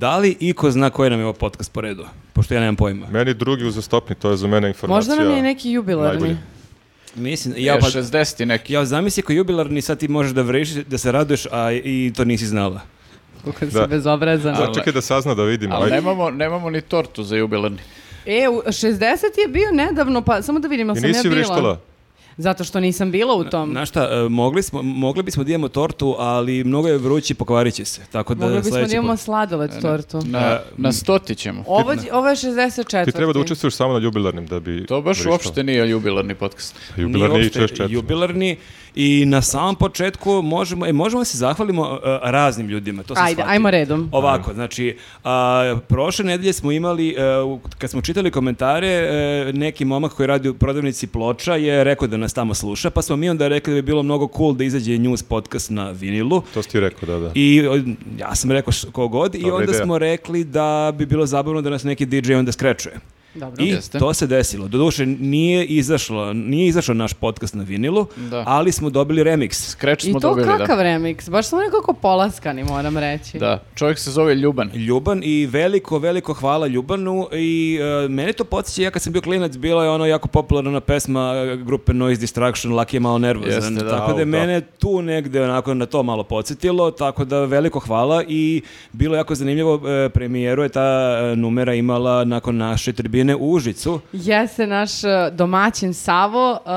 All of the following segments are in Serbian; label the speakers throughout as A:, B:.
A: ali i ko zna koji nam je ovo podcast po redu, pošto ja nemam pojma.
B: Meni drugi uzastopni, to je za mene informacija.
C: Možda nam je i neki
B: najbolje.
C: jubilarni.
A: Mislim, ja
D: Ja,
A: pa...
D: 60 i neki.
A: Ja zamisli koji jubilarni, sad ti možeš da vrešiš, da se raduješ, a i to nisi znala.
C: Kako
B: Da.
C: si bezobrazan.
B: Da, čekaj da sazna da vidim.
D: Ali
B: ajde.
D: nemamo, nemamo ni tortu za jubilarni.
C: E, u- 60 je bio nedavno, pa samo da vidimo,
B: I
C: sam ja bila.
B: nisi vrištala.
C: Zato što nisam bila u tom.
A: Znaš šta, e, mogli, smo, mogli bismo da imamo tortu, ali mnogo je vrući, pokvarit će se. Tako da
C: Mogli bismo da
A: sledeći
C: imamo
A: put.
C: sladoled tortu.
D: Na, na stoti ćemo.
C: Ovo, je- ovo je 64.
B: Ti treba da učestvuješ samo na jubilarnim da bi
D: To baš
B: vrištala.
D: uopšte nije jubilarni podcast.
A: Nije
B: Jubilarni i
A: uopšte
B: 64.
A: Jubilarni i na samom početku možemo, e, možemo da se zahvalimo e, raznim ljudima. To sam
C: Ajde,
A: shvatio.
C: ajmo redom.
A: Ovako, znači, a, prošle nedelje smo imali, e, u- kad smo čitali komentare, e, neki momak koji radi u prodavnici ploča je rekao da nas tamo sluša, pa smo mi onda rekli da bi bilo mnogo cool da izađe news podcast na vinilu.
B: To si ti rekao, da, da.
A: I o, ja sam rekao š- ko god i
B: Dobra
A: onda
B: ideja.
A: smo rekli da bi bilo zabavno da nas neki DJ onda skrečuje.
C: Dobro.
A: I
D: Jeste.
A: to se desilo. Doduše nije izašlo, nije izašao naš podcast na vinilu,
D: Da.
A: ali smo dobili remix.
D: Skreč
C: I
D: smo
C: to
D: dobili,
C: kakav
D: da.
C: remix, baš smo nekako polaskani, moram reći.
D: Da, čovjek se zove Ljuban.
A: Ljuban i veliko, veliko hvala Ljubanu i e, mene to podsjeća, ja kad sam bio klinac, bila je ono jako popularna ona pesma e, grupe Noise Distraction, Lucky je malo nervozan,
D: Jeste, da.
A: tako da je
B: Au, da.
A: mene tu negde onako na to malo podsjetilo, tako da veliko hvala i bilo je jako zanimljivo, e, premijeru je ta e, numera imala nakon naše tribine u Užicu,
C: Jeste, naš e, domaćin Savo e,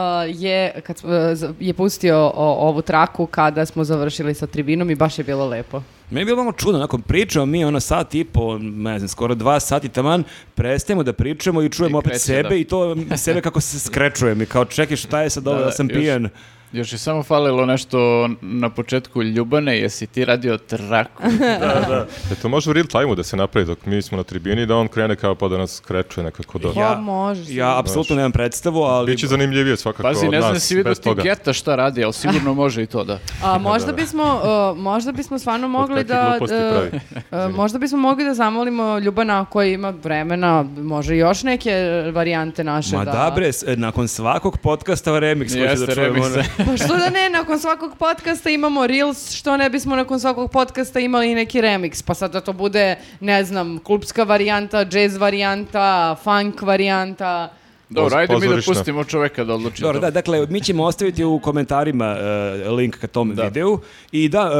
C: je, kad, smo- e, z- je pustio o- ovu traku kada smo završili sa tribinom i baš je bilo lepo.
A: Meni je bilo malo čudno, nakon pričamo mi ono sat i po, ne znam, skoro dva sati taman, prestajemo da pričamo i čujemo
D: I
A: opet
D: kreće,
A: sebe
D: da.
A: i to sebe kako se skrećujem i kao čekaj šta je sad ovo,
D: Da,
A: da,
D: da,
A: sam
D: još-
A: pijen.
D: Još je samo falilo nešto na početku Ljubane, jesi ti radio traku?
B: E to može u real time-u da se napravi dok mi smo na tribini da on krene kao pa da nas kreče nekako do...
C: Ja- Pa može, sigurno.
A: Ja apsolutno nemam predstavu, ali
B: Biće zanimljivije svakako
D: Pazi,
B: od
D: ne znam da
B: nas,
D: si vidio
B: bez toga.
D: Geta šta radi, ali sigurno može i to da.
C: A, možda, bismo, e, možda bismo stvarno mogli
B: kakve
C: da...
B: gluposti
C: e,
B: pravi.
C: e, možda bismo mogli da zamolimo Ljubana koji ima vremena, može još neke e, varijante naše
A: Ma
C: da...
A: da bre, s- e, nakon svakog podcasta remix koji će da
D: Jeste,
A: čujemo.
D: remix,
A: ono.
C: Pa što da ne, nakon svakog podcasta imamo Reels, što ne bismo nakon svakog podcasta imali i neki remix, pa sad da to bude, ne znam, klubska varijanta, jazz varijanta, funk varijanta.
D: Dobro, ajde mi da
B: Pozorišna.
D: pustimo čoveka da odluči
A: Dobro,
D: to.
A: da, dakle, mi ćemo ostaviti u komentarima e, link ka tom videu i da,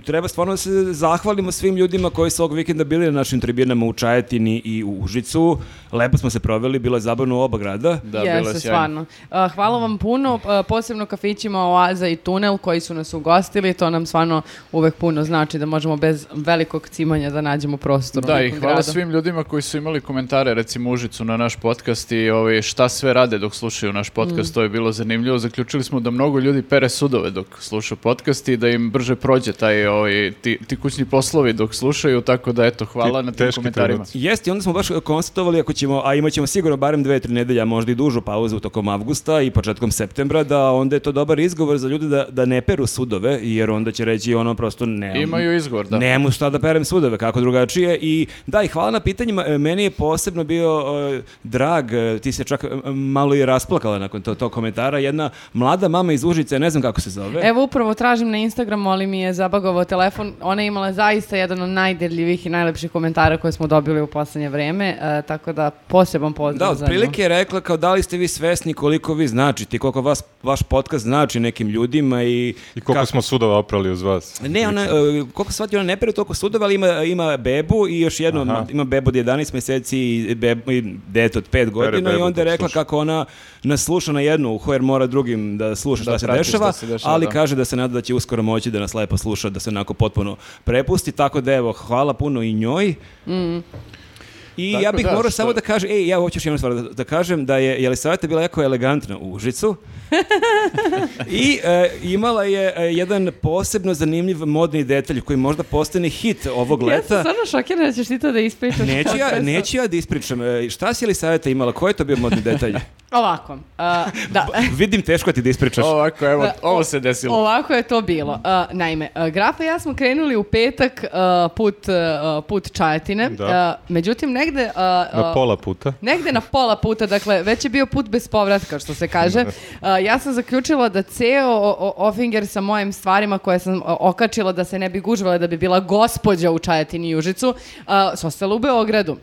A: e, treba stvarno da se zahvalimo svim ljudima koji su ovog vikenda bili na našim tribinama u Čajetini i u Užicu. Lepo smo se proveli, bilo je zabavno u oba grada.
D: Da,
C: Jeste,
D: bilo je sjajno.
C: stvarno. A, Hvala vam puno, a, posebno kafićima Oaza i Tunel koji su nas ugostili, to nam stvarno uvek puno znači da možemo bez velikog cimanja da nađemo prostor. u
D: Da, i
C: nekom
D: hvala
C: gradu.
D: svim ljudima koji su imali komentare, recimo Užicu na naš podcast i ovaj, šta sve rade dok slušaju naš podcast, to je bilo zanimljivo. Zaključili smo da mnogo ljudi pere sudove dok slušaju podcast i da im brže prođe taj, ovaj, ti, ti kućni poslovi dok slušaju, tako da eto, hvala
B: Ti
D: na tim
B: teški
D: komentarima.
B: trenuci.
A: Jeste, onda smo baš konstatovali ako ćemo, a imat ćemo sigurno barem dve, tri nedelja, a možda i dužu pauzu tokom avgusta i početkom septembra, da onda je to dobar izgovor za ljude da, da ne peru sudove, jer onda će reći ono prosto ne.
D: Imaju izgovor, da.
A: Nemu šta da perem sudove, kako drugačije. I da, i hvala na pitanjima. E, Meni je posebno bio e, drag, e, ti se čak e, malo i rasplakala nakon to, tog komentara, jedna mlada mama iz Užice, ne znam kako se zove.
C: Evo upravo tražim na Instagramu, ali mi je zabagovao telefon. Ona je imala zaista jedan od najdeljivih i najlepših komentara koje smo dobili u poslednje vreme, e, tako da poseban pozdrav
A: Da,
C: za nju.
A: otprilike je rekla kao da li ste vi svesni koliko vi značite i koliko vas, vaš podcast znači nekim ljudima i...
B: I koliko
A: ka-
B: smo sudova oprali uz vas.
A: Ne, ona, e, koliko shvati, ona ne pere toliko sudova, ali ima, ima bebu i još jedno, ma- ima bebu od 11 meseci i, bebu, i dete od 5 godina i
B: bebu
A: onda je
B: dok
A: rekla
B: sluša.
A: kako ona nas sluša na jednu uho jer mora drugim da sluša šta,
D: Da
A: se
D: prati
A: dešava,
D: šta se dešava,
A: ali
D: da.
A: kaže da se nada da će uskoro moći da nas lepo sluša, da se onako potpuno prepusti, tako da evo, hvala puno i njoj. I
D: Tako
A: ja bih
D: da,
A: morao
D: što-
A: samo da kažem, ej, ja hoću još jednu stvar da, da kažem, da je Jelisaveta bila jako elegantna u Užicu i e, imala je e, jedan posebno zanimljiv modni detalj koji možda postane hit ovog
C: Ja sam
A: leta.
C: stvarno šokirana da ćeš ti to da ispričaš.
A: Neću ja,
C: Podcast.
A: neću ja da ispričam. E, Šta si Jelisaveta imala? Koji je to bio modni detalj?
C: Ovako. a, da.
A: Vidim, teško ti da ispričaš.
D: Ovako, evo, ovo se desilo.
C: Ovako je to bilo.
B: Mm.
C: A, naime, a, Grafa i ja smo krenuli u petak a, put, a, put Čajetine.
B: Da.
C: A, međutim, negde... a,
B: Na
C: a,
B: pola puta.
C: Negde na pola puta, dakle, već je bio put bez povratka, što se kaže. A, ja sam zaključila da ceo o- o- ofinger sa mojim stvarima koje sam o, okačila da se ne bi gužvala, da bi bila gospođa u Čajetini i Južicu, a, su ostale u Beogradu.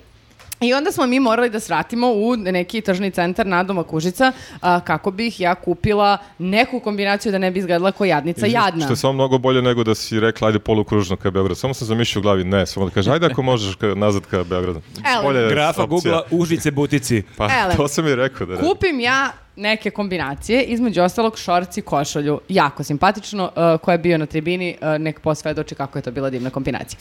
C: I onda smo mi morali da svratimo u neki tržni centar Nadoma Kužica a, kako bih ja kupila neku kombinaciju da ne bi izgledala ko jadnica jadna.
B: Što je samo mnogo bolje nego da si rekla ajde polukružno ka Beogradu. Samo sam zamišljao u glavi ne, samo da kaže ajde ako možeš ka, nazad ka Beogradu.
C: Ele.
B: Bolje je
A: Grafa
B: opcija.
A: Google-a Užice butici.
B: Pa
C: Ele.
B: to sam i rekao da ne.
C: Kupim ja neke kombinacije, između ostalog šorci i košolju. Jako simpatično, uh, ko je bio na tribini, uh, nek posvedoči kako je to bila divna kombinacija.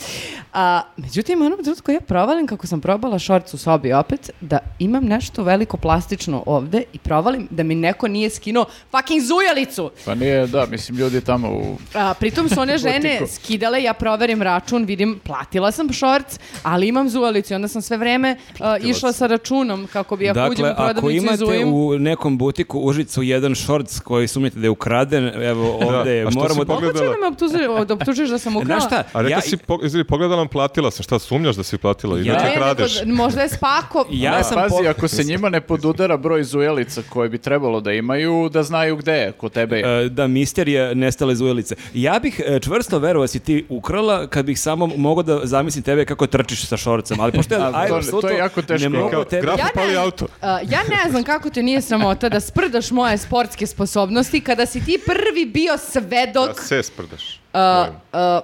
C: A, međutim, u onom trenutku ja provalim kako sam probala šorc u sobi opet, da imam nešto veliko plastično ovde i provalim da mi neko nije skinuo fucking zujalicu.
D: Pa nije, da, mislim, ljudi tamo u...
C: A, pritom su one žene
D: Butiku.
C: skidale, ja proverim račun, vidim, platila sam šorc, ali imam zujalicu i onda sam sve vreme uh, išla sa računom kako bi ako
A: Dakle,
C: uđem u
A: ako
C: prodavnicu i
A: imate
C: zujem.
A: u nekom butiku Užicu jedan šorts koji sumnjate da je ukraden, evo
B: Da,
A: ovde je,
B: a što
A: moramo...
B: si
A: da-
B: pogledala?
C: Kako će da me optuži- da optužiš da sam ukrala?
A: E, Znaš šta?
B: A rekao
A: Ja-
B: si, po, izvini, pogledala nam, platila sam, šta sumnjaš da si platila? I
A: Ja-
B: ja.
C: Ne,
B: kradeš.
C: nego, E, možda je spako...
A: Ja sam
D: Pazi,
A: po-
D: ako se njima ne podudara broj zujelica koje bi trebalo da imaju, da znaju gde je, kod tebe je.
A: E, da misterije nestale zujelice. Ja bih e, čvrsto verovao da si ti ukrala kad bih samo mogao da zamislim tebe kako trčiš sa šorcem, ali pošto ja
D: A, to- to je
A: apsolutno
D: jako teško.
A: Ne mogu
B: Kao,
A: tebe...
B: grafu
C: Ja
B: pali
C: ne,
B: auto.
C: A, ja ne znam kako te nije sramota da sprdaš moje sportske sposobnosti kada si ti prvi bio svedok...
B: Da se sprdaš.
C: a, a,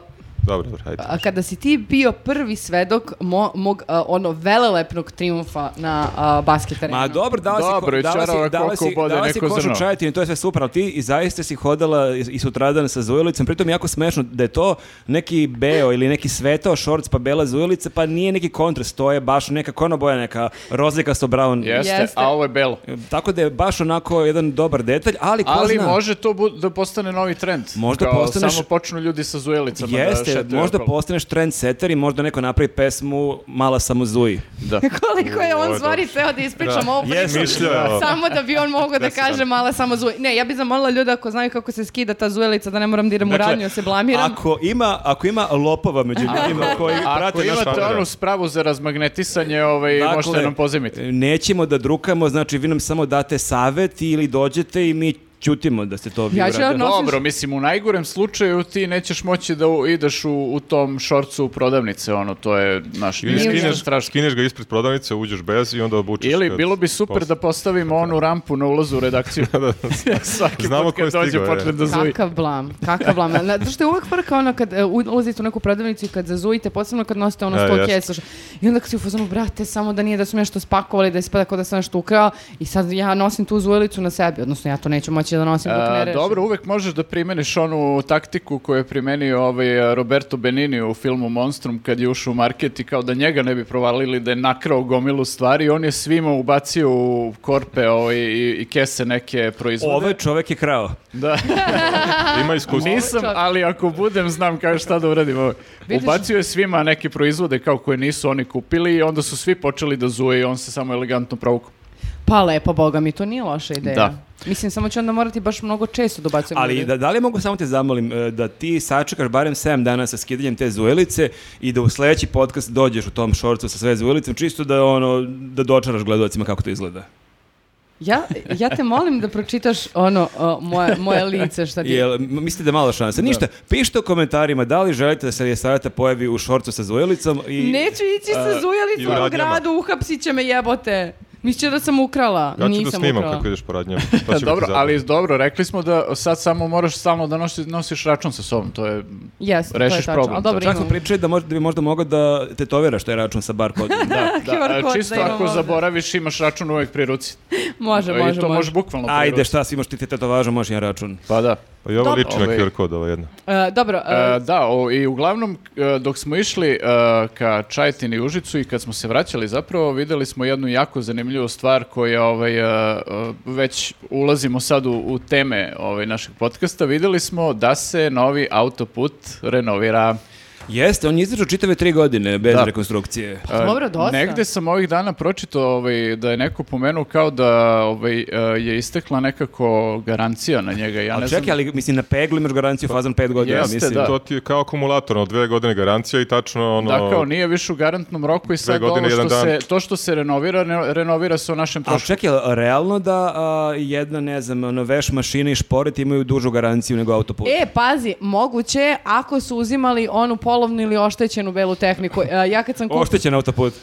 B: Dobro, dobro, hajde.
C: a, kada si ti bio prvi svedok mo- mog a, ono velelepnog triumfa na uh, basket terenu.
A: Ma dobro, dala si, ko-
D: Dobro, i
A: dala si,
D: čarava
A: dala
D: koliko
A: si,
D: ubode
A: dala si
D: neko
A: košu
D: zrno.
A: čajetini, to je sve super, ali ti i zaista si hodala i, i sutradan sa zujelicom, pritom je jako smešno da je to neki beo ili neki svetao šorc pa bela zujelica, pa nije neki kontrast, to je baš neka konoboja, neka rozlikasto brown.
D: Jeste,
C: jeste.
D: a ovo je belo.
A: Tako da je baš onako jedan dobar detalj, ali ko
D: Ali
A: zna?
D: može to bu- da postane novi trend.
A: Možda
D: Kao
A: postaneš-
D: Samo počnu ljudi sa zujelicama da
A: Jeste,
D: šetaju
A: možda
D: okolo.
A: postaneš trendsetter i možda neko napravi pesmu Mala sam u Zuji.
D: Da.
C: Koliko je
B: Ovo
C: on
B: je
C: zvori
B: dobro.
C: teo da ispričam ovo. pa
A: Jesam.
B: Mišljao je ovo.
C: Samo da bi on mogao da kaže mala samo zuj. Ne, ja bih zamolila ljude ako znaju kako se skida ta zujelica da ne moram da idem
B: Dakle,
C: u radnju, da Dakle, se blamiram.
A: Ako ima, ako ima lopova među ljudima koji
D: Ako
A: prate naš Dakle,
D: imate
B: program.
D: onu spravu za razmagnetisanje, ovaj, možete nam pozemiti.
A: Nećemo da drukamo, znači vi nam samo date savet ili dođete i mi ćutimo da ste to vi
C: Ja ću
A: uradili.
C: odno- Nosiš-
D: Dobro, mislim, u najgorem slučaju ti nećeš moći da u- ideš u, u tom šorcu u prodavnice, ono, to je, naš,
B: Ili
D: nije
B: skineš,
D: strašno.
B: skineš ga ispred prodavnice, uđeš bez i onda obučeš.
D: Ili
B: kad-
D: bilo bi super da postavimo onu rampu na ulazu u redakciju. Svaki
B: Znamo
D: put
B: ko je
D: kad dođe
B: stigao, je.
D: počne da zuji.
C: Kakav blam, kakav blam. Na- Zato što je uvek frka ono kad e, u- ulazite u neku prodavnicu i kad zazujite, posebno kad nosite ono
B: E,
C: sto
B: jeste.
C: kesa. I onda kad si u fazonu, brate, samo da nije da su mi nešto spakovali, da ispada kao da sam nešto ukrao i sad ja nosim tu zujelicu na sebi, odnosno ja to neću moći da nosim dok ne
D: A,
C: rešim.
D: E, dobro, uvek možeš da primeniš onu taktiku koju je primenio ovaj a, Roberto Benini u filmu Monstrum kad je ušao u market i kao da njega ne bi provalili da je nakrao gomilu stvari, on je svima ubacio u korpe ovaj, i, i kese neke proizvode.
A: Ovaj čovek je krao.
D: Da.
B: Ima iskustvo.
D: Nisam,
C: čovjek.
D: ali ako budem, znam kao šta da uradim. Ovo.
C: Vidiš?
D: Ubacio je svima neke proizvode kao koje nisu oni kupili i onda su svi počeli da zuje i on se samo elegantno provukao.
C: Pa lepo, boga mi, to nije loša ideja.
D: Da.
C: Mislim, samo ću onda morati baš mnogo često da ubacujem
A: Ali
C: ljude.
A: da, da li mogu samo te zamolim e, da ti sačekaš barem 7 dana sa skidanjem te zuelice i da u sledeći podcast dođeš u tom šorcu sa sve zuelicom, čisto da ono da dočaraš gledalcima kako to izgleda.
C: Ja, ja te molim da pročitaš ono o, moje, moje lice šta ti...
A: Jel, m- mislite da je mala šansa? Ništa, pišite u komentarima da li želite da se Jelisaveta pojavi u šorcu sa zujelicom i...
C: Neću ići sa
B: i u
C: zujalicom u
B: radnjama.
C: gradu, uhapsit će me jebote. Mislite da sam ukrala.
B: Ja ću da
C: Nisam
B: snimam
C: ukrala.
B: kako ideš po radnjama.
D: Da, dobro, ali dobro, rekli smo da sad samo moraš stalno da nosi, nosiš račun sa sobom, to je...
C: Jeste, to je
D: Rešiš
C: tačno.
D: problem,
C: Ali dobro,
A: Čak smo
C: imam.
A: pričali da, možda, da bi možda mogao da tetoviraš taj račun sa bar kodom.
D: Da, da,
C: QR
D: a
C: kod
D: čisto
C: da imamo
D: ako
C: ovde.
D: zaboraviš imaš račun uvek pri ruci.
C: Može, može,
D: E, I to
C: može.
D: možeš bukvalno pri
A: Ajde,
D: ruci.
A: šta, svi imaš ti te tetovaža, možeš jedan račun.
D: Pa da.
B: Pa i ovo
C: Dobro.
B: liči na
D: Ovaj.
B: QR kod, ovo jedno.
C: E, dobro, e,
D: E, da, o, i uglavnom e, dok smo išli e, ka Čajetini i Užicu i kad smo se vraćali zapravo videli smo jednu jako zanimljivu stvar koja ovaj, e, e, već ulazimo sad u, u teme ovaj, našeg podcasta. Videli smo da se novi autoput renovira.
A: Jeste, on je izdržao čitave tri godine bez
D: Da.
A: rekonstrukcije.
C: Pa dobro, dosta.
D: e, Negde sam ovih dana pročitao ovaj, da je neko pomenuo kao da ovaj, e, je istekla nekako garancija na njega. Ja ne
A: ali
D: znam-
A: čekaj, ali mislim na peglu imaš garanciju fazan pet godina,
D: jeste,
A: mislim.
D: da.
B: To ti je kao akumulator, ono, dve godine garancija i tačno ono...
D: Da, kao nije više u garantnom roku i sad
B: godine,
D: ovo što
B: jedan
D: se,
B: dan.
D: to što se renovira, ne- renovira se u našem
A: A
D: trošku.
A: čekaj, a realno da a, jedna, ne znam, ono, veš mašina i šporet imaju dužu garanciju nego autoput?
C: E, pazi, moguće je ako su uzimali onu polovnu ili oštećenu belu tehniku. E, ja kad sam kupila...
A: Oštećen autoput.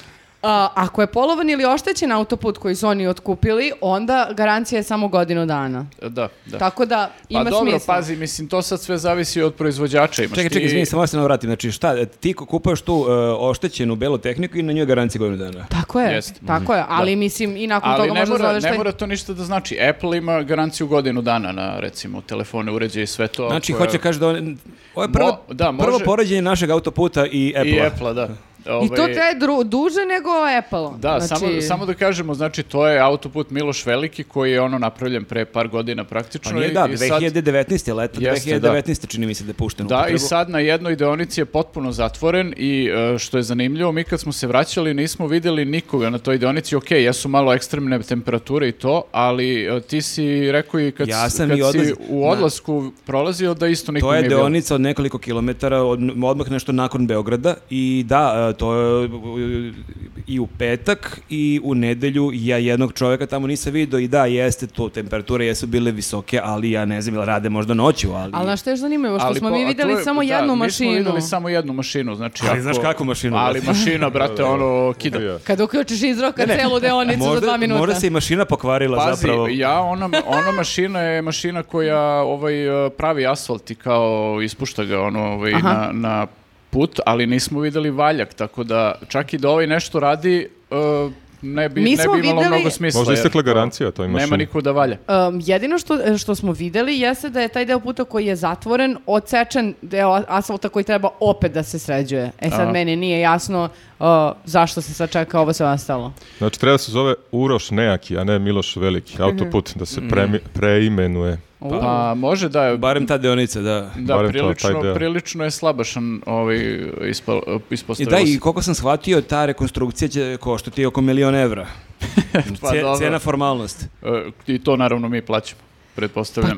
C: A, ako je polovan ili oštećen autoput koji su oni otkupili, onda garancija je samo godinu dana.
D: Da, da.
C: Tako da ima
D: pa dobro,
C: smisla.
D: pazi, mislim, to sad sve zavisi od proizvođača. Imaš
A: Čekaj,
D: ti-
A: čekaj, izvini, samo da se navratim. Znači, šta, ti kupuješ tu e, oštećenu belu tehniku i na njoj garancija godinu dana.
C: Tako je,
D: Jeste.
C: tako je, ali mislim i nakon
D: mhm. Ali
C: toga
D: ne
C: možda
D: mora,
C: zoveš
D: ne
C: taj-
D: mora to ništa da znači. Apple ima garanciju godinu dana na, recimo, telefone, uređaje i sve to.
A: Znači,
D: koje-
A: hoće kaže da on... Ovo je prvo,
D: Mo- da, može-
A: prvo poređenje našeg autoputa i
D: I
A: Apple-a.
D: Apple-a, da.
C: I to
D: Ovaj,
C: traje dru- duže nego Apple.
D: Da, samo, samo da kažemo, znači to je autoput Miloš Veliki koji je ono napravljen pre par godina
A: Pa
D: praktično.
A: nije
D: i-
A: da,
D: i sad-
A: 2019. leto,
D: Jeste, da.
A: 2019. čini mi se da je pušteno.
D: Da, i
A: upotrebu.
D: sad na jednoj deonici je potpuno zatvoren i e, što je zanimljivo, mi kad smo se vraćali nismo videli nikoga na toj deonici. Ok, jesu malo ekstremne temperature i to, ali e, ti si rekao i kad,
A: Ja
D: s-
A: sam
D: kad
A: i odlaz-
D: si u odlasku prolazio da isto
A: To
D: niko
A: je
D: nije bio.
A: deonica od nekoliko kilometara, od, odmah nešto nakon Beograda i da, e, to je e, i u petak i u nedelju ja jednog čoveka tamo nisam vidio i da, jeste to, temperature jesu bile visoke, ali ja ne znam, jel rade možda noću, ali...
C: Ali znaš što je još zanimljivo, što
D: Ali
C: smo
D: po- a
C: mi
D: to
C: videli
D: je-
C: samo
D: da,
C: jednu
D: mi smo
C: mašinu.
D: videli samo jednu mašinu, znači
A: Ali
D: ako-
A: znaš kakvu mašinu,
D: Ali
A: brate?
D: mašina, brate, ono, kida.
B: ubija.
C: Kad uključiš iz roka celu deonicu za dva minuta.
A: možda se i mašina
B: Pa
A: pokvarila
D: Pazi,
A: zapravo.
D: ja ona, ona mašina je mašina koja ovaj, eh, pravi asfalt i kao ispušta ga ono, ovaj,
C: Aha.
D: na, na put, ali nismo videli valjak, tako da čak i da ovaj nešto radi, eh, ne bi,
C: Mi
D: ne
C: smo
D: bi imalo
C: videli-
D: mnogo smisla.
B: Možda je
D: jer,
B: istekla
D: ono,
B: garancija toj mašini.
D: Nema niko da valja.
C: Um, jedino što, što smo videli jeste da je taj deo puta koji je zatvoren odsečen deo asfalta koji treba opet da se sređuje. E sad
D: Aha.
C: meni nije jasno uh, zašto se sad čeka ovo sve ostalo.
A: Pa
B: Znači, treba da se zove Uroš Nejaki, a ne Miloš
C: Mhm.
B: Veliki. Autoput da
D: Mhm.
B: se premi- preimenuje.
D: Pa može da je...
A: Barem ta deonica, da.
D: Da,
B: barem to, taj
D: prilično,
B: deo.
D: prilično je slabašan ovaj, ispo,
A: I da,
D: ispostavio
A: i
D: se.
A: koliko sam shvatio, ta rekonstrukcija će koštati oko milion evra.
D: Pa
A: Ce-
D: dobro.
A: cena formalnost.
D: Eh, I to naravno mi plaćamo, pretpostavljam.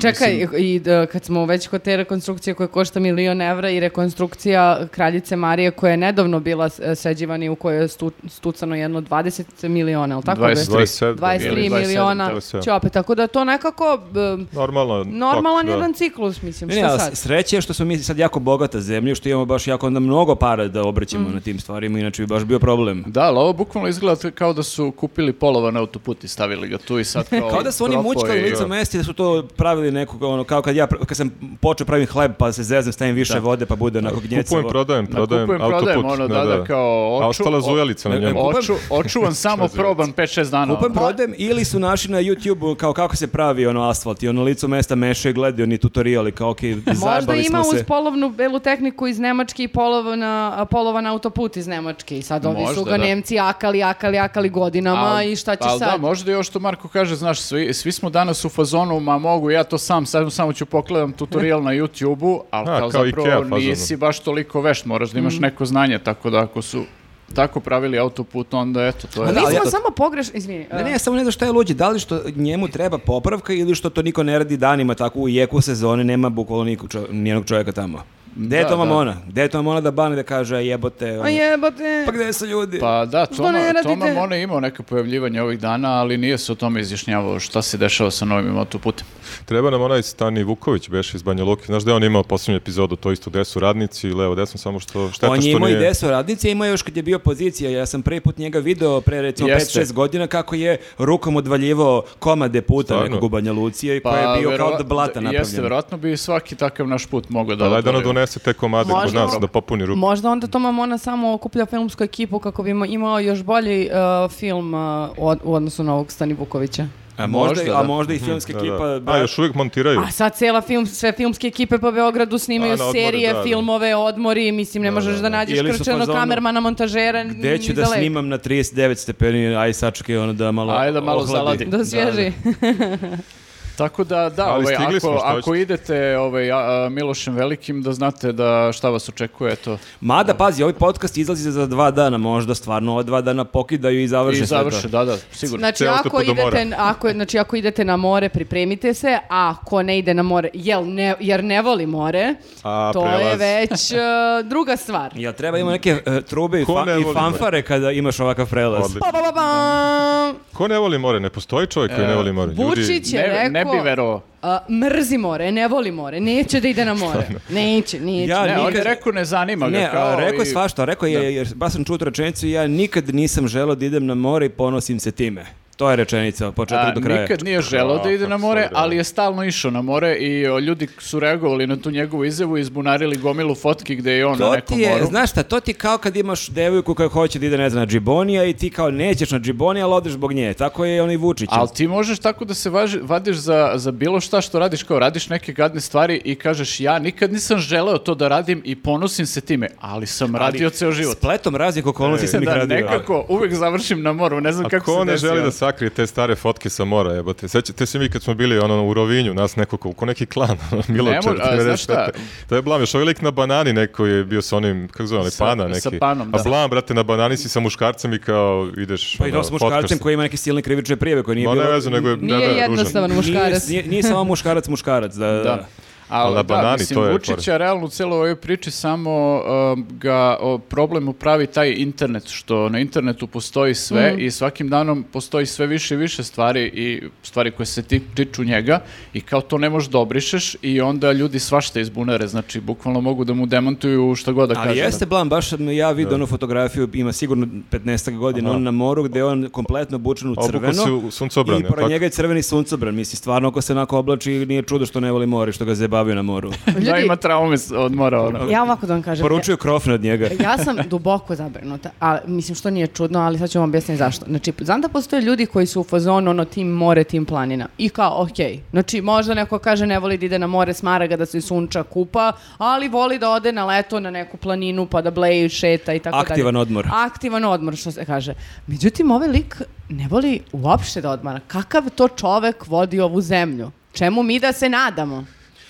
C: Pa čekaj,
D: mislim.
C: i da, kad smo već kod te rekonstrukcije koja košta milion evra i rekonstrukcija Kraljice Marije koja je nedavno bila e, sređivana i u kojoj je stu- stucano jedno 20 miliona, ali tako?
D: 20.
B: 27.
C: 23
D: Ili 27,
C: miliona.
B: tako se.
C: Će opet, tako da to nekako... e,
B: Normalno.
C: Normalan
B: da.
C: jedan ciklus, mislim,
A: Ne, ne,
C: šta
A: ali
C: sad?
A: sreće je što smo mi sad jako bogata zemlja, što imamo baš jako onda mnogo para da obraćamo na tim stvarima, inače bi baš bio problem.
D: Da, ali ovo bukvalno izgleda kao da su kupili polovan autoput i stavili ga tu i sad kao...
A: Kao da su oni
D: propao
A: mučkali
D: i-
A: lica mesti da su to pravili neko, ono, kao kad ja, pr- kad sam počeo pravim hleb pa se zezam, stavim više vode pa bude onako gnjecavo.
B: Kupujem, prodajem,
D: Na
B: prodajem,
D: kupujem,
B: autoput.
D: prodajem, ono, da, da, kao...
B: A
D: oču-
B: ostala zujalica na
A: Ne, ne,
B: njemu.
D: Oču, očuvam samo proban 5-6 dana.
A: Kupujem,
D: ono.
A: prodajem ili su našli na YouTube kao kako se pravi ono asfalt i ono licu mesta mešaju, gledaju oni tutorial i kao okej,
C: Možda
A: zajebali
C: ima
A: smo
C: uz
A: se.
C: polovnu belu tehniku iz Nemačke i polovna, a, polovan autoput iz Nemačke. I sad ovi su
D: Možda,
C: ga
D: da.
C: Nemci akali, akali, akali godinama i šta će
D: al
C: sad?
D: da, možda i ovo što Marko kaže, znaš, svi, svi smo danas u fazonu, ma mogu, ja to sam, sad samo ću pogledam tutorial na YouTube-u, ali
B: A,
D: kao,
B: kao
D: zapravo
B: Ikea fazonu.
D: nisi baš toliko vešt, moraš da imaš neko znanje, tako da ako su tako pravili autoput, onda eto, to je...
C: Mi
A: Da, ali
C: smo
A: ja-
C: samo pogrešni, izvini.
A: Ne, ne, samo ne znam šta je luđe, da li što njemu treba popravka ili što to niko ne radi danima tako u jeku sezone, nema bukvalo nikog čo, nijednog čovjeka tamo. Gde je
D: Da,
A: to
D: da.
A: mamona? Gde je to mamona da bane da kaže "A jebote? ono,
C: A jebote.
A: Pa gde su ljudi?
D: Pa da,
C: Što
D: Toma,
C: ne radite?
D: Toma Mona je imao neka pojavljivanja ovih dana, ali nije se o tome izjašnjavao šta se dešava sa novim autoputem.
B: Treba nam onaj Stani Vuković, beš iz Banja Luki. Znaš da je on imao posljednju epizodu, to isto gde su radnici, levo, desno, samo što šteta
A: On je
B: što
A: imao i
B: nije...
A: desu radnice, imao je još kad je bio pozicija. Ja sam prvi put njega video pre recimo
D: Jeste.
A: 5-6 godina kako je rukom odvaljivao komade puta
B: Stvarno?
A: nekog u Banja Lucija i koji Pa je bio kao
D: verova-
A: od blata napravljen.
D: Pa, Jeste, verovatno bi svaki takav naš put mogao da...
B: Da, Pa daj da ona
D: odvali.
B: donese te komade kod
C: Možda-
B: nas, da popuni rupu.
C: Možda onda Toma Mona samo okuplja filmsku ekipu kako bi ima- imao još bolji uh, film uh, od- u odnosu na ovog Stani Vukovića.
A: A možda,
D: Možda,
A: a
D: da.
A: možda i filmska
B: Da, da.
A: ekipa...
B: A,
A: brat-
B: još uvijek montiraju.
C: A sad cela film, sve filmske ekipe po Beogradu snimaju
B: A, na odmore,
C: serije,
B: da, da.
C: filmove, odmori, mislim ne možeš da, nađeš
A: Ili su
C: krčano
A: fazonu,
C: kamermana, montažera,
A: Gde ću da snimam na 39 stepeni, aj sačekaj ono da malo
D: Ajde da malo
A: ohladi.
D: zaladi.
C: Da svježi.
D: Tako da, da,
B: Ali
D: ovaj,
B: stigli
D: ako,
B: smo, šta
D: ako
B: hoćete?
D: idete ovaj, a, a, Milošem Velikim, da znate da šta vas očekuje, to.
A: Mada, pazi, ovaj podcast izlazi za dva dana, možda stvarno ova dva dana pokidaju i završe.
D: I
A: sve to.
D: završe, da, da, sigurno.
C: Znači
B: Ceo
C: ako,
B: autoput do mora.
C: idete, ako, znači, ako idete na more, pripremite se, a ako ne ide na more, jel ne, jer ne voli more,
B: A,
C: to je
B: prelaz.
C: već e, druga stvar.
A: Jel treba ima neke e, trube i,
B: Ko
A: fa-
B: ne
A: i
B: voli
A: fanfare kada imaš ovakav prelaz?
B: Odlično.
C: Pa, pa, pa, pa.
B: Ko ne voli more? Ne postoji čovjek
D: E.
B: koji ne voli more. Ljudi,
C: Vučić je
D: Ne,
C: Znači, rekao...
D: ne bi verovao.
C: a, Eh, mrzi more, ne voli more, neće da ide na more. Neće, neće.
A: Ja-
D: Ne, on je
A: nikad-
D: rekao ne zanima ga.
A: Ne,
D: kao
A: a, rekao je
D: i-
A: svašta, rekao je,
D: Da.
A: jer baš sam čuo tu rečenicu, ja nikad nisam želeo da idem na more i ponosim se time. To je rečenica od početka
D: A,
A: do kraja.
D: nikad nije želeo da
B: A,
D: ide na
B: kako
D: more,
B: sad, da.
D: ali je stalno išao na more i o, ljudi su reagovali na tu njegovu izjavu i izbunarili gomilu fotki gde je on na
A: To
D: nekom
A: ti je,
D: moru.
A: znaš šta, to ti je kao kad imaš devojku koja hoće da ide, ne znam, na džibonija i ti kao nećeš na džibonija, ali odeš zbog nje. Tako je i onaj Vučić.
D: Ali ti možeš tako da se važi- vadiš za, za bilo šta što radiš, kao radiš neke gadne stvari i kažeš ja nikad nisam želeo to da radim i ponosim se time, ali sam radio ceo život. E,
A: Spletom raznih okolnosti sam ih
D: Da,
A: radio.
D: nekako uvek završim na moru, ne znam
B: A
D: kako
B: ko
D: se
B: ne
D: desi,
B: želi
D: ono.
B: da sakrije te stare fotke sa mora, jebote? Sećate se mi kad smo bili ono, u Rovinju, nas neko ko neki klan, ono, Miločar,
D: Ne mo- a,
B: 94.
D: znaš šta?
B: To je Blam, još ovaj lik na banani neko je bio sa onim, kako zove, onaj
D: Sa-
B: pana neki.
D: sa panom, da.
B: A Blam, brate, na banani si sa muškarcem i kao ideš, ono,
A: Pa i to s muškarcem koji ima neke silne krivične prijeve koje nije
B: Ma
A: bilo...
B: ne vezu, nego je ne,
C: Nije
B: ne, ružan.
C: jednostavan muškarac.
A: Nije, nije, nije samo muškarac muškarac, da, da.
D: Da. Ali
B: Ali na
D: da,
B: banani,
D: mislim,
B: to je
D: Vučića realno u cijeloj ovoj priči samo um, ga o, problem upravi taj internet, što na internetu postoji sve
A: Mhm.
D: i svakim danom postoji sve više i više stvari i stvari koje se ti, tiču njega i kao to ne možeš da obrišeš i onda ljudi svašta izbunare, znači bukvalno mogu da mu demantuju šta god da
A: Ali
D: kaže.
A: jeste Blam, baš sam ja vidio onu fotografiju, ima sigurno 15 godina, on na moru gde je on kompletno obučen u
B: Obuku
A: crveno.
B: si u suncobran,
A: I pored
B: tako?
A: njega je crveni suncobran, misli, stvarno ako se onako oblači, nije čudo što ne voli more, što ga zabavio na moru.
D: Da
C: Ljudi,
D: ima traume s- od mora, ono.
C: ja ovako da vam kažem. ja-
A: Poručuju krofne od njega.
C: ja sam duboko zabrinuta, ali mislim što nije čudno, ali sad ću vam objasniti zašto. Znači, znam da postoje ljudi koji su u fazonu ono tim more, tim planina. I kao, okej, znači možda neko kaže ne voli da ide na more, smara ga da se sunča, kupa, ali voli da ode na leto na neku planinu pa da bleji, šeta i tako dalje.
A: Aktivan odmor.
C: Aktivan odmor, što se kaže. Međutim, ovaj lik ne voli uopšte da odmara. Kakav to čovek vodi ovu zemlju? Čemu mi da se nadamo?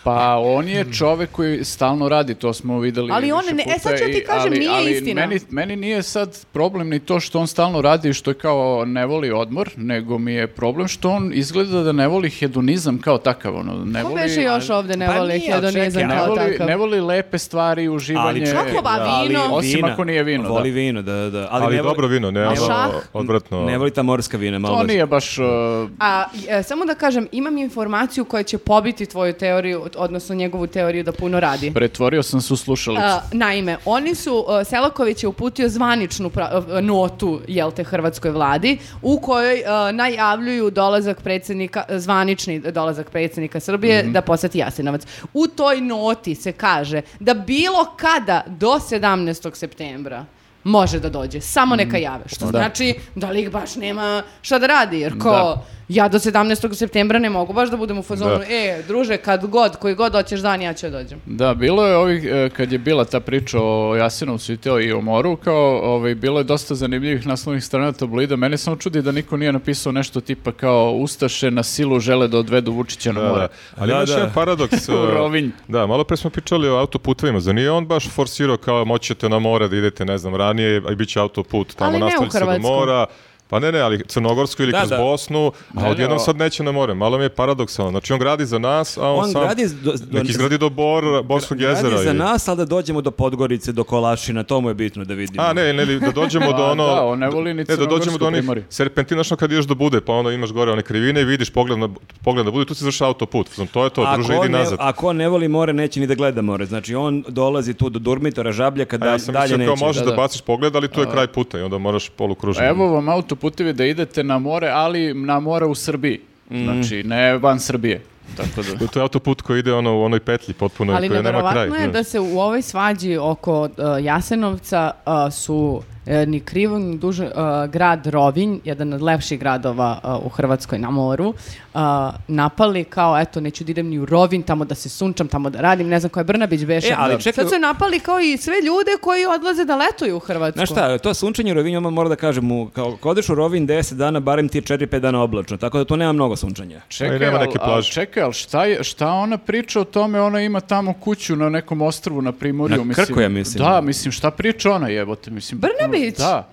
D: Pa on je čovek koji stalno radi, to smo videli
C: Ali on
D: više
C: ne- e, sad
D: puta
C: ću ti
D: i-
C: kažem,
D: ali-
C: nije
D: ali
C: istina.
D: Meni, meni nije sad problem ni to što on stalno radi i što je kao ne voli odmor, nego mi je problem što on izgleda da ne voli hedonizam kao takav. Ono, ne
C: Ko
D: voli,
C: beše još ovde ne
A: Pa
C: voli
A: nije, ali
C: hedonizam
A: čekaj,
D: Ne
C: kao
D: voli,
C: takav?
D: ne voli lepe stvari, uživanje.
C: kako, ba,
D: da,
C: vino?
A: ali
D: Osim
A: vina.
D: ako nije vino, da.
A: Voli vino, da, da.
B: Ali,
A: ne voli-
B: dobro vino, ne, ono,
C: šah?
B: odvratno.
A: Ne voli ta morska vina, malo.
D: To
A: baš.
D: nije baš... uh,
C: A, e, samo da kažem, imam informaciju koja će pobiti tvoju teoriju, od- odnosno njegovu teoriju da puno radi.
D: pretvorio sam se u slušalicu.
C: A, naime, oni su, e, Selaković je uputio zvaničnu pra- e, notu, jel te, hrvatskoj vladi, u kojoj e, najavljuju dolazak predsjednika, e, zvanični dolazak predsjednika Srbije da posjeti Jasenovac. U toj noti se kaže da bilo kada do 17. septembra može da dođe, samo neka jave. Što
D: Da.
C: znači da lik baš nema šta da radi, jer ko,
D: Da.
C: ja do 17. septembra ne mogu baš da budem u fazonu,
B: Da.
C: e, druže, kad god, koji god hoćeš dan, ja ću da dođem.
D: Da, bilo je ovih, e, kad je bila ta priča o Jasenovcu i teo i o moru, kao, ovaj, bilo je dosta zanimljivih naslovnih strana tabloida. Mene samo čudi da niko nije napisao nešto tipa kao Ustaše na silu žele da odvedu Vučića na
B: Da,
D: more.
B: da. Ali
A: Da,
B: ima još
A: da.
B: jedan paradoks.
D: U
B: uh,
D: Rovinj.
B: Da, malo pre smo pričali o autoputovima. Zar nije on baš forsirao kao moćete na more da idete, ne znam, ranije, a i bit će autoput, tamo
C: Ali ne u
B: nastavlja se do
C: Hrvatsku.
B: mora. Pa ne, ne, ali Crnogorsku ili
A: Da,
B: kroz
A: da.
B: Bosnu,
D: Ne,
B: a
D: ne,
B: odjednom
D: o-
B: sad neće na more. Malo mi je paradoksalno. Znači, on gradi za nas, a on,
A: On
B: sam...
A: gradi do- do-
B: nek izgradi do Bor, Borskog jezera.
A: Radi za
B: ili-
A: nas, ali da dođemo do Podgorice, do Kolašina, to mu je bitno da vidimo.
B: A, ne, ne, da dođemo do
D: Pa,
B: ono...
D: da, on ne voli ni
B: da dođemo
D: crnogorsko
B: do onih
D: primorje.
B: serpentinačno kad ideš do Bude, pa onda imaš gore one krivine i vidiš pogled na, pogled na Bude, tu se završa autoput. Znam, to je to, druže, idi
A: ne,
B: nazad.
A: ako ne voli more, neće ni da gleda more. Znači, on dolazi tu do Durmitora, Žabljaka,
B: A
A: da,
B: ja sam
A: dalje
B: mislio
A: neće.
B: kao možeš
D: Da,
B: da,
D: da.
B: baciš pogled, ali to je kraj puta i onda moraš polukružiti.
D: Evo vam autoputevi da idete na more, ali na more u Srbiji. Znači, ne van Srbije. Tako da...
B: To je autoput koji ide ono u onoj petlji potpuno
C: Ali
B: koja nema kraj.
C: nevjerovatno je da se u ovoj svađi oko uh, Jasenovca uh, su e, ni krivo, ni duže, e, grad Rovinj, jedan od lepših gradova e, u Hrvatskoj na moru, e, napali kao, eto, neću da idem ni u Rovinj, tamo da se sunčam, tamo da radim, ne znam koja je Brnabić beše.
A: E, ali čekaj-
C: Sad su je napali kao i sve ljude koji odlaze da letuju u Hrvatsku.
A: Znaš šta, to sunčanje u Rovinju, odmah moram da kažem, mu, kao, ako odeš u Rovinj 10 dana, barem ti je 4-5 dana oblačno, tako da tu nema mnogo sunčanja.
D: Čekaj,
B: nema
D: al-
B: neke
D: al-
B: plaže.
D: čekaj, ali šta, je, šta ona priča o tome? Ona ima tamo kuću na nekom ostrvu na Primorju.
A: Na
D: mislim.
A: Krku, ja mislim.
D: Da, mislim, šta priča ona jebote? Mislim,
C: Brnabić?
D: Da.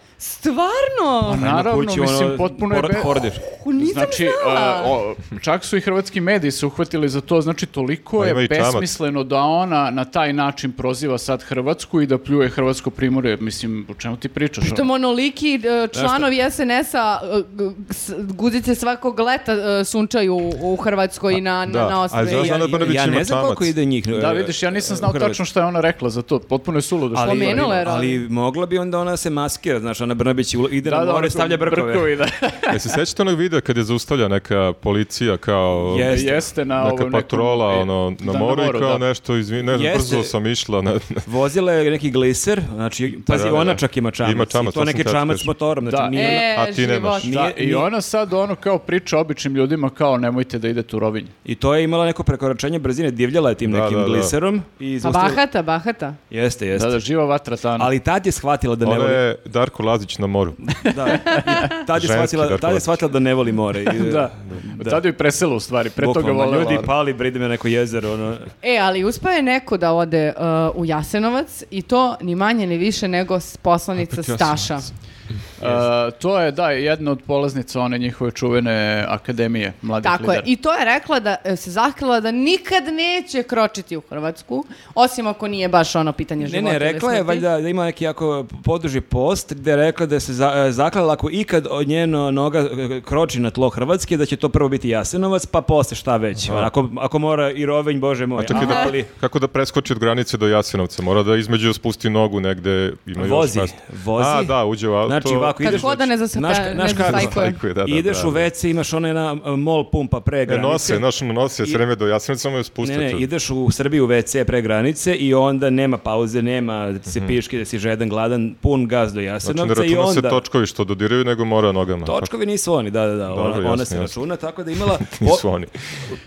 C: Stvarno?
D: Pa naravno, mislim, potpuno je... be-
A: Hordir.
C: U, nisam
D: Znači,
C: znala.
D: e, o, čak su i hrvatski mediji se uhvatili za to, znači toliko
B: Pa ima
D: je
B: i čamac.
D: besmisleno da ona na taj način proziva sad Hrvatsku i da pljuje Hrvatsko primorje, mislim, o čemu ti pričaš?
C: Što monoliki e, članovi SNS-a e, g- s- guzice svakog leta e, sunčaju u- u Hrvatskoj na, na,
B: da.
C: na
B: A
C: osnovi.
B: zašto
A: Ja,
B: Ana Brnabić
A: ja ne
B: ima
A: znam
B: čamac.
A: koliko ide njih. e,
D: Da, vidiš, ja nisam
A: e,
D: znao
A: u Hrvatskoj.
D: tačno šta je ona rekla za to, potpuno je suludo. što
A: Ali,
C: Spomenula je,
A: ali,
C: Rovinj.
A: mogla bi onda ona se maskira, znaš, Ana Brnabić ula- ide na more,
D: ono,
A: stavlja brkove.
D: da.
B: E, se sjećate onog videa kad je zaustavlja neka policija kao...
A: Je- Jeste.
D: Jeste na
B: Neka
D: ovom nekom-
B: patrola
D: e,
B: ono, na
D: da,
B: moru i kao
D: da.
B: nešto, izvini, ne znam,
A: Jeste.
B: brzo sam išla. Na, na-
A: Vozila je neki gliser, znači, pazi,
B: da, da,
A: ona
B: da.
A: čak ima čamac.
B: Ima
A: I
B: čamac,
A: to
B: to sam
A: neki
B: teo
A: čamac
B: reći.
A: s motorom, znači
D: Da.
A: nije...
C: E,
B: a ti nemaš.
C: život.
A: Da.
D: Da, i
A: Nije-
D: ona sad ono kao priča običnim ljudima kao nemojte da idete u rovinje.
A: I to je imala neko prekoračenje brzine, divljala je tim
B: Da,
A: nekim
B: da, da.
A: gliserom. I
C: Pa
A: zaustavila-
C: bahata, bahata.
A: Jeste, jeste.
D: Da, da, živa vatra tana.
A: Ali tad je shvatila da ne
B: Ona
A: voli.
B: je Darko Lazić na moru.
A: Da. I tad je
B: Ženski
A: shvatila,
B: Darko
A: tad je
B: Lazić.
A: shvatila da ne voli more. I,
D: Da.
A: da.
D: Tad joj preselo u stvari, pre toga pa-
A: Bukvalno,
D: volela.
A: Ljudi, pali, bre, idem na neko jezero, ono.
C: E, ali uspao je neko da ode uh, u Jasenovac i to ni manje ni više nego s- poslanica
B: Opet
C: Staša.
B: Jasenovac.
D: E, to je, da, jedna od polaznica one njihove čuvene akademije mladih
C: Tako je.
D: lidera.
C: I to je rekla da e, se zahtjela da nikad neće kročiti u Hrvatsku, osim ako nije baš ono pitanje
A: Ne,
C: života.
A: ne,
C: ili
A: rekla je
C: smrti.
A: valjda da ima neki jako poduži post gde je rekla da se za, e, zaklala ako ikad od njeno noga e, kroči na tlo Hrvatske, da će to prvo biti Jasenovac, pa posle šta već. Ako, ako mora i Rovinj, bože moj.
B: Čak i da,
A: ali
B: kako da preskoči od granice do Jasenovca? Mora da između spusti nogu negde. Ima još
A: Vozi,
B: mesta.
A: vozi.
B: A, da, uđe u auto.
A: Znači, ovako
C: Kad
A: ideš...
C: hoda ne zasata-
A: znaš-
C: ne
A: znaš kako-
C: zastajkuje.
B: Zastajkuje, da, da,
A: ideš
B: da,
A: u
B: da.
A: WC, imaš onaj na e, mol pumpa pre
B: E,
A: granice.
B: nose, znaš, ono, nose,
A: I-
B: sreme do Jasenovca, mu je spusti.
A: Ne, ne, ideš u Srbiju u WC pre granice i onda nema pauze, nema da ti se piški, da si žedan, gladan, pun gaz do
B: Mhm. Znači, ne
A: Jasenovca i
B: računa
A: onda...
B: se točkovi što dodiraju, nego mora nogama.
A: Točkovi nisu oni, da, da, da, ona,
B: Dobro,
A: ona
B: jasno,
A: se
B: jasno.
A: računa, tako da je imala
B: Nisu
A: po-
B: oni.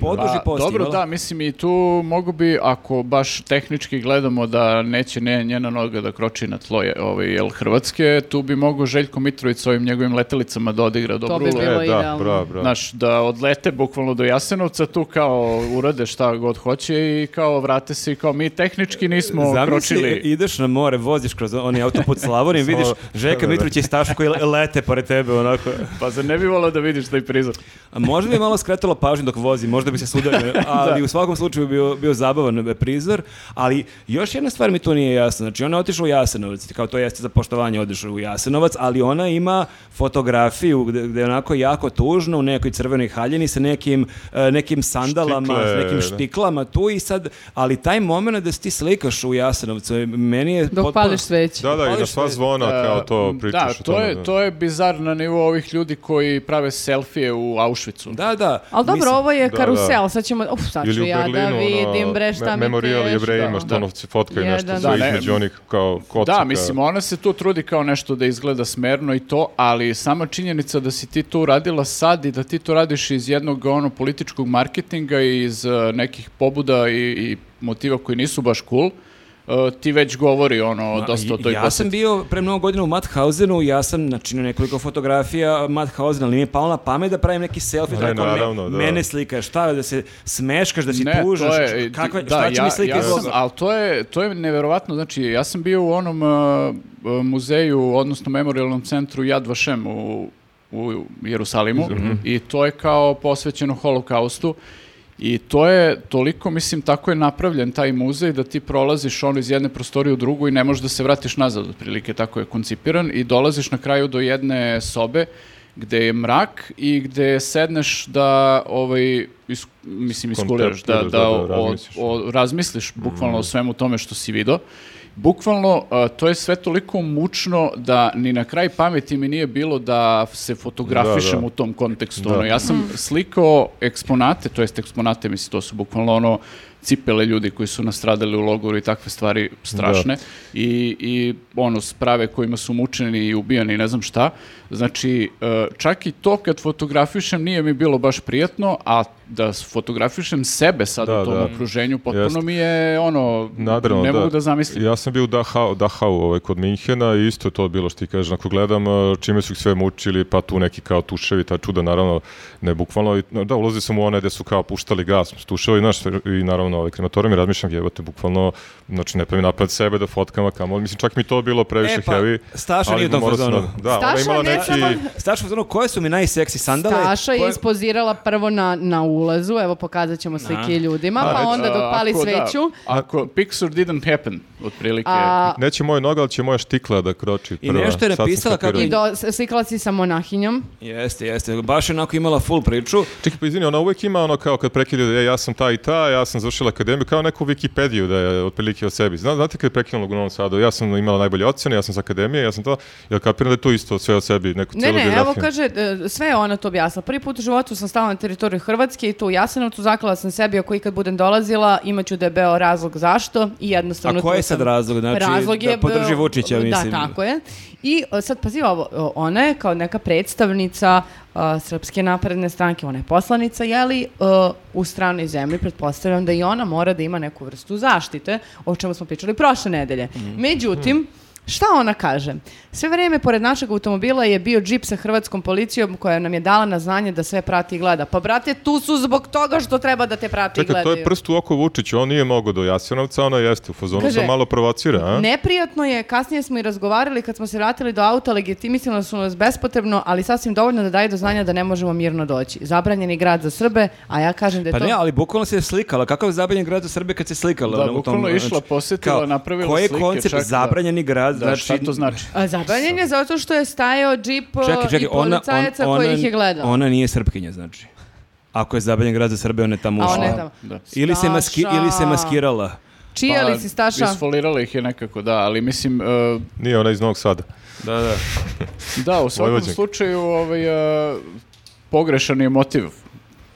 A: poduži
D: Pa,
A: post.
D: dobro,
A: imala.
D: da, mislim i tu mogu bi, ako baš tehnički gledamo da neće ne, njena noga da kroči na tlo je, ovaj, jel, Hrvatske, tu bi mogu Željko Mitrović s ovim njegovim letilicama da odigra dobru
C: bi
D: ulogu.
B: E,
C: Bilo
B: da,
C: idealno.
B: bra, bra.
D: Znaš, da odlete bukvalno do Jasenovca, tu kao urade šta god hoće i kao vrate se i kao mi tehnički nismo
A: Zamisli,
D: kročili.
A: ideš na more, voziš kroz onaj autoput Slavonim, vidiš
B: Samo-
A: Žeka
B: da, da.
A: Mitrović i Stašu koji le- lete pored tebe, onako.
D: Pa zar ne bi volao da vidiš taj prizor?
A: A možda bi malo skretalo pažnju dok vozi, možda bi se sudario, ali u svakom slučaju bio, bio zabavan e, prizor, ali još jedna stvar mi tu nije jasna, znači ona je otišla u Jasenovac, kao to jeste za poštovanje otišla u Jasenovac, ali ona ima fotografiju gde, gde je onako jako tužno u nekoj crvenoj haljini sa nekim, e, nekim sandalama,
B: Štikle,
A: s nekim
B: da.
A: štiklama tu i sad, ali taj moment da se ti slikaš u Jasenovcu, meni je...
C: Dok
A: potpuno-
C: pališ sveću.
B: Da, da, i na
A: Pališ
B: sva
A: sve.
B: zvona kao Pa to
D: e, Da,
B: pričaš o
D: to
B: tome,
D: je,
B: da.
D: to je bizar na nivou ovih ljudi koji prave selfije u Auschwitzu.
A: Da, da.
C: Ali dobro,
A: mislim-
C: ovo je
B: da,
C: karusel,
B: da.
C: sad ćemo, uf, sad ću
D: znači,
B: Ili u
C: ja da
B: Berlinu, ono,
C: vidim, bre, šta
B: me-
C: mi
B: memorijal
C: teško.
B: jevrejima,
D: Da.
B: što ono se fotkaju
C: Jedan,
B: nešto,
C: da.
B: sve
D: Da, ne.
B: između onih kao kocaka.
D: Da, mislim, ona se tu trudi kao nešto da izgleda smerno i to, ali sama činjenica da si ti to uradila sad i da ti to radiš iz jednog ono, političkog marketinga i iz eh, nekih pobuda i, i motiva koji nisu baš cool, eh, ti već govori ono
A: Ma,
D: dosta o toj
A: ja
D: poseti.
A: sam bio pre mnogo godina u Matthausenu i ja sam načinio nekoliko fotografija Matthausena, ali mi je palo na pamet da pravim neki selfie,
B: Ne,
A: tako me-
B: naravno, da.
A: mene slikaš, šta, da se smeškaš, da si tužaš,
D: to je-
A: š- kakve,
D: da,
A: šta će
D: ja,
A: mi slike
D: ja
A: Bog
D: sam,
A: zna.
D: ali to je, to je neverovatno, znači ja sam bio u onom uh, uh, muzeju, odnosno memorialnom centru Yad Vashem u, u Jerusalimu
B: mhm.
D: i to je kao posvećeno holokaustu i to je toliko, mislim, tako je napravljen taj muzej da ti prolaziš ono iz jedne prostorije u drugu i ne možeš da se vratiš nazad, otprilike tako je koncipiran i dolaziš na kraju do jedne sobe gde je mrak i gde sedneš da ovaj, is, mislim, iskuliraš, da, da,
B: Kontempliraš, da, da,
D: o- o-
B: razmisliš.
D: o- razmisliš bukvalno o svemu tome što si video. Bukvalno, a, to je sve toliko mučno da ni na kraj pameti mi nije bilo da se fotografišem
B: Da, da.
D: u tom kontekstu.
B: Da.
D: Ono, ja sam slikao eksponate, to jest eksponate, mislim, to su bukvalno ono cipele ljudi koji su nastradali u logoru i takve stvari strašne i, i ono sprave kojima su mučeni i ubijani i ne znam šta. Znači, e, čak i to kad fotografišem nije mi bilo baš prijatno, a da s- fotografišem sebe sad
B: Da,
D: u tom
B: da.
D: okruženju potpuno
B: Jeste.
D: mi je ono,
B: Nadrealno,
D: ne
B: da.
D: mogu da zamislim.
B: Ja sam bio u Dachau, Dachau ovaj, kod Minhena i isto je to bilo što ti kažeš. Ako gledam e, čime su ih sve mučili, pa tu neki kao tuševi, ta čuda naravno ne bukvalno. I, no, da, ulazi sam u one gde su kao puštali gas, tuševi, znaš, i naravno ovaj, krematorijom i razmišljam, jebate, bukvalno, znači ne pravim napad sebe da fotkama kamo. Mislim, čak mi to bilo previše
A: E, pa,
B: heavy.
A: Staša
B: ali
A: nije u tom
B: morao sam
A: fazonu.
B: Da, ona
C: Staša
B: je imala
C: ne
B: neki...
C: samo-
A: Staša, ono, koje su mi najseksi sandale?
C: Staša je
A: Koje-
C: ispozirala prvo na, na ulazu, evo pokazat ćemo slike ljudima, pa onda dok
D: A,
C: pali
D: ako da,
C: sveću.
D: ako Pixar didn't happen, otprilike.
C: A,
B: Neće moje noga, ali će moja štikla da kroči
A: I
B: prva.
A: nešto je
B: Sad sam
A: napisala kako-
B: skapirao.
C: I do, slikala si sa monahinjom.
A: Jeste, jeste. Baš je onako imala full priču.
B: Čekaj, pa izvini, ona uvek ima ono kao kad prekida, e, ja sam ta i ta, ja sam završila akademiju, kao neku Wikipediju da je otprilike o sebi. Zna, znate kad je prekinula u Novom Sadu, ja sam imala najbolje ocjene, ja sam sa akademije, ja sam to, ja kapiram da je to isto sve o sebi, neku
C: Ne,
B: cijelu
C: ne,
B: biografiju.
C: evo kaže, e, sve je ona to objasnila. Prvi put u životu sam stala na teritoriju Hrvatske i to u Jasenovcu, zaklala sam sebi ako ikad budem dolazila, imat ću debeo razlog zašto i jednostavno...
A: A koji
C: tu
A: je sad
C: sam.
A: razlog? Znači, da podrži
C: e,
A: Vučića, mislim.
C: Da, tako je. I e, sad pazi ovo, e, ona je kao neka predstavnica e, Srpske napredne stranke, ona je poslanica, jeli, e, u stranoj zemlji, pretpostavljam da i ona mora da ima neku vrstu zaštite, o čemu smo pričali prošle nedelje.
A: Mhm.
C: Međutim, Šta ona kaže? Sve vrijeme pored našeg automobila je bio džip sa hrvatskom policijom koja nam je dala na znanje da sve prati i gleda. Pa brate, tu su zbog toga što treba da te prati i
B: Čekaj, to
C: gledaju.
B: je prst u oko Vučiću, on nije mogao do Jasenovca, ona jeste u fazonu,
C: Kaže,
B: sam malo provocira, a?
C: Neprijatno je, kasnije smo i razgovarali kad smo se vratili do auta, legitimisali su nas bespotrebno, ali sasvim dovoljno da daju do znanja da ne možemo mirno doći. Zabranjeni grad za Srbe, a ja kažem da je
A: Pa
C: to...
A: ne, ali bukvalno se je slikala. Kakav je zabranjen grad u Srbiji kad se slikala?
D: Da,
A: ono, u
D: bukvalno je išla, posjetila, napravila
A: Koji je
D: slike,
A: koncept
D: čak da-
A: zabranjeni grad?
D: Da, šta to znači?
C: A, Zabranjen je zato što je stajao džip o,
A: Čekaj, čekaj,
C: Pa i
A: ona, on-
C: policajaca
A: ona,
C: koji ih je gledao.
A: ona nije srpkinja, znači. Ako je zabranjen grad za Srbe, ona je tamo
C: A
A: ušla.
C: ona je tamo.
D: Da.
A: Ili, se maski,
C: Staša.
A: ili se maskirala.
C: Čija li si
B: pa,
C: Staša?
D: Isfolirala ih je nekako, da, ali mislim, e,
B: Nije ona iz Novog Sada.
A: Da, da.
D: Da, u svakom
B: Vojvođanka.
D: slučaju ovaj, e, pogrešan je motiv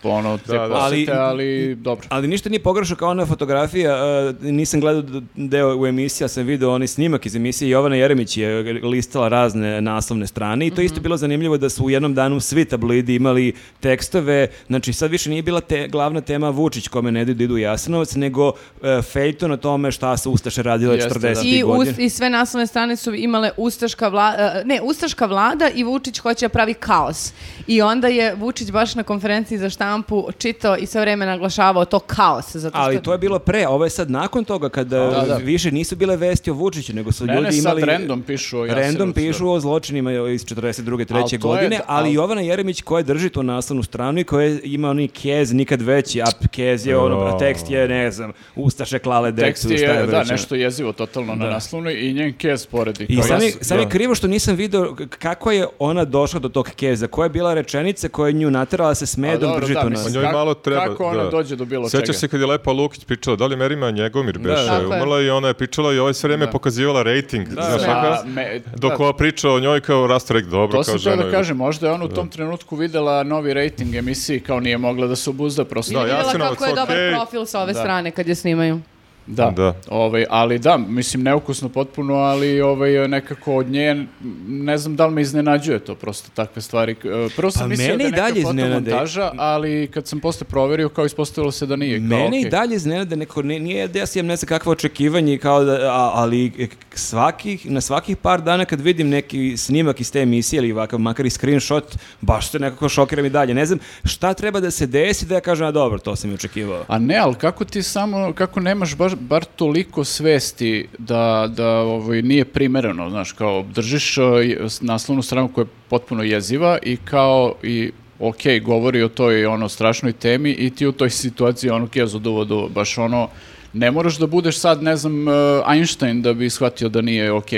D: ono, te
B: Da, da.
D: posete, ali,
A: Ali-
D: dobro.
A: Ali ništa nije pogrešno kao ona fotografija, e, nisam gledao d- deo u emisiji, ali sam video onaj snimak iz emisije, Jovana Jeremić je listala razne naslovne strane i to je
C: Mhm.
A: isto bilo zanimljivo da su u jednom danu svi tablidi imali tekstove, znači sad više nije bila te, glavna tema Vučić kome ne idu da idu u Jasenovac, nego e, fejton o tome šta su Ustaše radile
D: Jeste, da.
A: 40.
C: I, us-
A: godina.
C: I sve naslovne strane su imale Ustaška vlada, ne, Ustaška vlada i Vučić hoće da pravi kaos. I onda je Vučić baš na konferenciji za štampu čitao i sve vreme naglašavao to kaos. Zato što...
A: Ali to je bilo pre, ovo je sad nakon toga kada
D: Da, da.
A: više nisu bile vesti o Vučiću, nego su
D: Ne, ne,
A: ljudi
D: sad
A: imali...
D: random pišu o Jasenovcu,
A: Random
D: da.
A: pišu o zločinima iz 42.
D: Al to
A: 3.
D: je-
A: godine, ali
D: al-
A: Jovana Jeremić koja drži tu naslovnu stranu i koja ima oni kez nikad veći, a kez je ono, a tekst je, ne znam, ustaše klale
D: Tekst
A: decu, šta je
D: je, da,
A: već, ono.
D: nešto jezivo totalno na naslovnoj i njen kez poredi.
A: I
D: kao
A: sam, je,
D: jas-
A: sam je krivo što nisam video k- kako je ona došla do tog keza, koja je bila rečenica koja je nju naterala da se
D: A
A: smeje dok
D: dobro,
A: drži
D: da,
A: tu
D: mislim,
A: nas.
B: Pa njoj
D: Kako-
B: malo treba.
D: kako ona
B: da.
D: dođe do bilo čega?
B: Sjećaš se kad je Lepa Lukić pričala, da li Merima Njegomir beše,
A: Tako
C: je.
B: umrla i ona je pričala i ovaj sve vreme pokazivala rating. znaš,
D: da,
B: onako,
D: me-
B: dok
D: da.
B: ova priča o njoj kao rastorek dobro,
D: To
B: kao
D: sam teo
B: žena.
D: da kažem, možda je ona u tom trenutku videla novi rating emisiji, kao nije mogla da se obuzda prosto.
C: Ili
B: Da,
C: vidjela
B: Jasenovac,
C: kako je dobar
B: okej.
C: profil sa ove strane kad je snimaju.
D: Da,
B: Da.
D: Ovaj, ali da, mislim, neukusno potpuno, ali ovaj, nekako od nje, m, ne znam da li me iznenađuje to, prosto takve stvari. E, Prvo sam
A: Pa
D: mislio
A: mene
D: da je
A: i dalje
D: neka
A: iznenade.
D: fotomontaža, ali kad sam posle proverio, kao ispostavilo se da nije. Kao,
A: Mene i
D: okej.
A: dalje iznenade neko, ne- nije da ja sam ne znam kakva očekivanje, i kao da, a- ali e, k- svakih, na svakih par dana kad vidim neki snimak iz te emisije ili ovakav makar i screenshot, baš se nekako šokiram i dalje. Ne znam šta treba da se desi da ja kažem, a dobro, to sam i očekivao.
D: A ne, ali kako ti samo, kako nemaš baš, bar toliko svesti da, da ovaj, nije primereno, znaš, kao držiš eh, naslovnu stranu koja je potpuno jeziva i kao i ok, govori o toj ono strašnoj temi i ti u toj situaciji ono kezu duvo duvo, baš ono, ne moraš da budeš e, sad, ne znam, eh, Einstein da bi shvatio da nije ok,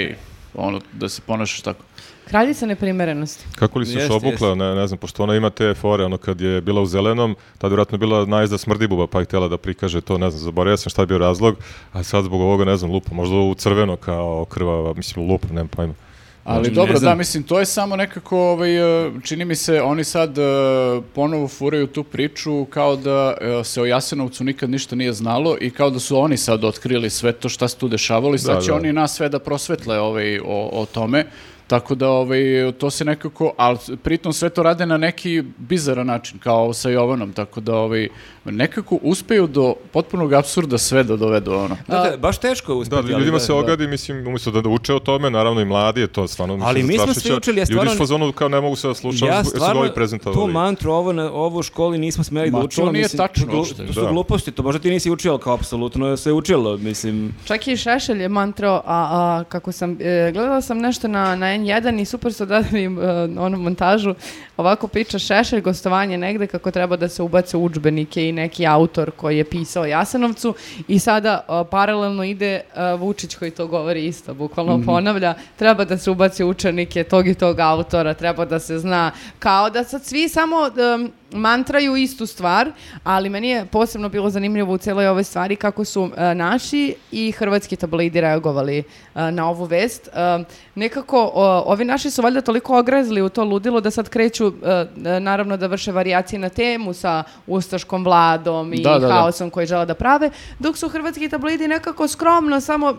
D: ono, da se ponašaš tako.
C: Kraljica neprimerenosti.
B: Kako li se još
A: Jeste,
B: obukla, ne, ne znam, pošto ona ima te fore, ono kad je bila u zelenom, tad je vjerojatno bila najezda smrdibuba, pa je htjela da prikaže to, ne znam, zaboravio sam šta je bio razlog, a sad zbog ovoga, ne znam, lupa, možda u crveno kao krvava, mislim, lupa, nemam pojma.
D: Ali
A: Ne
D: dobro,
A: znam.
D: da, mislim, to je samo nekako, ovaj, e, čini mi se, oni sad e, ponovo furaju tu priču kao da e, se o Jasenovcu nikad ništa nije znalo i kao da su oni sad otkrili sve to šta se tu dešavalo i sad
B: Da,
D: će
B: da.
D: oni nas sve da prosvetle ovaj, o, o tome. Tako da ovaj, to se nekako, ali pritom sve to rade na neki bizaran način, kao sa Jovanom, tako da ovaj, nekako uspeju do potpunog apsurda sve da dovedu ono.
A: Da, Pa, da, Dakle, baš teško je uspeti.
B: Da,
A: ali
B: ljudima se ogadi, mislim, umjesto da, da uče o tome, naravno i mladi je to stvarno. mislim,
A: Ali mi smo svi
B: zastrašujuće.
A: učili, ja stvarno-
B: Ljudi su u fazonu kao ne mogu se da slušam,
A: Ja
B: ja su
A: stvarno
B: ovi
A: tu
B: prezentovali.
A: mantru ovo, na, ovo u školi nismo smeli
D: Ma,
A: da
D: to
A: učimo.
D: nije
A: mislim,
D: tačno
A: to glu-
D: uopšte.
A: To su
B: Da.
A: gluposti, to možda ti nisi učio, ali kao apsolutno se učilo, mislim.
C: Čak i Šešelj je mantrao, a, a kako sam, e, gledala sam nešto na, na N1 i super su dali im, e, onu montažu, ovako priča Šešelj, gostovanje negde kako treba da se ubace u udžbenike i neki autor koji je pisao Jasenovcu i sada a, paralelno ide a, Vučić koji to govori isto, bukvalno
B: Mhm.
C: ponavlja, treba da se ubaci u učenike tog i tog autora, treba da se zna, kao da sad svi samo... em, mantraju istu stvar, ali meni je posebno bilo zanimljivo u cijeloj ovoj stvari kako su e, naši i hrvatski tabloidi reagovali e, na ovu vest. E, nekako o, ovi naši su valjda toliko ogrezli u to ludilo da sad kreću e, e, naravno da vrše varijacije na temu sa ustaškom vladom i
D: Da, da, da.
C: haosom koji žele da prave, dok su hrvatski tabloidi nekako skromno samo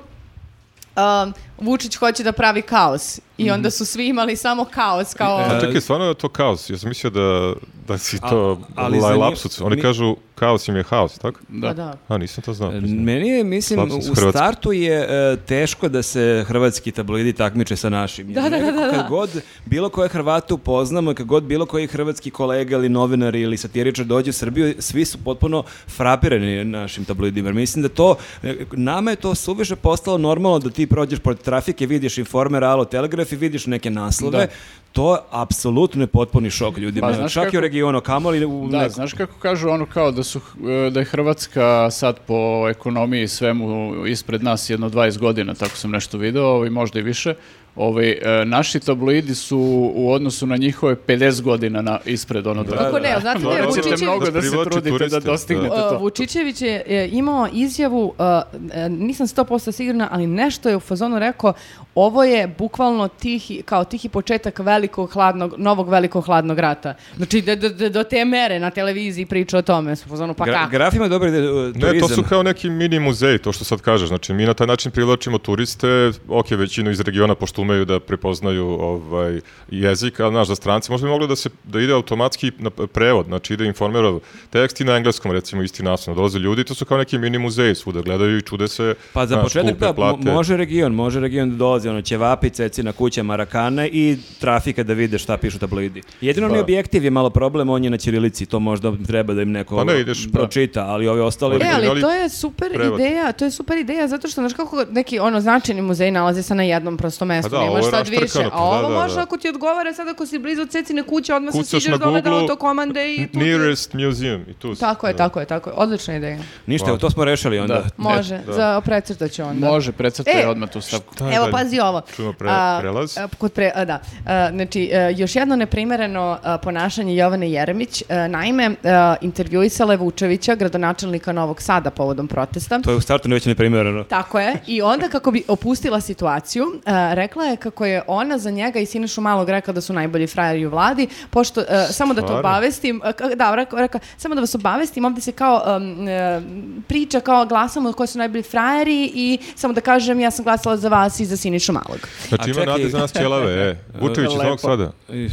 C: Um, Vučić hoće da pravi kaos
D: Mhm.
C: i onda su svi imali samo kaos
D: E,
C: kao
B: A čekaj, stvarno je to kaos. Ja sam mislio da, da si to
A: ali
B: laj-
A: zanima-
B: lapsus. Oni
A: mi- E,
B: kažu kaos im je haos, tako?
C: Pa da.
B: A, nisam to znao. priznam.
A: Meni je, mislim,
B: Slab sam s
A: u
B: hrvatskim.
A: startu je e, teško da se hrvatski tabloidi takmiče sa našim. Da, da, da, Kad god bilo koje Hrvata upoznamo, kad god bilo koji hrvatski kolega ili novinar ili satiričar dođe u Srbiju, svi su potpuno frapirani našim tabloidima. Mislim da to, e, nama je to suviše postalo normalno da ti prođeš pored trafike, vidiš informer, alo, telegraf i vidiš neke naslove.
D: Da.
A: To apsolutno je potpuni šok ljudima.
D: Pa, znaš
A: Čak i u
D: kako-
A: regionu, kamoli u
D: Da,
A: nekom-
D: znaš kako kažu ono kao da su eh, da je Hrvatska sad po ekonomiji i svemu ispred nas jedno 20 godina, tako sam nešto video, ovaj, možda i više. Ovaj, eh, naši tabloidi su u odnosu na njihove 50 godina na, ispred ono da.
C: Kako ne, znate,
D: Morat ćete
C: Vučić je-
D: mnogo da se
B: Privlači
D: trudite
B: turiste,
D: da
B: da.
D: dostignete
C: Uh,
D: to.
C: Vučićević je, e, imao izjavu, e, e, nisam 100% sigurna, ali nešto je u fazonu rekao, ovo je bukvalno tihi, kao tihi početak velikog hladnog, novog velikog hladnog rata. Znači, do, do- do- do te mere na televiziji priča o tome. Su u fazonu, pa
A: Gra-
C: kako?
A: graf ima dobar ide, e, turizam.
B: Ne, to su kao neki mini muzeji, to što sad kažeš. Znači, mi na taj način privlačimo turiste, ok, većinu iz regiona, pošto umeju da prepoznaju ovaj, jezik, ali naš, za stranci, možda bi moglo da, se, da ide automatski na prevod, znači ide informerov tekst i na engleskom, recimo, isti naslov. Dolaze ljudi, to su kao neki mini muzeji svuda, gledaju i čude se,
A: Pa za
B: znaš,
A: početak
B: kupe,
A: da, mo-
B: plate.
A: može region, može region da dolazi, ono, ćevapi, cecina, kuća, marakane i trafika da vide šta pišu tabloidi. Jedino mi objektiv je malo problem, on je na ćirilici, to možda treba da im neko
B: Pa ne, ideš,
A: pročita, ali ove ostale...
B: Pa
C: E,
B: da,
C: ali
B: ali
C: to je super
B: prevod.
C: ideja, to je super ideja, zato što, znaš kako neki ono značajni muzej nalaze se na jednom prostom mestu,
B: A Pa da,
C: nemaš
B: ovo je
C: sad više,
B: raštrkano,
C: a
B: pa da,
C: ovo
B: da,
C: može
B: da.
C: ako ti odgovara sad ako si blizu Cecine kuće, odmah se
B: Kucaš na
C: siđeš dole do
B: Google-u,
C: autokomande i tu ti-
B: Nearest museum i tu si.
C: Tako je,
B: Da.
C: tako je, tako je. Odlična ideja.
B: Pa.
A: Ništa, evo, to smo rešili onda.
D: Da.
C: Može, za precrtat ću onda.
D: Može, precrtaj
C: E,
D: odmah tu stavku.
B: Šta je
C: Evo,
B: dalje?
C: pazi ovo.
B: Čujemo pre-
C: A, e,
B: prelaz.
C: a, kod pre- a, da. A, znači, e, još jedno neprimereno a, ponašanje Jovane Jeremić. E, naime, e, intervjuisala je Vučevića, gradonačelnika Novog Sada, povodom protesta.
A: To je u startu već neprimjereno.
C: Tako je. I onda kako bi opustila situaciju, e, rekla je kako je ona za njega i Sinišu Malog rekla da su najbolji frajeri u vladi, pošto, e, samo da to
B: Stvarno?
C: obavestim, e, ka- da, rekla, rekla, samo da vas obavestim, ovdje se kao em, e, priča kao glasamo ko su najbolji frajeri i samo da kažem ja sam glasala za vas i za Sinišu Malog.
A: A
B: Znači, ima
A: čekaj.
B: nade za nas ćelave, e. Vučević iz
D: Lepo.
B: Novog Sada.
A: I,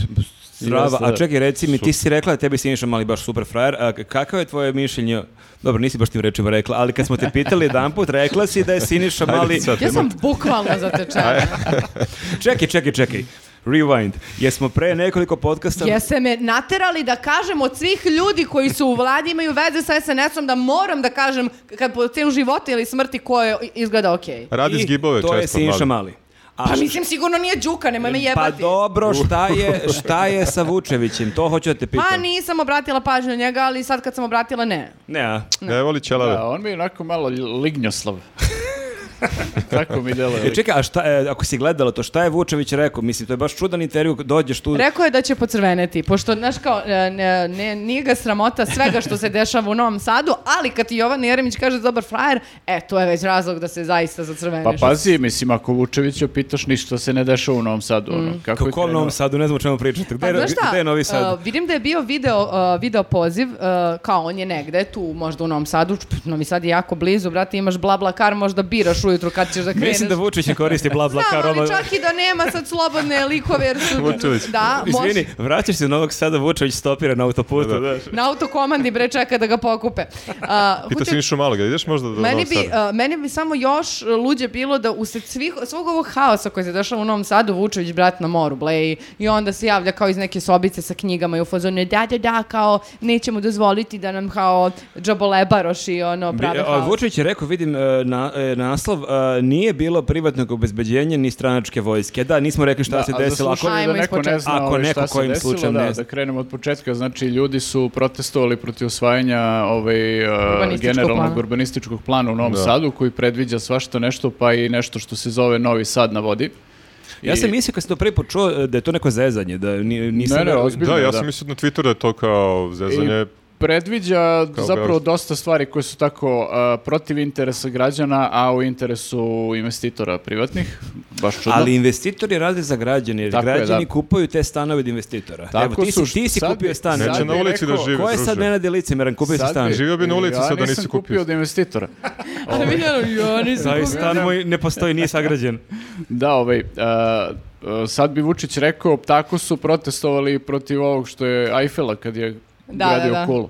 A: Zdrava, a
D: Jeste.
A: čekaj, reci mi, ti si rekla da tebi Siniša Mali baš super frajer, a k- kakav je tvoje mišljenje, dobro, nisi baš tim rečima rekla, ali kad smo te pitali jedan put, rekla si da je Siniša Mali...
B: sad.
C: Ja sam bukvalno zatečena.
A: Čekaj, čekaj, čekaj. Rewind. Jesmo pre nekoliko podcasta...
C: Jeste me naterali da kažem od svih ljudi koji su u vladi imaju veze sa SNS-om da moram da kažem kad po cenu života ili smrti ko je izgleda okej.
B: Radi
A: I
B: zgibove često.
A: To je Siniša Mali. A
C: Pa
A: š-
C: mislim sigurno nije Đuka, nemoj me
A: pa
C: jebati.
A: dobro, šta je, šta je sa Vučevićem? To hoću da te pitam.
C: Pa nisam obratila pažnju na njega, ali sad kad sam obratila ne.
A: Ne, a?
B: Ne voli ćelave.
D: Da, on mi je onako malo lignjoslav. Tako mi deluje.
A: E, čekaj, a šta, e, ako si gledala to, šta je Vučević rekao? Mislim, to je baš čudan intervju, dođeš tu...
C: Rekao je da će pocrveneti, pošto, znaš kao, e, ne, ne, nije ga sramota svega što se dešava u Novom Sadu, ali kad ti Jovan Jeremić kaže dobar frajer, e, to je već razlog da se zaista
D: Pa
C: zacrveneš.
D: pazi, mislim, ako Vučevića pitaš ništa se ne dešava u Novom Sadu. Ono, kako je
A: Kako u
D: krenuo?
A: Novom Sadu, ne znam o čemu pričate. Gde,
C: Pa,
A: je-
C: znaš šta,
A: gde je Novi Sad?
C: uh, vidim da je bio video, uh, video poziv, uh, kao on je negde, tu možda u Novom Sadu, čp, Novi Sad je jako blizu, brate, imaš bla bla kar, možda biraš ujutru kad ćeš da kreneš.
A: Mislim da Vučić ne koristi bla bla
C: Znam,
A: kar.
C: ali
A: ono-
C: čak i da nema sad slobodne likove, jer su...
B: Vučević.
C: Da, može-
A: Izvini, vraćaš se do Novog Sada, Vučević stopira na autoputu.
B: Da, da.
A: znaš.
C: Na autokomandi bre čeka da ga pokupe. A,
B: Pita
C: hoću-
B: si Nišu Maloga, ideš možda do
C: Meni
B: Novog
C: bi,
A: uh,
B: Sada?
C: a, meni bi samo još luđe bilo da usred svih, svog ovog haosa koji se dešava u Novom Sadu, Vučević brat na moru, ble, i, i onda se javlja kao iz neke sobice sa knjigama i u fazonu je, da, da, da, kao, nećemo dozvoliti da nam kao džabolebaroš i ono
A: Bi-
C: prave
A: a,
C: haos.
A: Vučić je rekao, vidim e, na, e, naslov, e, nije bilo privatnog obezbeđenja ni stranačke vojske. Da, nismo rekli šta
D: Da,
A: se
D: a za
A: desilo. Ako,
D: slušatelje
C: Ajmo
D: da neko ne
C: ispočetka.
D: zna
A: Ako
D: ovaj,
A: neko
D: šta se
A: kojim
D: desilo,
A: slučajem
D: da,
A: ne
D: da
A: zna.
D: krenemo od početka, znači ljudi su protestovali protiv usvajanja ovaj, uh,
C: Urbanističkog
D: generalnog
C: plana.
D: urbanističkog plana u Novom
B: Da.
D: Sadu koji predviđa svašta nešto, pa i nešto što se zove Novi Sad na vodi.
A: ja sam
D: I-
A: mislio kad sam to prvi put čuo e, da je to neko zezanje, da ni- nisam...
D: Ne, ne,
A: verovao.
D: ozbiljno,
B: Da, ja
D: da.
B: sam mislio na Twitteru da je to kao zezanje.
D: predviđa zapravo
B: Beograd.
D: dosta stvari koje su tako a, protiv interesa građana, a u interesu investitora privatnih. Baš čudno.
A: Ali investitori rade za građane, jer
D: Tako je,
A: građani
D: da.
A: kupaju te stanove od investitora.
D: Tako
A: Evo, ti
D: su,
A: si, ti si
D: sad bi-
A: kupio stan.
D: sad
B: Neće
D: bi
B: na ulici da
D: rekao,
B: žive,
A: Ko je sad
B: druže.
A: mene licemjeran, kupio si
D: Sad
A: stan?
D: bi-
B: Živio bi na ulici
D: ja
B: sad da nisi
D: nisam
B: kupio.
D: kupio od investitora.
C: Ali mi je, ja nisam
A: Taj
C: kupio.
A: stan moj ne postoji, nije sagrađen.
D: Da, ovaj, a, a, sad bi Vučić rekao, tako su protestovali protiv ovog što je Eiffela kad je
C: Da,
D: gradio
C: da, da.
D: kulu.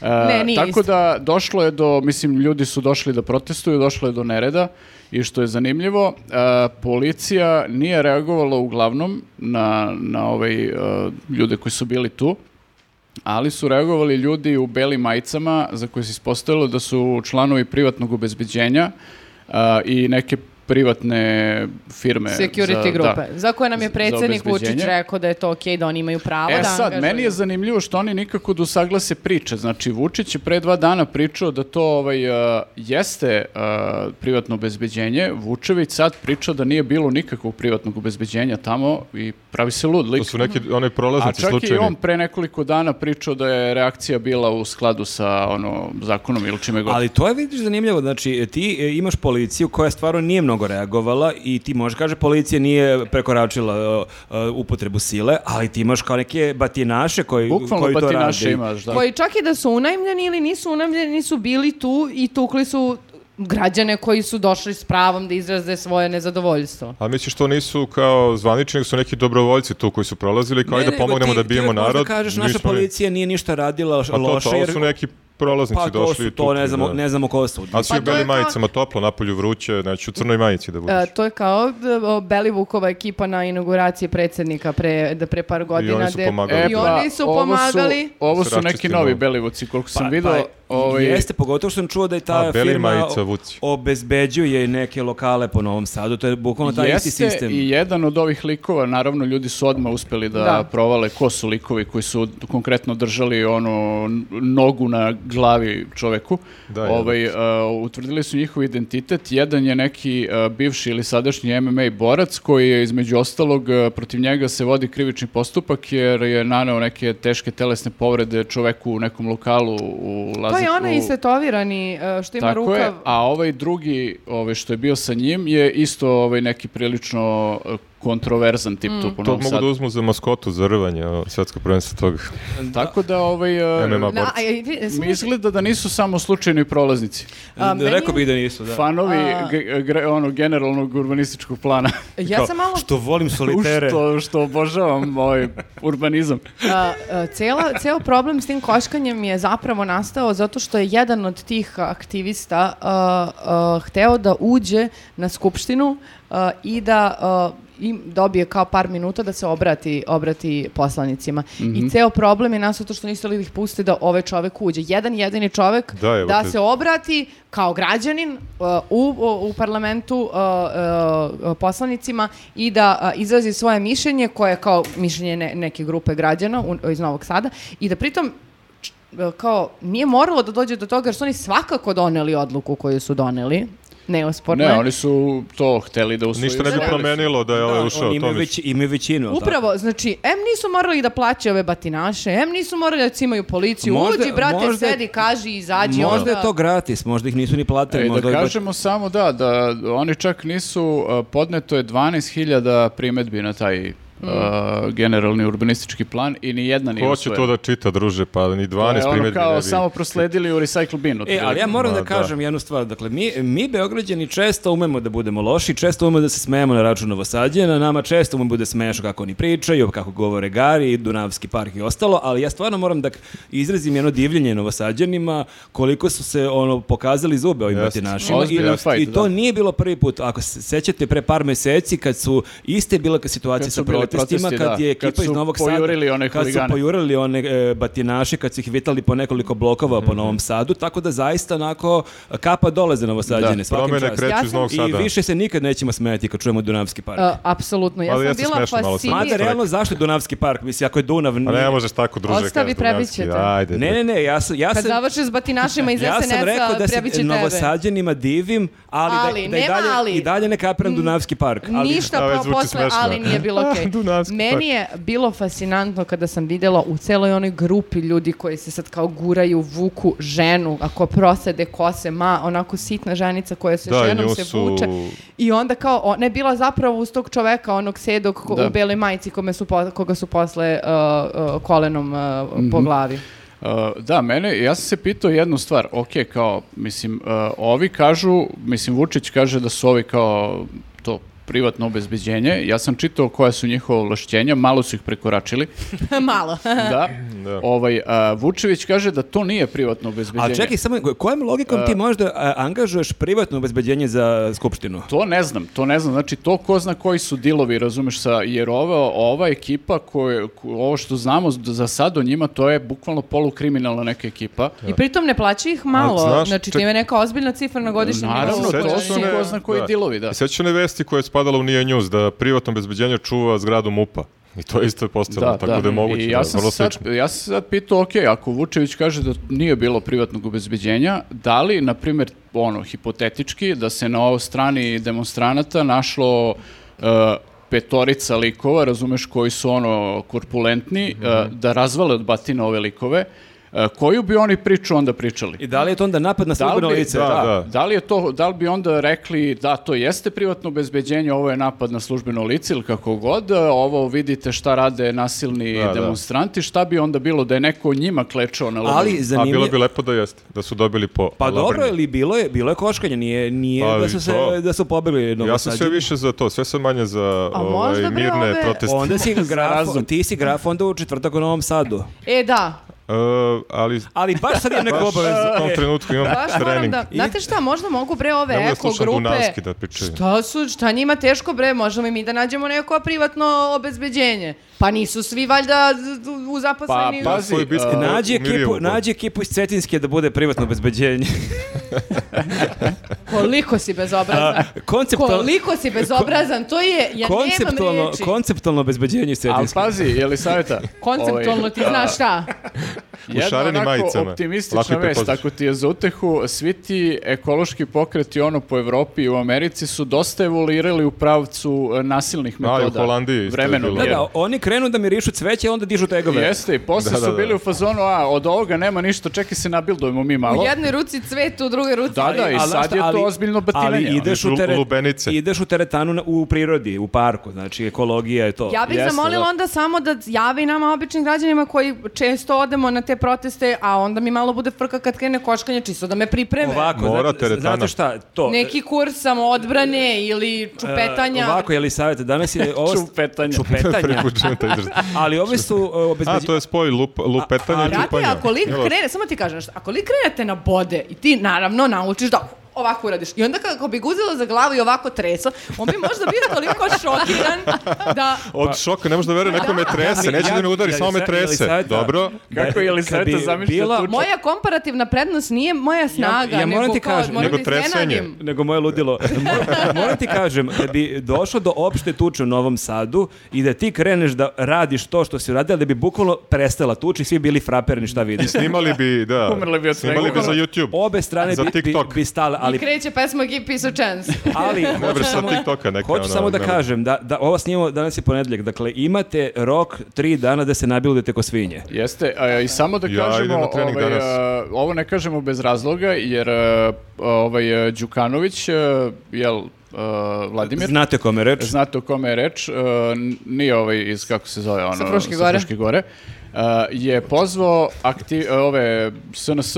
D: A,
C: Ne, nije
D: tako
C: isto.
D: da došlo je do, mislim, ljudi su došli da protestuju, došlo je do nereda i što je zanimljivo, a, policija nije reagovala uglavnom na, na ovaj, a, ljude koji su bili tu, ali su reagovali ljudi u belim majicama za koje se ispostavilo da su članovi privatnog obezbeđenja a, i neke privatne firme.
C: Security
D: za-
C: grupe.
D: da.
C: Za koje nam je
D: Za- za
C: predsjednik Vučić
D: obezbeđenje.
C: rekao da je to okej, da oni imaju pravo da
D: E sad,
C: angažuju.
D: meni je zanimljivo što oni nikako da usaglase priče. Znači, Vučić je pre dva dana pričao da to ovaj, uh, jeste uh, privatno obezbeđenje. Vučević sad priča da nije bilo nikakvog privatnog obezbeđenja tamo i pravi se lud lik.
B: To su neki onaj
D: A
B: prolaznici
D: čak i
B: slučajni.
D: on pre nekoliko dana pričao da je reakcija bila u skladu sa ono zakonom ili čime god.
A: Ali to je, vidiš, zanimljivo. Znači, ti e, imaš policiju koja stvarno nije mnogo reagovala i ti možeš kaže policija nije prekoračila e, e, upotrebu sile, ali ti imaš kao neke batinaše koji,
D: Bukvalno
A: koji to
D: batinaše
A: rade.
D: imaš, da.
C: Koji čak i da su unajmljeni ili nisu unajmljeni, nisu bili tu i tukli su građane koji su došli s pravom da izraze svoje nezadovoljstvo.
B: A misliš to nisu kao zvanični, nego su neki dobrovoljci tu koji su prolazili,
A: Ne,
B: kao Pa ajde da
A: nego
B: pomognemo
A: ti-
B: da
A: ti
B: bijemo
A: uvek možda
B: narod.
A: kažeš,
B: nismo
A: naša
B: ni-
A: policija nije ništa radila loš-
B: Pa to,
A: loše,
B: to, ovo
A: jer...
B: su neki prolaznici
A: Pa to
B: došli
A: su,
B: i
A: to
B: tukli,
A: ne znamo,
B: da.
A: ne znamo ko su.
B: A svi
C: Pa
B: u
C: to je
B: belim
C: kao-
B: majicama, toplo, napolju vruće, znači u crnoj majici da budeš.
C: E, to je kao e, o, Belivukova ekipa na inauguraciji predsjednika pre, da pre par godina.
B: su
C: gde-
B: pomagali.
C: I
B: E,
C: oni su
D: pa, ovo
C: pomagali.
D: Ovo
B: Sa
D: su neki
B: raščistim
D: novi
B: ovo.
D: belivuci, koliko sam
A: Pa-
D: video.
A: pa,
D: ovaj,
A: Jeste, pogotovo što sam čuo da je ta
B: A, beli
A: firma
B: majica,
A: o-
B: Vuci.
A: obezbeđuje neke lokale po Novom Sadu, to je bukvalno taj
D: Jeste
A: isti sistem.
D: i jedan od ovih likova, naravno ljudi su odmah uspeli da,
C: Da.
D: provale ko su likovi koji su konkretno držali onu n- nogu na glavi čoveku.
B: Da,
D: ovaj, uh, utvrdili su njihov identitet. Jedan je neki uh, bivši ili sadašnji MMA borac koji je između ostalog uh, protiv njega se vodi krivični postupak jer je naneo neke teške telesne povrede čoveku u nekom lokalu u
C: To je
D: Lazar-
C: onaj
D: u-
C: istetovirani e, što ima
D: tako
C: rukav.
D: je, a ovaj drugi ovaj što je bio sa njim je isto ovaj neki prilično eh, kontroverzan
C: Mm.
D: tip tu po
B: To
D: Novom
B: mogu da
D: Sadu.
B: uzmu za maskotu, za rvanje, o, svetsko prvenstvo toga.
D: Tako da ovaj eh,
B: MMA.
C: Na, a, i- vi-
D: mi izgleda da nisu samo slučajni prolaznici.
C: A, meni je-
A: Rekao bih da nisu, da.
D: Fanovi
C: A-
D: ge- gre- ono generalnog urbanističkog plana.
C: ja sam malo
A: Što volim
D: U
A: solitere.
D: što, što obožavam ovaj urbanizam.
C: A, a, cela, ceo problem s tim koškanjem je zapravo nastao zato što je jedan od tih aktivista a, a, hteo da uđe na skupštinu a, i da a, im dobije kao par minuta da se obrati, obrati poslanicima.
B: Mhm.
C: I ceo problem je nastao to što nisu li ih pusti da ovaj čovek uđe. Jedan jedini čovek
B: Da, evo te.
C: se obrati kao građanin a, u, u parlamentu a, a, poslanicima i da a, izrazi svoje mišljenje koje je kao mišljenje ne- neke grupe građana u- iz Novog Sada i da pritom č- uh, kao nije moralo da dođe do toga jer su oni svakako doneli odluku koju su doneli neosporne.
D: Ne, oni su to hteli da usvoju.
B: Ništa ne bi
D: Uspeli su.
B: promenilo da je ovaj ušao.
A: Oni imaju,
B: Tomić.
A: već, imaju većinu. jel tako?
C: Upravo, znači, em nisu morali da plaće ove batinaše, em nisu morali da cimaju policiju,
A: Možda-
C: uđi, brate,
A: možda-
C: sedi, kaži, izađi. ono.
A: Možda
C: onda-
A: je to gratis, možda ih nisu ni platili.
D: znači, E,
A: možda
D: da
A: ovi baš-
D: kažemo samo da, da oni čak nisu, a, podneto je 12.000 primetbi na taj a, generalni urbanistički plan i ni jedna nije
B: Mm. Ko će to da čita, druže, pa ni 12
D: je ono
B: primjedbi ne
D: kao
B: bi.
D: samo prosledili u recycle bin.
A: E, ali ja
D: otprilike.
A: moram
B: Ma,
A: da
B: da.
A: kažem jednu stvar. Dakle, mi, mi Beograđani često umemo da budemo loši, često umemo da se smejemo na račun Novosadjena, nama često umemo da smeješno kako oni pričaju, kako govore Gari, Dunavski park i ostalo, ali ja stvarno moram da k- izrazim jedno divljenje Novosadjanima koliko su se ono pokazali zube ovim
B: Jeste.
A: batinašima.
D: Ozbiljan
A: I,
D: fight,
A: I to
D: da.
A: nije bilo prvi put. Ako se sećate, pre par meseci kad su iste bila situacija
D: Kad su
A: sa
D: bili
A: protestima,
D: protesti,
A: kad
D: da.
A: je
D: Kad
A: ekipa iz
D: su
A: Novog Sada...
D: pojurili one
A: kad su
D: huligane.
A: poju- jurali one e, batinaše kad su ih vitali po nekoliko blokova
B: Mhm.
A: po Novom Sadu, tako da zaista onako e, kapa dole za Novosađane,
D: Da,
A: svakim
B: Promene
A: čast.
B: kreću
C: Ja
B: iz
C: sam-
B: Novog
A: I
B: Sada.
A: više se nikad nećemo smijati kad čujemo Dunavski park.
C: A, Uh, apsolutno, ja
B: Ali
C: sam
B: jeste
C: bila
B: smešno malo sad.
A: Mada,
B: nije-
C: fascinirana.
A: realno, zašto Dunavski park? Mislim, ako je Dunav...
B: A
A: nije-
B: Pa ne možeš tako, druže.
C: Ostavi,
B: kažeš, Dunavski,
C: prebit ćete.
B: Ajde.
A: Ne, ne, ne, ja sam... Ja
C: Kad
A: sam
C: završim s batinašima iz
A: Ja sam rekao
C: SNS-a,
A: da
C: prebit će
A: se
C: tebe.
A: novosađenima divim, ali,
C: Ali,
A: da, da i,
C: nema
A: dalje,
C: ali. Mm.
A: i dalje ne kapiram Dunavski park. Ali,
C: Ništa
B: Da, već
C: pa
B: Ovaj zvuči
C: posle,
B: smešno.
C: ali nije bilo
B: Ah,
C: okej.
B: Dunavski park.
C: Meni je bilo fascinantno kada sam vidjela u celoj onoj grupi ljudi koji se sad kao guraju, vuku ženu, ako prosede kose, ma, onako sitna ženica koja se
B: Da,
C: ženom
B: nju
C: se
B: su-
C: vuče. I onda kao, ona je bila zapravo uz tog čoveka, onog sedog ko-
D: Da.
C: u beloj majici kome su po- koga su posle uh, uh, kolenom uh, po
B: Mhm.
C: glavi.
D: Uh, da, mene, ja sam se pitao jednu stvar, ok, kao, mislim, uh, ovi kažu, mislim, Vučić kaže da su ovi kao to privatno obezbeđenje, ja sam čitao koja su njihova ovlašćenja, malo su ih prekoračili,
C: Malo.
D: da,
B: Da.
D: ovaj, uh, Vučević kaže da to nije privatno obezbeđenje.
A: ali čekaj, samo, kojom logikom
B: E.
A: ti možda a, angažuješ privatno obezbeđenje za skupštinu?
D: To ne znam, to ne znam. Znači, to ko zna koji su dilovi, razumeš, sa, jer ova, ova ekipa, koje, ko- ovo što znamo za sad o njima, to je bukvalno polukriminalna neka ekipa.
C: I pritom ne plaća ih malo.
B: Ali znaš,
C: znači,
B: ček-
C: time je neka ozbiljna cifra na godišnjem
D: Naravno,
C: nivou. Znači,
D: to
B: Sećaš
D: su
B: se one-
D: ko zna koji dilovi, da.
B: I sećaš se one vesti koja je spadala u Nije News, da privatno bezbeđenje čuva zgradu MUPA. I to je isto postalo, tako da, je moguće.
D: I ja
B: da,
D: sam
B: vrlo
D: se sad,
B: slično.
D: ja sam se sad pitao, ok, ako Vučević kaže da nije bilo privatnog obezbeđenja, da li, na primjer, ono, hipotetički, da se na ovoj strani demonstranata našlo uh, petorica likova, razumeš, koji su ono korpulentni, uh,
B: Mhm.
D: da razvale od batina ove likove, uh, koju bi oni priču onda pričali?
A: I da li je to onda napad na
D: Da li
A: službeno
D: bi-
A: lice?
B: da, da.
D: Da li, je to, da li bi onda rekli da to jeste privatno obezbeđenje, ovo je napad na službeno lice ili kako god, ovo vidite šta rade nasilni
B: Da, da.
D: demonstranti, šta bi onda bilo da je neko njima klečao na lovu?
A: Ali
B: A bilo
A: zanimljivo...
B: bi lepo da jeste, da su dobili po
A: Pa dobro,
B: labrnji.
A: ali bilo je, bilo je koškanje, nije, nije
B: Pa
A: da
B: i
A: su se,
B: to.
A: da su pobegli
B: Ja sam sve
A: Novosađani.
B: više za to, sve sam manje za
C: A
B: ovaj,
C: možda, bre,
B: mirne
C: ove-
B: proteste.
A: Onda si graf,
D: razum.
A: ti si graf onda u četvrtak u Novom Sadu.
C: E, da,
B: E, ali
A: Ali baš sad imam neku
B: baš
A: obavezu.
B: u tom
A: E,
B: trenutku imam
C: Baš moram
B: trening.
C: da, znate šta, možda mogu bre
B: Ne
C: ove
B: mogu da
C: eko
B: slušam
C: grupe.
B: Dunavski da pričaju.
C: Šta su, šta njima teško bre, možemo i mi da nađemo neko privatno obezbeđenje. Pa nisu svi valjda z- z- u zaposleni.
D: Pa, pazi,
B: Svoju bitku
D: e,
A: Nađi
B: umirio
A: ekipu,
B: mu.
A: nađi ekipu iz Cetinske da bude privatno obezbeđenje.
C: Koliko si bezobrazan.
A: Konceptualno,
C: Koliko si bezobrazan, to je, ja nemam
A: konceptualno,
C: riječi.
A: konceptualno obezbeđenje iz
D: Ali pa-
A: Cetinske.
D: pazi, je li savjeta? Ovaj,
C: Konceptualno ti znaš šta.
B: U šarenim majicama. Lako
D: optimistična
B: ih
D: vest,
B: prepoznaš.
D: ako ti je za utehu, svi ti ekološki pokreti ono po Evropi i u Americi su dosta evoluirali u pravcu e, nasilnih
B: Da, i u
D: metoda.
B: Holandiji isto je
D: Vremenom,
B: bilo.
A: Da,
D: je.
A: da, oni krenu da mirišu cveće, a onda dižu tegove.
D: Jeste, i posle
B: Da, da,
D: su
B: da.
D: bili u fazonu, a od ovoga nema ništa, čekaj se nabildujemo mi malo.
C: U jednoj ruci cvet, u drugoj ruci.
D: Da, da, i
A: Ali, znaš
D: sad
A: šta,
D: je to
A: ali-
D: ozbiljno batinanje.
A: Ali ideš
B: su
A: u, teret,
B: lubenice.
A: ideš u teretanu na- u prirodi, u parku, znači ekologija je to.
C: Ja bih
D: Jeste,
C: zamolila
D: da.
C: onda samo da jave i nama običnim građanima koji često odemo na te proteste, a onda mi malo bude frka kad krene koškanje, čisto da me pripreme.
A: Ovako, znači,
B: Mora
A: znate-
B: teretana.
A: znate šta, to...
C: Neki kurs samo odbrane ili
A: e,
C: čupetanja.
A: Ovako, je li savjet, danas je ovo...
D: Čupetanja.
A: Čupetanja.
B: Preko džunta izraz.
A: Ali ove su e,
B: A,
A: obezbeđi...
B: to je spoj lup, lupetanja i
C: Brate,
B: čupanja.
C: ako lik
B: Jel' vas-
C: krene, samo ti kažem nešto, ako lik krenete na bode i ti naravno naučiš da ovako uradiš. I onda kako bi guzilo za glavu i ovako treso, on bi možda bio toliko šokiran da...
B: Od šoka, ne može da veruje, neko me trese,
A: Ja-
B: neće da me udari,
A: ja-
B: samo me
A: ja-
B: trese.
A: Jelisaveta-
B: Dobro.
D: Kako
A: Kad
D: je Elisaveta
A: bi
D: zamišlja
A: bila-
D: tu
C: Moja komparativna prednost nije moja snaga,
A: ja moram
C: nego
A: ti
C: kao,
A: kažem,
C: moram
B: nego
C: da
B: tresenje.
C: iznenadim.
A: nego moje ludilo. Mor- Moram ti kažem, da bi došlo do opšte tuče u Novom Sadu i da ti kreneš da radiš to što si uradio, da bi bukvalno prestala tuča i svi bili fraperni šta vidi.
B: Snimali bi, da.
D: Umrli bi od svega.
B: Snimali bi za YouTube.
A: Obe strane
B: Za
A: bi, bi,
B: TikTok.
A: bi stale,
C: I
A: ali
C: kreće pesma Give Peace a Chance.
A: ali
B: Ne
A: hoću
B: vreš sa
A: samo,
B: TikToka neka.
A: hoću
B: ono,
A: samo da
B: ne-
A: kažem da da ovo snimamo danas je ponedjeljak. Dakle imate rok tri dana da se nabildete ko svinje.
D: Jeste, a, i samo da
B: Ja idem
D: kažemo,
B: na trening
D: ovaj,
B: danas.
D: a, ovo ne kažemo bez razloga, jer a, ovaj, a, Đukanović, a, jel, a, Vladimir,
A: Znate o kome je reč?
D: znate o kome je reč, a, n- nije ovaj iz, kako se zove ono,
C: Sa Fruške gore.
D: Fruške gore, a, je pozvao akti, a, ove SNS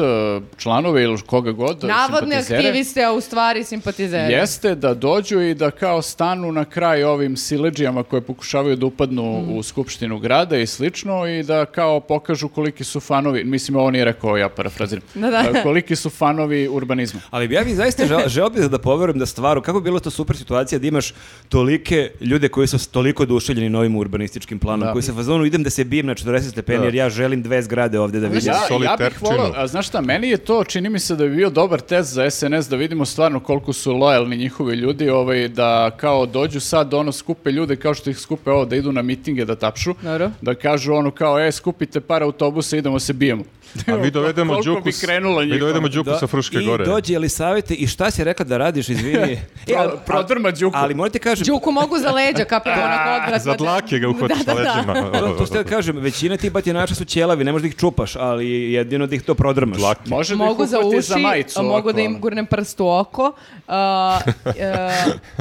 D: članove ili koga god,
C: Navodne
D: simpatizere,
C: aktiviste, a u stvari simpatizere.
D: Jeste da dođu i da kao stanu na kraj ovim sileđijama koje pokušavaju da upadnu
C: Mm.
D: u skupštinu grada i slično i da kao pokažu koliki su fanovi, mislim ovo nije rekao ja parafraziram,
C: Da, da.
D: A, koliki su fanovi urbanizma.
A: Ali ja bih zaista želeo želeo bih da poverujem da stvaru, kako bi bilo to super situacija da imaš tolike ljude koji su s- toliko oduševljeni novim urbanističkim planom,
D: Da.
A: koji se fazonu idem da se bijem na 40 stepeni jer ja želim dve zgrade ovdje da vidim.
D: Ja, ja bih
B: Solitarčinu.
D: volao, a znaš šta, meni je to, čini mi se da bi bio dobar test za SNS da vidimo stvarno koliko su lojalni njihovi ljudi, ovaj, da kao dođu sad ono skupe ljude kao što ih skupe ovo da idu na mitinge da tapšu,
C: Dobro.
D: da kažu ono kao e skupite par autobusa idemo se bijemo.
B: A mi dovedemo
D: Koliko
B: Đuku,
D: bi
B: s-
D: krenulo
B: mi
D: njih,
B: dovedemo
D: ono?
B: Đuku sa Fruške
A: I
B: gore.
A: dođe ili savjeti i šta si rekla da radiš, izvini. E,
D: Pro-
A: ali-
D: prodrma Đuku.
A: Ali morate kažem,
C: Đuku mogu za leđa, kapiramo onako odvratno.
B: Za dlake ga uhvatiš
C: Da, da, da.
B: leđima.
A: to, to ste da kažem, većina tih batinača su ćelavi, ne možeš da ih čupaš, ali jedino da ih to prodrmaš.
B: Dlake.
D: Može da
C: Mogu
D: ih
C: za
D: uhvati
C: uši,
D: za majicu.
C: a mogu
D: ovako,
C: da im
D: ono.
C: gurnem prst u oko, a, e,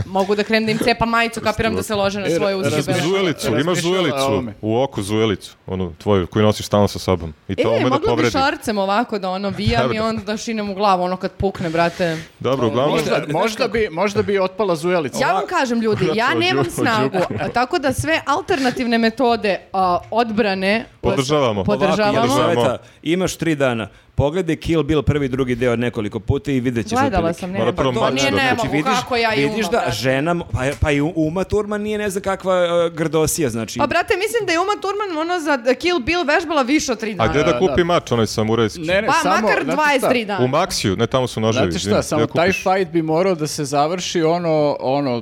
C: mogu da krenem da im cepam majicu, kapiram da se lože na
D: E,
C: svoje uske
D: razmišljam-
C: bele.
B: Zujelicu, imaš
D: Razmišljala o
B: zujelicu,
D: ovome.
B: u oku zujelicu, onu tvoju, koju nosiš stalno sa sobom. I to
C: E,
B: ume da
C: mogla bi
B: povredi.
C: šarcem ovako da ono vijam i onda da šinem u glavu, ono kad pukne, brate.
B: Dobro, uglavnom,
D: Možda, možda, bi, možda bi otpala zujelica.
C: Ja vam kažem ljudi, ja
B: Ovako,
C: nemam
B: đu-
C: snagu, a, tako da sve alternativne metode a, odbrane
B: Podržavamo.
A: Ovako,
C: podržavamo.
A: jedno
B: Podržavamo.
A: savjeta, imaš tri dana. Pogledaj Kill Bill prvi i drugi deo nekoliko puta i vidjet ćeš
C: Gledala
A: otprilike.
C: sam, ne,
B: Mora prvo
C: to
B: mač
C: nije
B: da
C: ne
B: dođe.
C: mogu, kako ja i
A: znači, vidiš
C: umam,
A: da
C: brate.
A: žena, pa, pa i Uma Turman nije ne znam kakva uh, grdosija, znači.
C: Pa brate, mislim da je Uma Thurman ono za Kill Bill vežbala više od tri
B: a
C: dana.
B: gde da
D: Da,
B: kupi mač, onaj samurajski?
D: Ne, ne,
C: Pa
D: samo,
C: makar
D: znate
C: 23
D: šta?
C: dana.
B: U Maxiju, ne, tamo su noževi.
D: Znate
B: izvini,
D: šta, samo
B: gde
D: taj
B: kupiš?
D: fight bi morao da se završi ono, ono,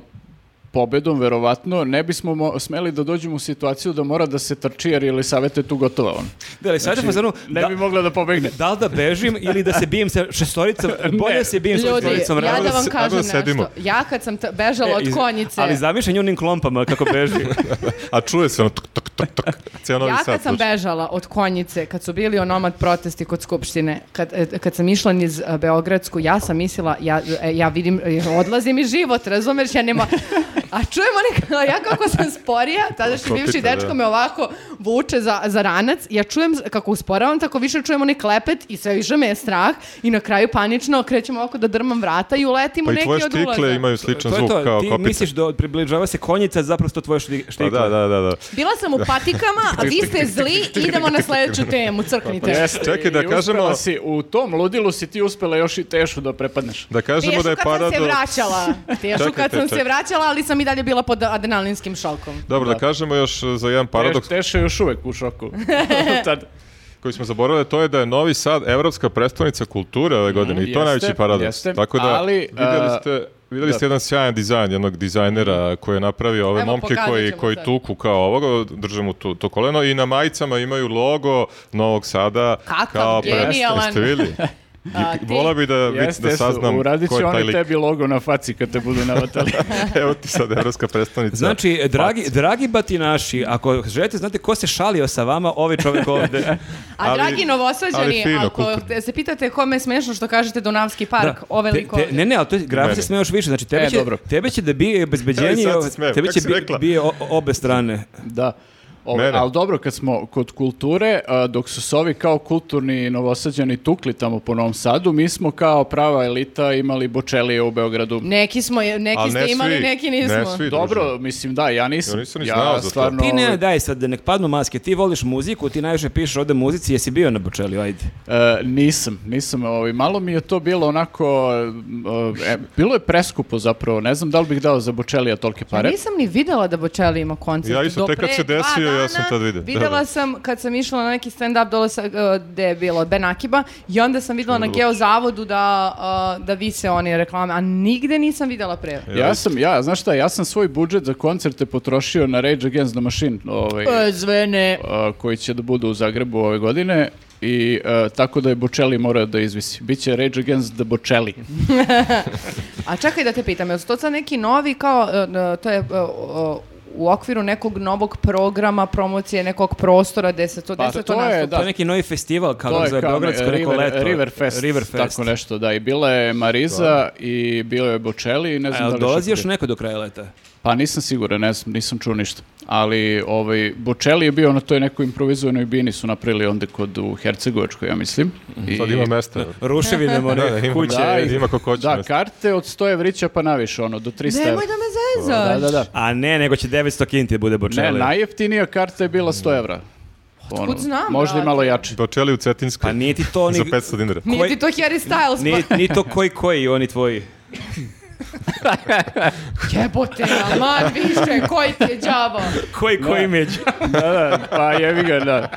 D: pobedom, verovatno, ne bismo mo- smeli da dođemo u situaciju da mora da se trči, jer je savete tu gotova on.
A: da li sad je
B: Znači,
A: fazonu,
D: Ne
A: da-
D: bi mogla da pobegne.
A: da li da bežim ili da se bijem sa šestoricom, bolje da se bijem sa
C: Ljudi,
A: šestoricom.
C: ja
B: rado
A: realno.
C: da
B: da
C: vam
B: se-
C: kažem
B: rado da
C: nešto.
B: sedimo.
C: Ja kad sam t- bežala
A: E,
C: od
A: iz-
C: konjice,
A: Ali zamišljam njunim klompama kako beži.
B: A čuje se ono tuk, tuk, tuk, tuk, cijel novi
C: ja
B: sad.
C: kad sam
B: slušaj.
C: bežala od konjice, kad su bili onomad protesti kod Skupštine, kad, e, kad sam išla niz e, Beogradsku, ja sam mislila, ja, e, ja vidim, e, odlazi mi život, razumeš, ja nema... A čujem one, ja kako sam sporija, tada što bivši
B: Kopita,
C: dečko
B: da.
C: me ovako vuče za, za ranac, ja čujem kako usporavam, tako više čujem onaj klepet i sve više me je strah i na kraju panično krećem ovako da drmam vrata i uletim
B: Pa
C: u
B: i
C: neki
B: tvoje
C: od ulaza.
B: štikle imaju sličan
A: to je
B: zvuk
A: to,
B: kao
A: ti
B: kopice.
A: misliš da približava se konjica, zapravo su to tvoje šti-
B: Pa
A: štikle.
B: da, da, da, da.
C: Bila sam u patikama, a vi ste zli, idemo na sledeću temu,
B: Pa
C: crknite.
D: Jeste,
B: Čekaj da
D: i uspela
B: kažemo-
D: Si, u tom ludilu si ti uspela još i tešu da prepadneš.
B: Da kažemo da je
C: Teško kad sam se
B: parado...
C: vraćala. Teško kad
B: Čekajte,
C: sam se
B: čekajte.
C: vraćala, ali sam i dalje bila pod adrenalinskim šokom.
B: Dobro, da kažemo još e, za jedan paradoks.
D: Teš, teša je još uvek u šoku. Tad.
B: koji smo zaboravili, to je da je Novi Sad evropska predstavnica kulture ove godine i to je
D: jeste,
B: najveći paradoks.
D: jeste.
B: Tako da
D: Ali,
B: vidjeli
D: a,
B: ste vidjeli
D: da.
B: ste jedan sjajan dizajn jednog dizajnera koji je napravio ove
C: Evo,
B: momke
C: pokazat
B: koji,
C: ćemo
B: koji
C: sad.
B: tuku kao ovoga, drže mu tu, to koleno i na majicama imaju logo Novog Sada
C: Kakav
B: kao
C: genijalan.
B: predstavnica. Ste vidjeli?
C: A, ti-
B: Vola bi da,
D: Jeste,
B: da
D: jeste,
B: saznam
D: uradit
B: ko je
D: će
B: taj
D: oni
B: lik.
D: tebi logo na faci kad te budu navatali.
B: Evo ti sad evropska predstavnica.
A: Znači, dragi, dragi batinaši, ako želite, znate ko se šalio sa vama, ovaj čovjek ovdje.
C: A
B: ali-
C: dragi novosađani,
B: ali fino,
C: ako
B: kulturno.
C: se pitate kome je smešno što kažete Dunavski park,
A: Da.
C: ove
A: Te-
C: liko...
A: te- ne, ne, ali to je- grafi se
B: Meni.
A: smeje još više. Znači, tebe,
D: E,
A: će,
D: dobro.
A: tebe će da bije
B: Evo i
A: obezbeđenje,
B: sad se
A: ove-
B: smijem.
A: tebe
B: Kako
A: će
B: si
A: bi-
B: rekla?
A: bije o- obe strane.
D: Da. Ove,
B: Mene.
D: ali dobro, kad smo kod kulture, a, dok su se ovi kao kulturni novosađani tukli tamo po Novom Sadu, mi smo kao prava elita imali bočelije u Beogradu.
C: Neki smo, neki
B: Ali
C: ste
B: ne
C: imali,
B: svi,
C: neki
B: ne
C: nismo.
B: svi.
D: Dobro, mislim da, ja nisam.
B: Ja nisam ni znao za to.
D: stvarno,
A: Ti ne,
D: ovaj,
A: daj sad, da nek padnu maske. Ti voliš muziku, ti najviše pišeš ovde muzici, jesi bio na Bočeliju, ajde.
D: e, nisam, nisam. ovaj, malo mi je to bilo onako, e, bilo je preskupo zapravo, ne znam da li bih dao za bočelija tolike
C: Ja
D: pare.
C: Pa Nisam ni videla da Bočeli ima koncert.
B: Pa Ja isto,
C: Do
B: tek kad
C: pre
B: se
C: dva
B: desio, ja
C: dana
B: sam tad video. Da,
C: Videla
B: da.
C: sam kad sam išla na neki stand-up dole sa, uh, gde je bilo Ben Akiba i onda sam videla na Geozavodu da, uh, da vise one reklame, a nigde nisam videla pre.
B: E,
D: Ja sam, ja, znaš šta, ja sam svoj budžet za koncerte potrošio
B: e,
D: na Rage Against the Machine, ovaj,
C: E, Zvene.
D: a, koji će da budu u Zagrebu ove godine i e, tako da je Bocelli morao da izvisi. Biće Rage Against the Bocelli.
C: A čekaj da te pitam, je li to sad neki novi kao, e, e, to je e, o, u okviru nekog novog programa, promocije nekog prostora gde se to, gde
D: Pa
C: se
D: to je,
C: nastupa?
A: To
D: Da.
A: je neki novi festival, kako
D: To
A: ga
D: je
A: zove,
D: kao
A: Pa Beogradsko neko
D: River,
A: leto.
D: Riverfest, tako nešto, da. I bila je Mariza i bilo je Bocelli i ne znam
A: A,
D: da li
A: E, dolazi
D: još-
A: još neko do kraja leta?
D: Pa nisam siguran, ne znam, nisam čuo ništa. Ali ovaj, Bocelli je bio na toj nekoj improvizovanoj bini su napravili onda kod u Hercegovačkoj, ja mislim. I,
B: Mhm. Sad ima mesta.
A: Ruševine, more,
B: Da, ima-
A: kuće.
B: Da,
D: i-
B: ima ko hoće
D: Da,
B: mesta.
D: karte od 100 evrića pa naviše, ono, do 300 evra.
C: Nemoj da me zezaš.
D: Da, da, da.
A: A ne, nego će 900 kinti bude
D: Ne,
A: Bocelli.
D: najjeftinija karta je bila 100 evra. Ono,
C: znam,
D: Možda i
C: brate?
D: malo jače.
B: Bočeli Znači, u Cetinskoj.
A: Pa nije ti to ni...
B: Za 500 dinara.
C: Nije
A: Koji-
C: ti to Harry Styles, pa...
A: ni, ni to koji koji, oni tvoji.
C: Jebote, aman više, koji ti je džavo?
A: Koji koji među.
D: da, da, pa jevi ga, da.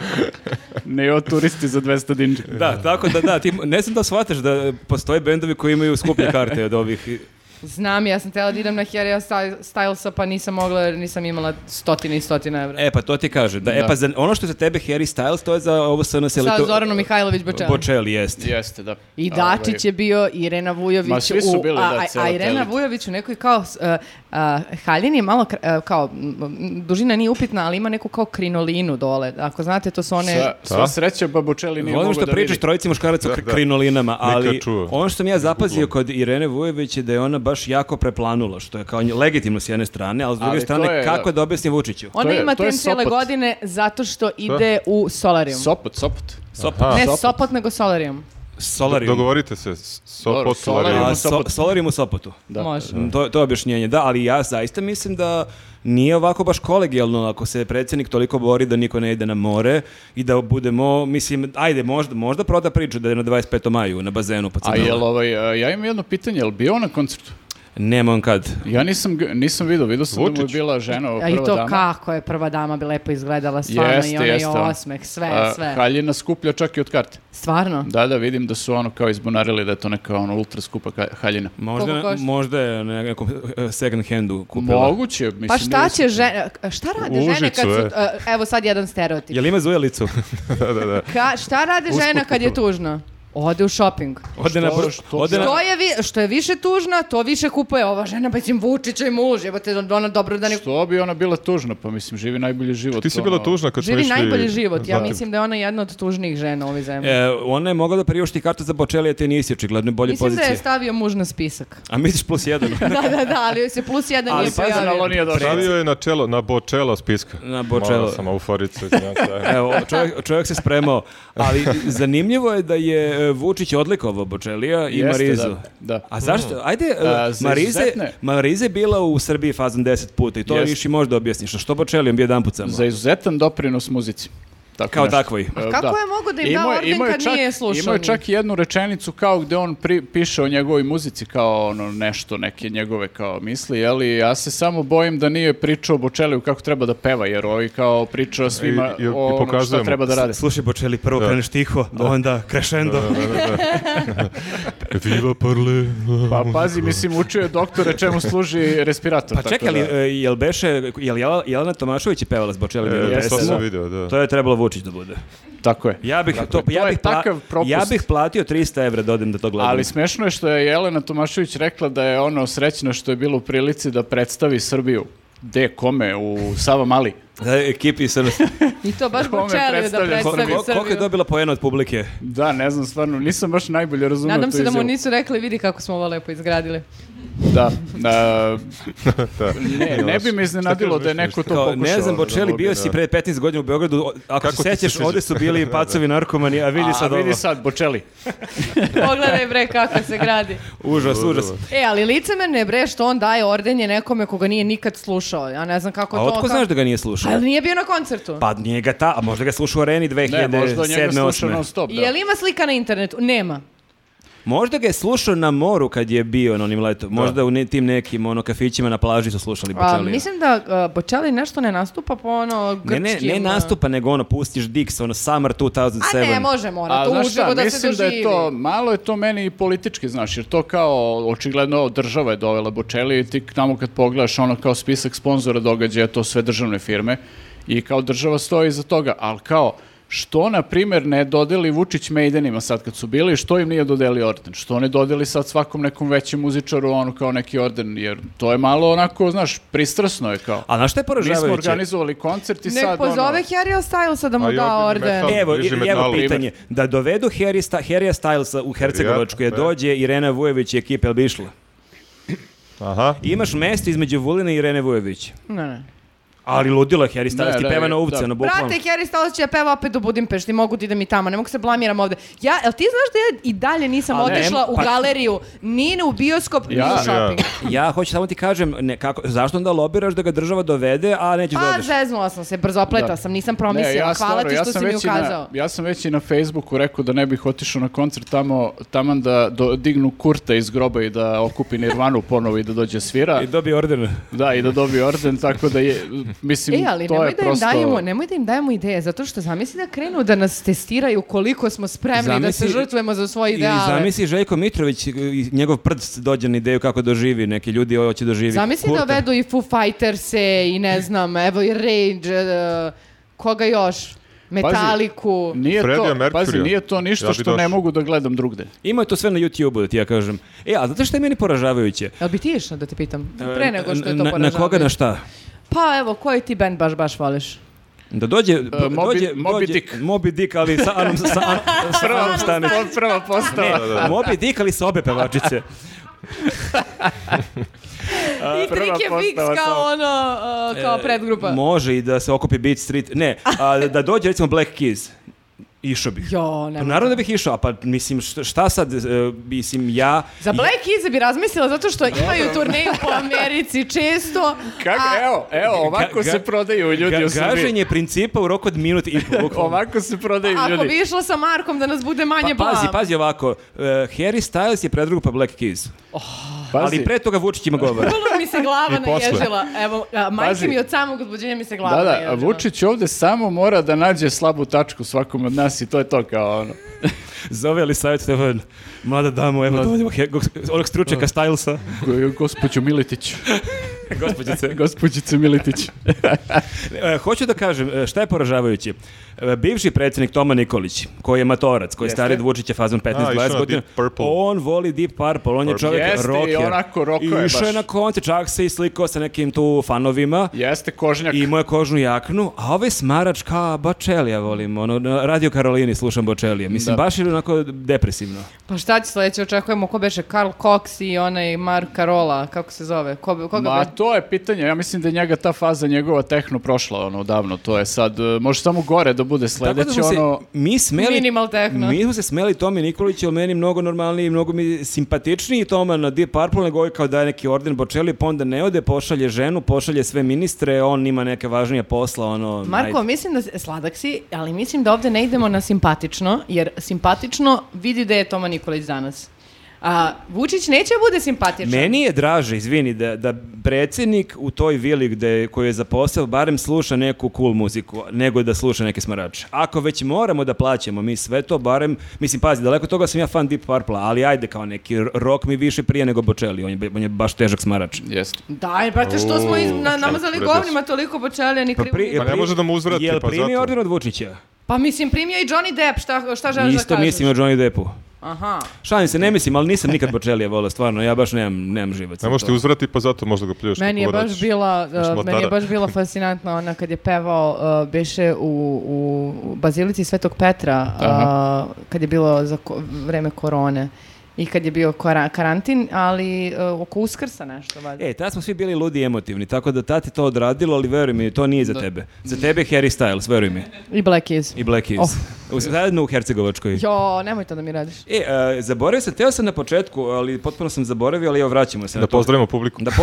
D: Ne o turisti za 200 dinđe.
A: Da, tako da da, ti ne znam da shvataš da postoje bendovi koji imaju skuplje karte od ovih.
C: Znam, ja sam htjela da idem na Harry Sty- Stylesa, pa nisam mogla jer nisam imala stotine i stotine evra.
A: E pa to ti kažem, da, e pa za, ono što je za tebe Harry Styles to je za ovo SNS
C: Sa Zoranom Mihajlović Bočelom.
A: Bocelli jeste.
D: Jeste, da.
C: I
D: Ovaj,
C: Dačić je bio, Irena Vujović.
D: Ma, svi su
C: u-
D: bili, da,
C: a, a,
D: cela
C: a Irena
D: telita.
C: Vujović u nekoj kao, s- e, a, Haljin je malo, kra- e, kao, m, m, dužina nije upitna, ali ima neku kao krinolinu dole. Ako znate, to su one...
D: Sva, sva
B: Da.
D: sreća, ba Bocelli nije
A: Volim
D: mogao
A: što
D: da
A: pričaš
D: vidi.
A: trojici muškaraca u
B: Da,
A: kri-
B: da.
A: krinolinama, ali
B: čuo.
A: ono što sam ja zapazio kod Irene Vujević je da je ona baš jako preplanula, što je kao nje- legitimno s jedne strane, ali s druge
D: Ali to
A: strane
D: je,
A: kako
D: da.
A: da objasni Vučiću?
C: Ona
D: To je-
C: ima
D: to je
C: trim cijele
D: Sopot.
C: godine zato što ide u solarium.
D: Sopot, Sopot.
A: Sop-
B: Aha.
C: ne
D: Sopot.
C: Sopot. nego solarium.
A: Solarium.
B: Dogovorite se, s-
D: Dobro,
B: Sopot,
D: Solarium.
B: Solarium.
A: A,
D: u
A: so-
D: Sopotu.
A: solarium u Sopotu.
D: Da.
C: Može.
A: Mm, To, to je objašnjenje, da, ali ja zaista mislim da nije ovako baš kolegijalno ako se predsjednik toliko bori da niko ne ide na more i da budemo, mislim, ajde, možda, možda proda priču da je na 25. maju na bazenu po
D: A jel ovaj, a, ja imam jedno pitanje, jel bio on na koncertu?
A: Nema on kad.
D: Ja nisam, g- nisam vidio, vidio sam da mu je
B: Vučić.
D: bila žena, ova
C: A i
D: prva
C: to
D: dama.
C: kako je prva dama bi lepo izgledala stvarno i
D: Jeste,
C: onaj
D: jeste.
C: osmeh, sve,
D: A,
C: sve.
D: Haljina skuplja čak i od karte.
C: Stvarno?
D: Da, da, vidim da su ono kao izbunarili da je to neka ono ultra skupa ka- haljina.
A: Možda,
C: Koliko košta?
A: možda je na nekom eh, second handu kupila.
D: Moguće, mislim.
C: Pa šta
D: nije-
C: će žene, šta rade
B: U
C: žene kad
B: Užicu,
C: su,
B: e.
C: e, evo sad jedan stereotip.
A: Jel ima zujelicu?
B: da, da, da.
C: Ka, šta rade
B: Usput
C: žena kad je
B: kupila.
C: tužna? Ode u shopping.
A: Ode na,
D: Što-
A: br-
D: što-
A: ode na-
C: Što je, vi, što je više tužna, to više kupuje ova žena, pa im Vučića i muž, jebote, ona dobro da ne...
D: Što bi ona bila tužna, pa mislim, živi najbolji život.
B: Ti si
D: ono.
B: bila tužna kad smo
C: Živi
B: išli...
C: najbolji život, ja
B: Zatim.
C: mislim da je ona jedna od tužnijih žena u ovoj zemlji.
A: E, ona je mogla da priušti kartu za Bočelija, te nisi očigledno bolje
C: Mislim da
A: pozicije.
C: je stavio muž na spisak.
A: A misliš plus jedan?
C: da, da, da, ali se plus jedan
A: Ali
C: nije
A: pazi,
C: pojavio.
D: Ali on nije došao.
B: Stavio je na čelo, na bočelo spiska.
A: Na bočelo.
B: Mala sam euforica. izvinjam se.
A: Evo, čovjek, čovjek se spremao. Ali zanimljivo je da je e, Vučić odlikovao Bočelija i
D: Jeste,
A: Marizu.
D: da, da. Mm.
A: A zašto? Ajde, e,
D: A, za
A: Marize,
D: izuzetne?
A: Marize je bila u Srbiji fazom 10 puta i to
D: Jeste.
A: više možda objasniš. A Što Bočelijom bio jedan put samo?
D: Za izuzetan doprinos muzici. Tako
A: Kao
D: nešto.
A: takvoj.
D: E,
C: Kako
D: da.
C: je mogo da im
D: Imao
C: da
D: je-
C: orden
D: imao je
C: kad
D: čak-
C: nije slušao
D: Imao je
C: njih?
D: čak i jednu rečenicu kao gde on pri- piše o njegovoj muzici kao ono nešto, neke njegove kao misli, jeli ja se samo bojim da nije pričao o Bočeliju kako treba da peva, jer ovi kao priča o svima
B: I- i- i
D: o ono
B: pokazuje
D: šta
B: mu.
D: treba da rade.
A: Slušaj Bočeli, prvo
B: Da.
A: kreneš tiho, a onda crescendo.
B: Viva parle.
D: Pa pazi, mislim, učio je doktore čemu služi respirator.
A: Pa
D: tako
A: čekaj, ali,
D: da-
A: e, jel beše, jel Jela- Jelena Tomašović je pevala s Bočelijom? jednu
B: E,
A: pesmu?
B: to
D: jeste,
B: sam
D: da.
B: video, da.
A: To je trebalo Vučić da bude.
D: Tako je.
A: Ja bih, to,
D: Dakle, to
A: ja,
D: je
A: bih pla-
D: takav propust.
A: ja bih platio 300 evra da odem da to gledam.
D: Ali smešno je što je Jelena Tomašević rekla da je ono srećna što je bilo u prilici da predstavi Srbiju. De kome? U Sava Mali.
A: Da, ekipi SNS.
C: I to baš
D: Kome
C: Bočelio da
D: predstavlja
A: Ko-
C: predstavi
A: ko- Koliko je
C: Srbiju.
A: dobila poena od publike?
D: Da, ne znam, stvarno, nisam baš najbolje razumio
C: Nadam
D: tu
C: se da mu
D: izjavu.
C: nisu rekli, vidi kako smo ovo lepo izgradili.
D: Da. a,
B: Da.
D: ne, ne bi me iznenadilo
B: Šta kažeš,
D: da je neko to
A: Kao,
D: pokušao.
A: ne znam,
D: ono, da
A: Bočeli,
D: mogu
A: bio
D: da-
A: si pre 15 godina u Beogradu, o- ako
B: Kako
A: se
B: ti se
A: sećaš,
B: sviđa?
A: ovde su bili pacovi narkomani, a vidi sad ono,
D: A vidi
A: ovo.
D: sad, Bočeli.
C: Pogledaj bre kako se gradi.
A: Užas, užas.
C: E, ali licemerne je bre što on daje ordenje nekome koga nije nikad slušao. Ja ne znam kako
A: A
C: to...
A: otko
C: kako-
A: znaš da ga nije slušao?
C: Pa jel nije bio na koncertu?
A: Pa nije ga ta, a možda ga slušao u Areni
D: Ne, možda on njega
A: 2007.
D: sluša
A: 8.
D: non stop. Da.
C: Jel ima slika na internetu? Nema.
A: Možda ga je slušao na moru kad je bio na onim letom. Možda u ne- tim nekim ono kafićima na plaži su slušali
C: A,
A: Bočelija.
C: mislim da a, Bocelli nešto ne nastupa po ono
A: Ne,
C: grčkim...
A: ne, ne
C: a-
A: nastupa, nego ono, pustiš Dix, ono, Summer 2007.
C: A ne, može, mora.
D: A
C: To
D: znaš šta,
C: uživo da se
D: mislim da
C: doživi.
D: je to, malo je to meni i politički, znaš, jer to kao, očigledno, država je dovela Bočeli i ti tamo kad pogledaš ono kao spisak sponzora događaja, to sve državne firme i kao država stoji iza toga, ali kao, Što, na primjer, ne dodeli Vučić Maidenima sad kad su bili, što im nije dodeli orden? Što ne dodeli sad svakom nekom većem muzičaru ono kao neki orden? Jer to je malo onako, znaš, pristrasno je kao.
A: A znaš šta je
D: Mi smo
A: poražavajuće?
D: organizovali koncert i
C: Nek
D: sad
C: pozove
D: ono...
C: Harry Stylesa da mu
B: A i
C: da
B: Ogden
C: orden.
B: Metal.
A: Evo, i-
B: bliži
A: evo
B: metalu.
A: pitanje. Da dovedu Harry, Sta, Harrya Stylesa u Hercegovačku, je
B: Vjerojatno, da.
A: dođe Irena Vujović i ekipa, jel bi išla?
B: Aha.
A: I imaš mesto između Vulina i Irene Vujović.
C: Ne, ne.
A: Ali ludilo je Harry Styles,
D: Da,
A: ti
D: da,
A: peva na
D: da.
A: uvce, ono bukvalno.
C: Brate, Harry Styles će ja peva opet do Budimpešti, mogu ti da mi tamo, ne mogu se blamiram ovde. Ja, el ti znaš da ja i dalje nisam
A: Ali ne,
C: otišla u
A: pa-
C: galeriju, ni u bioskop, ni
D: Ja.
C: u shopping.
A: Ja hoću samo ti kažem, ne, kako, zašto onda lobiraš da ga država dovede, a nećeš da
C: Pa,
A: odeš?
C: zeznula sam se, brzopleta
D: Da.
C: sam, nisam promislila.
D: Ne,
C: Hvala
D: ja stvarno,
C: ti
D: ja
C: što
D: sam
C: si mi
D: već i na-
C: ukazao.
D: ja sam već i na Facebooku rekao da ne bih otišao na koncert tamo, taman da do- dignu kurta iz groba i da okupi Nirvanu ponovo i da dođe svira.
A: I dobije orden.
D: Da, i da dobije orden, tako da je, mislim,
C: E, ali
D: to
C: nemoj
D: je
C: da, im
D: prosto...
C: dajemo, nemoj da im dajemo ideje, zato što zamisli da krenu da nas testiraju koliko smo spremni da se
A: Zamisli-
C: žrtvujemo za svoje
A: I
C: Pa ideale.
A: zamisli Željko Mitrović i njegov prd dođe na ideju kako doživi, neki ljudi hoće doživi.
C: Zamisli da
A: Kurta.
C: vedu i Foo Fighters-e i ne znam, evo i Rage, e, koga još? Metaliku.
D: Nije
B: Freddie
D: to,
B: Mercury.
D: pazi, nije to ništa
B: Ja bi
D: što
B: došao.
D: ne mogu da gledam drugde.
A: Ima to sve na YouTube-u, da ti ja kažem. E, a znate što je meni poražavajuće?
C: Jel bi ti išla da te pitam? Pre nego što je to
A: Na- Na,
C: poražavajuće.
A: koga, na šta?
C: Pa evo, koji ti band baš baš voliš?
A: Da dođe...
D: Moby-
A: dođe,
D: Moby
A: dođe-
D: Dick.
A: Moby Dick, ali sa Anom, sa Anom,
C: Pa,
A: sa Anom Stanić.
D: Prva
A: Ne,
D: postava.
A: Moby Dick, ali sa obe pevačice.
C: I
D: prva
C: trik je
D: postava
C: fix kao
D: samo.
C: ono, e, kao predgrupa.
A: Može i da se okupi Beat Street. Ne, a, da dođe recimo Black Keys. Išao bih.
C: Jo, ne.
A: Pa naravno da bih išao, pa mislim šta, šta sad, e, mislim ja...
C: Za Black Keys bi razmislila zato što imaju turneju po Americi često.
D: Kako,
C: a-
D: evo, evo, ovako
A: Ga- ga-
D: se prodaju ljudi u
A: Ga,
D: Srbiji.
A: gaženje principa u roku od minut i pol. bukvalno.
D: Ovako se prodaju
C: Pa, Ako
D: ljudi.
C: bi išla sa Markom da nas bude manje
A: Pa, pazi,
C: blam.
A: pazi ovako, e, Harry Styles je predrupa Black Keys,
D: Pazi,
A: ali pre toga Vučić ima govor.
C: Vrlo mi se glava
B: I posle.
C: naježila. Evo, a, majke
D: Pazi.
C: mi od samog uzbuđenja mi se glava
D: Da, da, a
C: naježila.
D: Vučić ovde samo mora da nađe slabu tačku svakom od nas i to je to kao ono.
A: Zove li savjet Stefan, mlada damo, evo dovodimo He- gos- onog stručnjaka Stylesa,
D: Go- Gospođo Miletić,
A: gospođice.
D: gospođice Miletić.
A: E, hoću da kažem, e, šta je poražavajuće? E, bivši predsjednik Toma Nikolić, koji je matorac, koji je stari od Vučića fazon
B: A, išao
A: 15-20
B: na
A: godina,
B: Deep Purple.
A: on voli Deep Purple, on je
B: Purple.
A: čovjek
D: Jeste, i
A: rocker.
D: onako rockao je
A: I Išao je
D: baš.
A: na koncert, čak se i slikao sa nekim tu fanovima.
D: Jeste kožnjak.
A: I moje kožnu jaknu, a ovaj smarač kao Bočelija volim, ono, na Radio Karolini slušam Bočelija, mislim,
D: Da.
A: baš je onako depresivno.
C: Pa šta će sledeće, očekujemo ko beše Karl Cox i onaj Mark Carola, kako se zove? Ko, bi- koga
D: Ma
C: be-
D: to je pitanje, ja mislim da je njega ta faza njegova tehno prošla ono davno, to je sad, e, može samo gore da bude
A: Tako da
D: sledeće
A: smo se,
D: ono...
A: mi smeli,
C: Minimal techno.
A: Mi smo se smeli Tomi Nikoliću, ali meni mnogo normalniji, mnogo mi simpatičniji Toma na Deep Purple, nego ovaj kao daje neki orden Bočeli, pa onda ne ode, pošalje ženu, pošalje sve ministre, on ima neke važnije posla, ono...
C: Marko,
A: ajde.
C: mislim da s- sladak si, ali mislim da ovde ne idemo na simpatično, jer simpatično vidi da je Toma Nikolić danas. A Vučić neće da bude simpatičan.
A: Meni je draže, izvini, da, da predsjednik u toj vili gde, koju je zaposlao barem sluša neku cool muziku, nego da sluša neke smarače. Ako već moramo da plaćamo mi sve to, barem, mislim, pazi, daleko toga sam ja fan Deep Purple, ali ajde kao neki rok mi više prije nego Bočeli, on je, on je baš težak smarač.
D: Jeste.
C: Daj, brate, što smo iz, na,
B: Uuu,
C: namazali
B: čekaj,
C: govnima toliko počelja, ni
A: Pa,
C: krivu. ni-
B: Pa ne
A: pri-
B: može da mu uzvrati,
A: Jel
B: pa
A: primio
B: zato.
A: orden od Vučića?
C: Pa mislim, primio je i Johnny Depp, šta, šta želiš da
A: Isto
C: kažeš?
A: mislim o Johnny Deppu.
C: Aha.
A: Šalim se, ne mislim, ali nisam nikad počelija volao, stvarno, ja baš nemam, nemam živac.
B: Ne
A: za
B: možeš
A: to.
B: ti uzvrati, pa zato možda ga pljuješ.
C: Meni je
B: kako god
C: baš
B: hoćeš.
C: bila,
B: Možeš
C: uh, meni je
B: Matara.
C: baš bila fascinantna ona kad je pevao uh, beše u, u, u Bazilici Svetog Petra uh, kad je bilo za ko, vreme korone i kad je bio kara- karantin, ali uh, oko Uskrsa nešto valjda.
A: E, tad smo svi bili ludi i emotivni, tako da tad je to odradilo, ali veruj mi, to nije za tebe. Za tebe je Harry Styles, veruj mi,
C: I Black Keys.
A: i Black Keys.
C: Oh.
A: U, zajedno u Hercegovačkoj.
C: Jo, nemoj to da mi radiš.
A: E, e, zaboravio sam, teo sam na početku, ali potpuno sam zaboravio, ali evo vraćamo se na
B: Da
A: to.
B: pozdravimo publiku.
A: Da, po...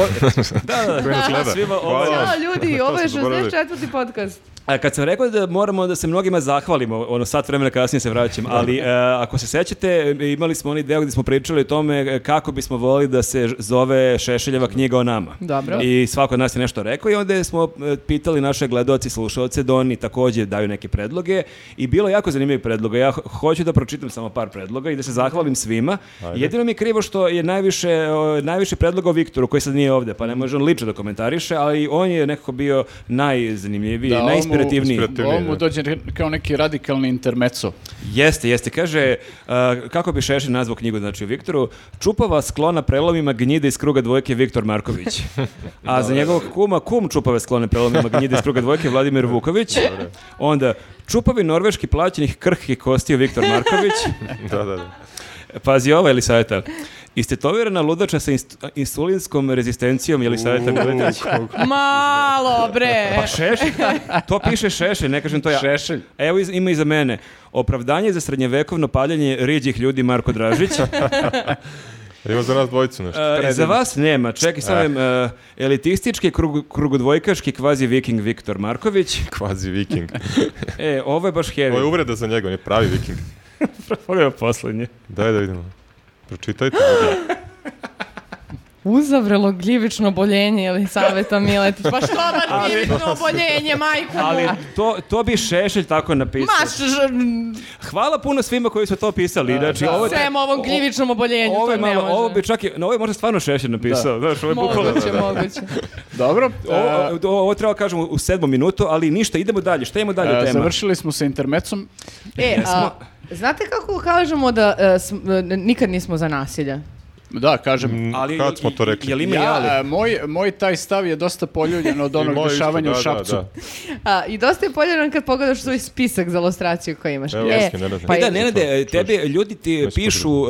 A: da, da,
B: nas gleda.
A: svima ovaj-
B: Hvala.
C: Ćao ljudi,
B: To
C: ovo je
B: sam zaboravio.
C: 64. podcast.
A: A E, kad sam rekao da moramo da se mnogima zahvalimo, ono sat vremena kasnije se vraćam, ali e, ako se sećate, e, imali smo onaj deo gdje smo pričali o tome e, kako bismo volili da se ž- zove Šešeljeva knjiga o nama.
C: Dobro.
A: I svako od nas je nešto rekao i onda smo e, pitali naše gledoci i slušalce da oni takođe daju neke predloge i bilo je jako zanimljivih predloga. Ja ho- hoću da pročitam samo par predloga i da se zahvalim svima. Jedino mi je krivo što je najviše, o, najviše predloga o Viktoru koji sad nije ovde, pa ne može on lično da komentariše, ali on je nekako bio najzanimljiviji,
D: Da, ovo mu
A: inspirativniji.
D: Ovo mu dođe kao neki radikalni intermeco.
A: Jeste, jeste. Kaže, a, kako bi Šešin nazvao knjigu, znači o Viktoru, čupava sklona prelomima gnjide iz kruga dvojke Viktor Marković. A za njegovog kuma, kum čupave sklone prelomima gnjide iz kruga dvojke Vladimir Vuković. Onda, čupavi norveški plaćenih krhki kostiju Viktor Marković.
B: Da, da, da.
A: Pazi ovo, Elisaveta. Istetovirana ludača sa inst- insulinskom rezistencijom, Elisaveta Miletić.
C: Malo, bre.
A: Pa šešelj, to piše šešelj, ne kažem to ja.
D: Šešelj.
A: Evo iz- ima i za mene. Opravdanje za srednjevekovno paljenje riđih ljudi Marko Dražić.
B: Ima za nas dvojicu nešto.
A: E, za vas nema, čekaj sam elitistički krug, krugodvojkaški kvazi viking Viktor Marković.
B: Kvazi viking.
A: E, ovo je baš heavy.
B: Ovo je uvreda za njega, on je pravi viking.
A: Ovo je poslednje.
B: Daj da vidimo. Pročitajte.
C: Uzavrelo gljivično boljenje ili saveta Miletić. Pa što da gljivično oboljenje, majko? mu?
A: Ali to, to bi Šešelj tako napisao.
C: Ma, š- ž-
A: Hvala puno svima koji su to pisali. Znači, ovo,
C: sem ovom gljivičnom oboljenju,
A: ovo,
C: to
A: je
C: ne
A: malo,
C: može.
A: ovo bi čak i, na ovo je možda stvarno Šešelj napisao. Znaš, ovo je bukvalno-
C: Moguće, moguće.
D: Dobro. e,
A: Ovo, ovo- ovo treba kažem u sedmom minutu, ali ništa, idemo dalje. Šta imamo dalje
D: e,
A: tema?
D: završili smo sa intermecom.
C: E, a, znate kako kažemo da e, sm- e, nikad nismo za nasilje?
D: Da, kažem.
A: Ali,
B: Kad smo to
A: i- i-
B: rekli?
A: Jel ima i ali?
D: Ja, e, moj, moj taj stav je dosta poljuljen od
B: I
D: onog
B: moje isto,
D: dešavanja
B: da,
D: u Šapcu.
B: Da,
C: A, I dosta je poljeran kad pogledaš svoj spisak za ilustraciju koji imaš.
B: da. Evo, jasno, ne radim.
C: pa
A: E, da,
C: je-
A: Nenade,
B: Čuješ?
A: tebi ljudi ti
B: Već
A: pišu uh,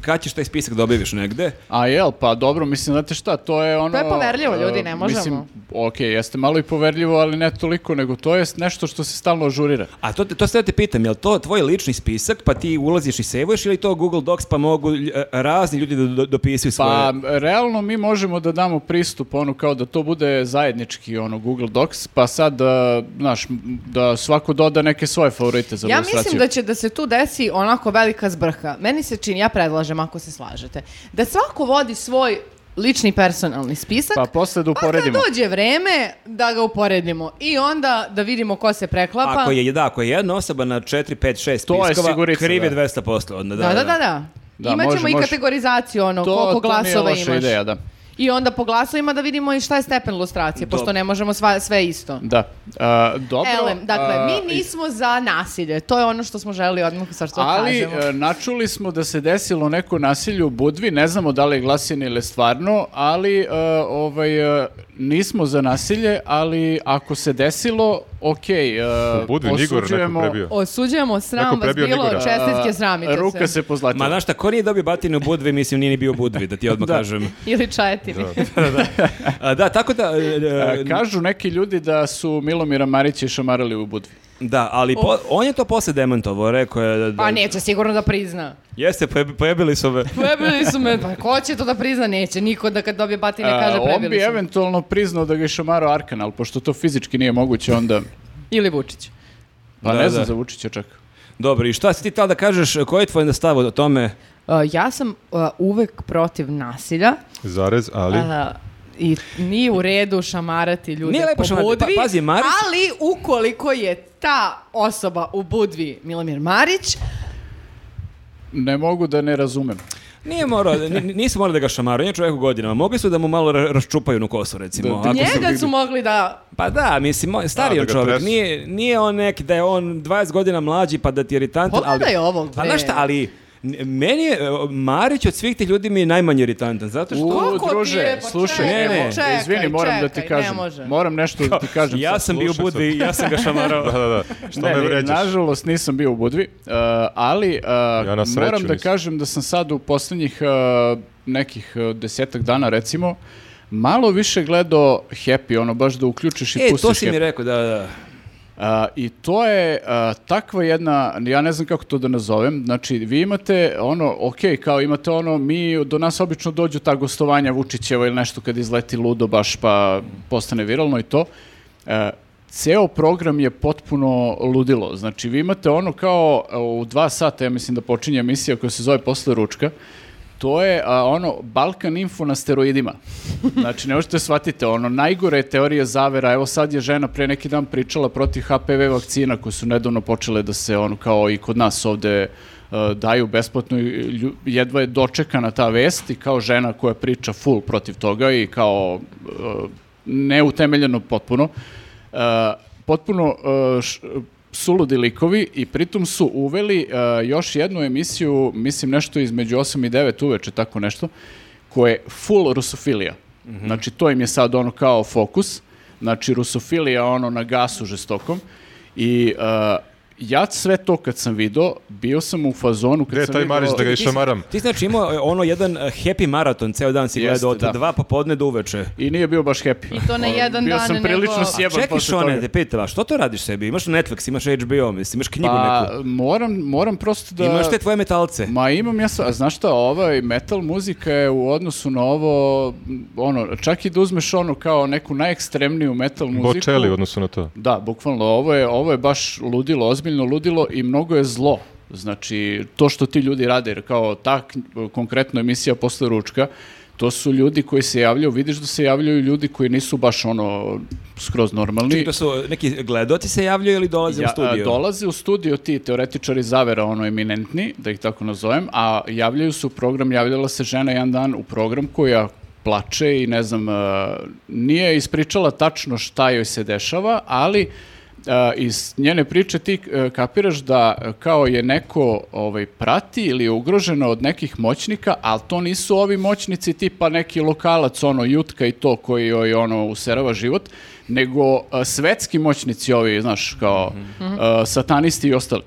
A: kad ćeš taj spisak da objaviš negde.
D: A jel, pa dobro, mislim, znate šta, to je ono...
C: To je poverljivo, ljudi, ne
D: e,
C: možemo.
D: Mislim, ok, jeste malo i poverljivo, ali ne toliko, nego to je nešto što se stalno ažurira.
A: A to, te- to sad te pitam, jel to tvoj lični spisak pa ti ulaziš i sevuješ ili to Google Docs pa mogu lj- e, razni ljudi da do- dopisuju svoje...
D: Pa, realno mi možemo da damo pristup, ono, kao da to bude zajednički, ono, Google Docs, pa sad, da, znaš, m, da svako doda neke svoje favorite za
C: Ja
D: ilustraciju.
C: mislim da će da se tu desi onako velika zbrha. Meni se čini, ja predlažem ako se slažete, da svako vodi svoj lični personalni spisak.
D: Pa posle da
C: pa kad
D: uporedimo.
C: dođe vreme da ga uporedimo i onda da vidimo ko se preklapa.
A: Ako je, da, ako je jedna osoba na 4, 5, 6
D: pa, To je
A: spiskova,
D: sigurica,
A: kriv je
D: da.
A: 200%. Onda, da,
C: Da, da, da, da.
D: Da,
C: Imaćemo
D: može,
C: i
D: može.
C: kategorizaciju ono,
D: To-
C: koliko
D: to nije
C: glasova
D: loša
C: imaš.
D: ideja, da.
C: I onda po glasovima da vidimo i šta je stepen lustracije, pošto
A: Dobro.
C: ne možemo sva, sve isto.
D: Da. A, dobro. e,
C: Elem, dakle,
D: a,
C: mi nismo za nasilje. To je ono što smo želi odmah sa što
D: Ali
C: kažemo.
D: e, načuli smo da se desilo neko nasilje u Budvi, ne znamo da li je glasin ili stvarno, ali e, ovaj, e, nismo za nasilje, ali ako se desilo, e, ok,
B: U Budvi Nigor neko prebio.
C: Osuđujemo, sram
B: Neko
C: vas
B: prebio
C: bilo,
B: Nigora.
C: čestitke, sramite
D: e, Ruka se
A: Ma
D: pozlatila.
A: znaš šta, ko nije dobio batine u Budvi, mislim nije ni bio u Budvi, da ti odmah kažem.
C: Ili čajetini.
A: A, da, tako da... e, e,
D: E, Kažu neki ljudi da su Milomira Marića i šamarali u Budvi.
A: Da, ali po- on je to posle demantovao, rekao je da... da-
C: Pa neće sigurno da prizna.
A: Jeste, pojebi- pojebili su me.
C: Prebili su me. Pa ko će to da prizna? Neće. Niko da kad dobije batine
D: A,
C: kaže
D: E, on bi
C: prebili su me.
D: eventualno priznao da ga je šamarao Arkan, ali pošto to fizički nije moguće, onda...
C: Ili Vučić. E,
D: Pa
A: Da,
D: ne znam
A: da.
D: za Vučića čak.
A: Dobro, i šta si ti tada da kažeš, koji je tvoj stav o tome?
C: Uh, ja sam uh, uvek protiv nasilja
B: Zarez, ali...
C: uh, i nije u redu šamarati ljude
A: Nije lepo
C: po
A: šamarati,
C: budvi,
A: pa- pazi, Marić-
C: ali ukoliko je ta osoba u budvi Milomir Marić,
D: Ne mogu da ne razumem.
A: Nije morao, n- nisu morali da ga šamaraju, on je čovjek u godinama. Mogli su da mu malo ra- raščupaju na kosu, recimo.
D: Da, da.
A: ako su-
C: njega su mogli da...
A: Pa da, mislim, on- stari
B: Da,
A: je
B: da ga
A: čovjek,
B: tresu.
A: nije, nije on neki da je on 20 godina mlađi pa da ti je iritantan. ali-
C: Pogledaj ovog,
A: Pa
C: bre.
A: znaš šta, ali n- meni je, e, Marić od svih tih ljudi mi je najmanje iritantan, zato što...
D: U,
C: Koliko ti je?
D: druže,
C: Pa
D: slušaj,
A: čekaj, Ne, ne.
C: čekaj,
D: izvini, moram da ti
C: čekaj, ne
D: kažem.
C: može.
D: Moram nešto da ti kažem.
A: ja sam bio u
B: slušaj
A: Budvi, ja sam ga šamarao.
B: Da, da, da. Što
D: Ne,
B: me
D: ne,
B: vređaš?
D: nažalost nisam bio u Budvi, uh, ali uh,
B: Ja na sreću
D: moram da
B: nisam.
D: kažem da sam sad u posljednjih uh, nekih uh, desetak dana recimo malo više gledao Happy, ono baš da uključiš i
A: E,
D: pustiš
A: to si
D: Happy.
A: mi rekao, da, da.
D: A, I to je a, takva jedna, ja ne znam kako to da nazovem, znači vi imate ono, ok, kao imate ono, mi, do nas obično dođu ta gostovanja Vučićeva ili nešto kad izleti ludo baš pa postane viralno i to. E, ceo program je potpuno ludilo, znači vi imate ono kao e, u dva sata, ja mislim da počinje emisija koja se zove Posle ručka, to je a, ono Balkan info na steroidima. Znači, ne možete shvatiti, ono, najgore je teorija zavera, evo sad je žena pre neki dan pričala protiv HPV vakcina koje su nedavno počele da se, ono, kao i kod nas ovde e, daju besplatno, i lju- jedva je dočekana ta vest i kao žena koja priča full protiv toga i kao e, neutemeljeno potpuno. E, potpuno uh, š- suludi likovi i pritom su uveli uh, još jednu emisiju, mislim nešto između 8 i 9 uveče, tako nešto, koje je full rusofilija. Znači, to im je sad ono kao fokus, znači rusofilija ono na gasu žestokom i uh, ja sve to kad sam video, bio sam u fazonu kad
B: Gde je
D: sam
B: taj
D: video-
B: Marić da ga išamaram?
A: Ti znači imao e, ono jedan e, happy maraton, ceo dan si
D: Jeste,
A: gledao od
D: da.
A: dva popodne do uveče.
D: I nije bio baš happy.
C: I to ne
D: Ono,
C: jedan
D: bio
C: dan,
D: sam prilično
C: nego-
A: A
D: sjeban
A: čekaj
D: posle
A: Šone,
D: toga.
A: te pitam, a što to radiš sebi? Imaš Netflix, imaš HBO, mislim, imaš knjigu
D: Pa,
A: neku.
D: moram, moram prosto da...
A: Imaš te tvoje metalce.
D: Ma imam ja, sa- a znaš šta, ovaj metal muzika je u odnosu na ovo, m, ono, čak i da uzmeš ono kao neku najekstremniju metal muziku. Pa
B: Bočeli u odnosu na to.
D: Da, bukvalno, ovo je, ovo je baš ludilo, ozbiljno ludilo i mnogo je zlo. Znači, to što ti ljudi rade, jer kao ta kn- konkretno emisija posle ručka, to su ljudi koji se javljaju, vidiš da se javljaju ljudi koji nisu baš ono skroz normalni.
A: Čekaj, to su e, neki gledoci se javljaju ili dolaze u
D: Ja,
A: studio?
D: a, dolaze u studio ti teoretičari zavera, ono eminentni, da ih tako nazovem, a javljaju se u program, javljala se žena jedan dan u program koja plače i ne znam, a, nije ispričala tačno šta joj se dešava, ali a, iz njene priče ti e, kapiraš da e, kao je neko ovaj, prati ili je ugroženo od nekih moćnika, ali to nisu ovi moćnici tipa neki lokalac, ono jutka i to koji joj ono userava život, nego a, svetski moćnici ovi, znaš, kao
A: Mhm.
D: a, satanisti i ostali.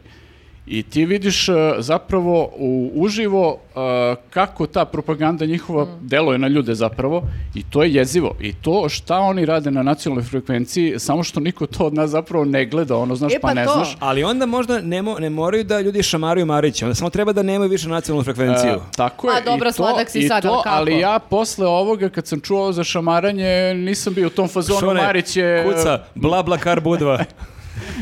D: I ti vidiš e, zapravo u, uživo e, kako ta propaganda njihova
C: Mhm.
D: deluje na ljude zapravo i to je jezivo. I to šta oni rade na nacionalnoj frekvenciji, samo što niko to od nas zapravo ne gleda, ono znaš,
C: E,
D: pa,
C: pa
D: ne
C: to.
D: znaš.
A: Ali onda možda ne, mo- ne moraju da ljudi šamaraju Marića, onda samo treba da nemaju više nacionalnu frekvenciju.
D: E, tako je.
C: A Pa dobro,
D: i to,
C: sladak si
D: i
C: sad,
D: to,
C: ali kako?
D: ali ja posle ovoga kad sam čuo za šamaranje, nisam bio u tom fazonu
A: Šone,
D: Marić je...
A: Kuca, bla bla kar budva.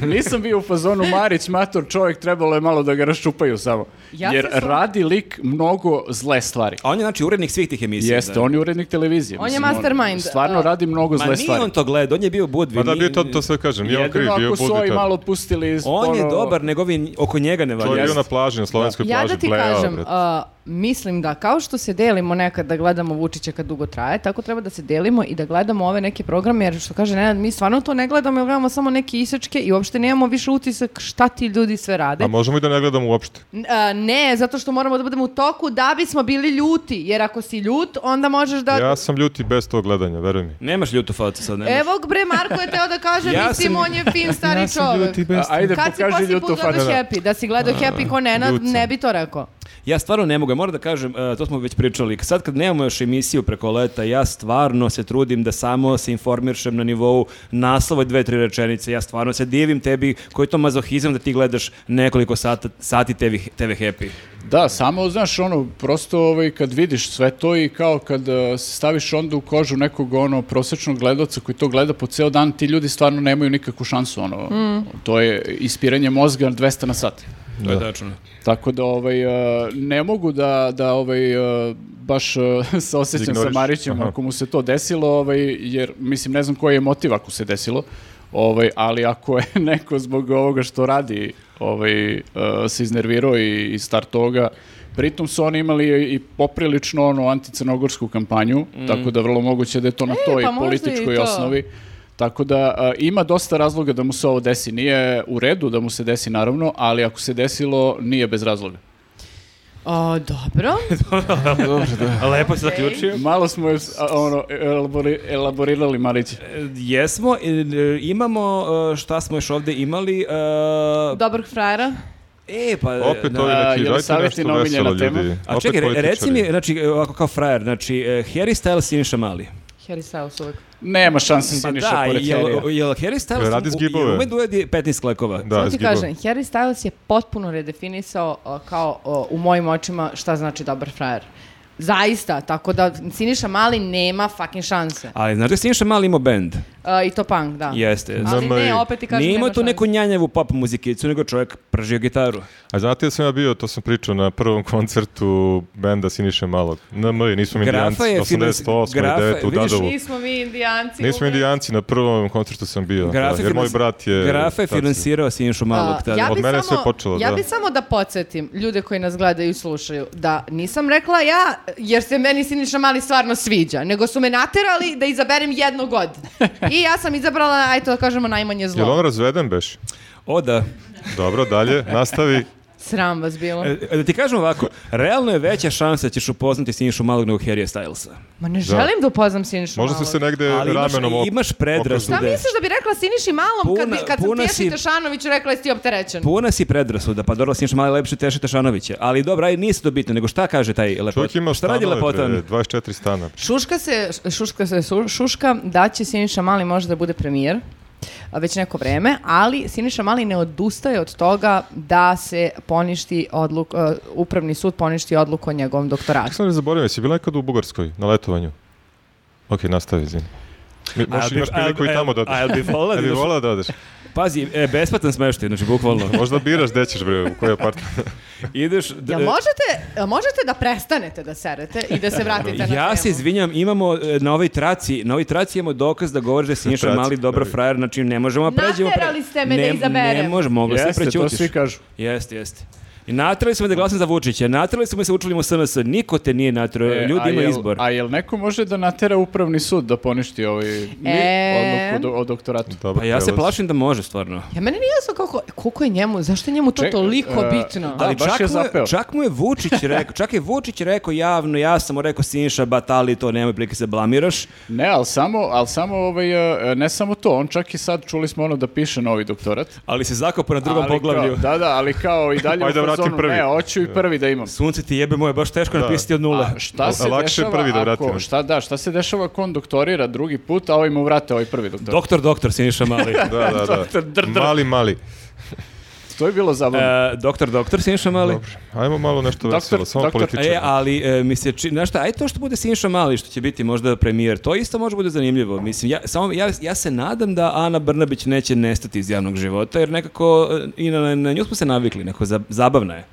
D: Nisam bio u fazonu Marić, mator čovjek, trebalo je malo da ga raščupaju samo.
C: Ja se
D: Jer
C: slažem.
D: radi lik mnogo zle stvari.
A: A on je znači urednik svih tih emisija.
D: Jeste,
A: da.
D: on je urednik televizije.
C: On je
D: mislim,
C: mastermind.
D: Stvarno
C: A-
D: radi mnogo
A: Ma
D: zle
A: nije
D: stvari.
A: on to gleda, on je bio Budvi.
B: Pa da,
A: nije-
B: bio to, to sve kažem, nije on kriv,
D: Jedino
B: bio
D: ako su ovi
B: budvitar.
D: malo pustili... iz
A: On je
D: ono-
A: dobar, nego ovi oko njega ne
B: To je
A: valja.
B: bio na plaži, na slovenskoj
C: Ja
B: plaži.
C: da ti
B: blejao,
C: kažem,
B: bre.
C: a, mislim da kao što se delimo nekad da gledamo Vučića kad dugo traje, tako treba da se delimo i da gledamo ove neke programe, jer što kaže Nenad, mi stvarno to ne gledamo, jer gledamo samo neke isečke i uopšte nemamo više utisak šta ti ljudi sve rade.
B: A možemo i da ne gledamo uopšte.
C: N- a, ne, zato što moramo da budemo u toku da bismo bili ljuti, jer ako si ljut, onda možeš da...
B: Ja sam ljuti bez tog gledanja, veruj mi.
A: Nemaš ljutu facu sad, nemaš.
C: Evo bre, Marko je teo da kaže,
A: Ja
C: mislim,
A: sam-
C: on je fin stari čovjek.
D: A, Ajde,
C: Kad si
D: pokaži
C: posljednji
D: ljutu
C: put gledaš
D: fanu.
C: Happy? Da si gledao Happy ko Nenad,
B: ljut sam.
C: ne bi to rekao.
A: Ja stvarno ne mogu, ja moram da kažem, e, to smo već pričali, sad kad nemamo još emisiju preko leta, ja stvarno se trudim da samo se informiršem na nivou naslova i dve, tri rečenice, ja stvarno se divim tebi koji je to mazohizam da ti gledaš nekoliko sata, sati TV, TV Happy.
D: Da, samo, znaš, ono, prosto ovaj, kad vidiš sve to i kao kad eh, se staviš onda u kožu nekog, ono, prosječnog gledalca koji to gleda po ceo dan, ti ljudi stvarno nemaju nikakvu šansu, ono,
C: Mm.
D: to je ispiranje mozga 200 na sat.
A: To je tačno.
D: Tako da ovaj eh, ne mogu da da ovaj eh, baš eh, se osjećam sa
B: Ignoriš.
D: Marićem
B: Aha.
D: ako mu se to desilo, ovaj jer mislim ne znam koji je motiv ako se desilo. Ovaj ali ako je neko zbog ovoga što radi, ovaj eh, se iznervirao i i start toga Pritom su oni imali i poprilično ono anticrnogorsku kampanju, tako da vrlo moguće da je to na toj
C: pa možda i
D: političkoj
C: to.
D: osnovi. Tako da a, ima dosta razloga da mu se ovo desi. Nije u redu da mu se desi naravno, ali ako se desilo nije bez razloga.
C: O, dobro.
A: Lepo se zaključio.
D: Malo smo es- a, ono, elabori- elaborirali Marić.
A: E, Jesmo, e, e, imamo, e, šta smo još ovdje imali? e,
C: Dobrog frajera.
A: E, pa... e,
B: Opet
A: da.
B: ovi
D: A,
B: neki,
D: je li
B: dajte
D: savjeti na
B: nešto
D: omiljena
B: veselo
D: tema?
B: ljudi.
A: A
B: Opet
A: čekaj, re- reci mi,
B: političari.
A: znači, e, ovako kao frajer, znači, e, Harry Styles i Niša Mali.
C: Harry Styles uvek.
D: Nema šanse Siniša
A: Pa da,
D: pored Herija.
A: jel, jel Harry Styles
B: Radi
A: u-
B: zgibove.
A: jel ume da ujedi 15 klekova?
B: Da,
C: Samo ti
B: izgibao.
C: kažem, Harry Styles je potpuno redefinisao o, kao o, u mojim očima šta znači dobar frajer. Zaista, tako da Siniša Mali nema fucking šanse.
A: Ali znaš da je Siniša Mali imao band?
C: E, I to punk, da.
A: Jeste. jeste.
C: Ali
B: Nama
C: ne,
B: je-
C: opet ti kažem,
A: Nije imao
C: nema
A: tu
C: šanse.
A: neku njanjavu pop muzikicu, nego čovjek pržio gitaru.
B: A znate da sam ja bio, to sam pričao na prvom koncertu benda Siniše Malog. NM, nismo mi
A: Grafa
B: indijanci,
A: je finans-
B: 88. i
A: Grafa je-
B: 9. u
A: vidiš,
B: Dadovu.
C: Nismo mi indijanci.
B: Nismo
C: uvek.
B: indijanci, na prvom koncertu sam bio.
A: Grafa
B: da, jer moj
A: finansi-
B: brat je...
A: Grafa je
B: tad se-
A: finansirao Sinišu Malog
C: A,
A: tada.
C: ja
B: Od
C: bi
B: mene je
C: Pa, samo,
B: sve počelo,
C: Ja
B: da.
C: bi samo da podsjetim ljude koji nas gledaju i slušaju da nisam rekla ja jer se meni Siniša Mali stvarno sviđa, nego su me naterali da izaberem jednog od. I ja sam izabrala, ajde to da kažemo, najmanje
B: Je li
C: zlo.
B: on razveden beš?
A: O da.
B: Dobro, dalje, nastavi.
C: Sram vas bilo.
A: E, Da ti kažem ovako, realno je veća šansa da ćeš upoznati Sinišu Malog nego Harry Stylesa.
C: Ma ne želim da upoznam Sinišu
B: Možda ste
C: Malog.
B: se negde
A: Ali imaš-
B: ramenom op-
A: imaš predrasude.
C: Šta
A: Budeš.
C: misliš da bi rekla Siniši Malom kad,
A: Puna-
C: bi- kad sam
A: puna
C: Tijaši
A: si-
C: Tešanović rekla jesi ti opterećen?
A: Puna si predrasuda, pa dobro, Siniša Mali je lepši od Teše Tešanovića. Ali dobro, aj nije se to bitno, nego šta kaže taj lepot?
B: Čovjek ima
A: šta radi
B: stanove,
A: lepotan?
B: bre, 24 stana.
C: Šuška se, šuška se, su- šuška da će Siniša Mali možda da bude premijer a, već neko vreme, ali Siniša Mali ne odustaje od toga da se poništi odluk, e, upravni sud poništi odluku o njegovom
B: Kako
C: doktoratu.
B: sam ne zaboravio, jesi bila nekad u Bugarskoj, na letovanju? Ok, nastavi, izvini. Mi,
A: A,
B: možeš
A: bi-
B: imaš priliku
A: a,
B: i tamo da
A: a, a, jel
B: odeš.
A: bi volila da
B: Ne bi
A: ideš-
B: volao da odeš.
A: Pazi, e, besplatan smeštaj, znači bukvalno.
B: Možda biraš gde ćeš, bre, u koji apartman.
A: Ideš... d-
C: Jel možete, jel možete da prestanete da serete i da se vratite na
A: e, Ja
C: temu?
A: se izvinjam, imamo e, na ovoj traci, na ovoj traci imamo dokaz da govoriš da je Siniša
B: Traci,
A: Mali dobar
B: da.
A: frajer, znači ne možemo da pređemo.
C: Naterali ste me da
A: Ne- Ne
C: izaberem.
A: možemo, mogli ste
D: Jeste, to
A: prećutiš.
D: svi kažu.
A: Jeste, jeste. I natrali smo da glasam za Vučića, natrali smo da se učlanimo u SNS, niko te nije natrao,
D: E,
A: ljudi
D: a
A: ima
D: jel-
A: izbor.
D: A jel neko može da natera upravni sud da poništi ovaj
C: E.
D: odluku do- o doktoratu?
B: Dobar
A: Pa ja se
B: prelaz.
A: plašim da može stvarno.
C: Ja meni nije jasno kako, koliko je njemu, zašto je njemu to
D: Ček,
C: toliko
D: e,
C: bitno?
D: da.
A: Ali
D: baš
A: čak,
D: je
A: mu je,
D: zapeo.
A: čak mu je Vučić rekao, čak je Vučić rekao javno, ja sam mu rekao Siniša Batali, to nema prilike se blamiraš.
D: Ne, ali samo, ali samo ovaj, e, ne samo to, on čak i sad čuli smo ono da piše novi doktorat.
A: Ali se zakopao na drugom
D: Ali
A: poglavlju.
D: Kao, da, da, ali kao i dalje
B: Ajde,
D: u
B: vratim
D: fazonu,
B: prvi.
D: ne, hoću i prvi da imam.
A: Sunce ti jebe moje, baš teško napisati od nule.
D: A šta
B: A,
D: se
B: lakše
D: dešava
B: prvi da vrati,
D: ako,
B: ne?
D: šta, da, šta se dešava ako on doktorira drugi put, a ovaj mu vrate ovaj prvi doktor?
A: Doktor, doktor, Siniša Mali.
B: Da, da, da. Mali, mali.
D: To je bilo zabavno.
A: E, doktor, doktor, Siniša Mali.
B: Dobro. Ajmo malo nešto
D: Doktor-
B: veselo, samo
D: doktor-
A: E,
B: političar.
A: ali e, mi se čini, znaš šta, aj to što bude Siniša Mali, što će biti možda premijer, to isto može bude zanimljivo. Mislim, ja, samo, ja, ja se nadam da Ana Brnabić neće nestati iz javnog života, jer nekako e, i na, na nju smo se navikli, neko za- zabavna je.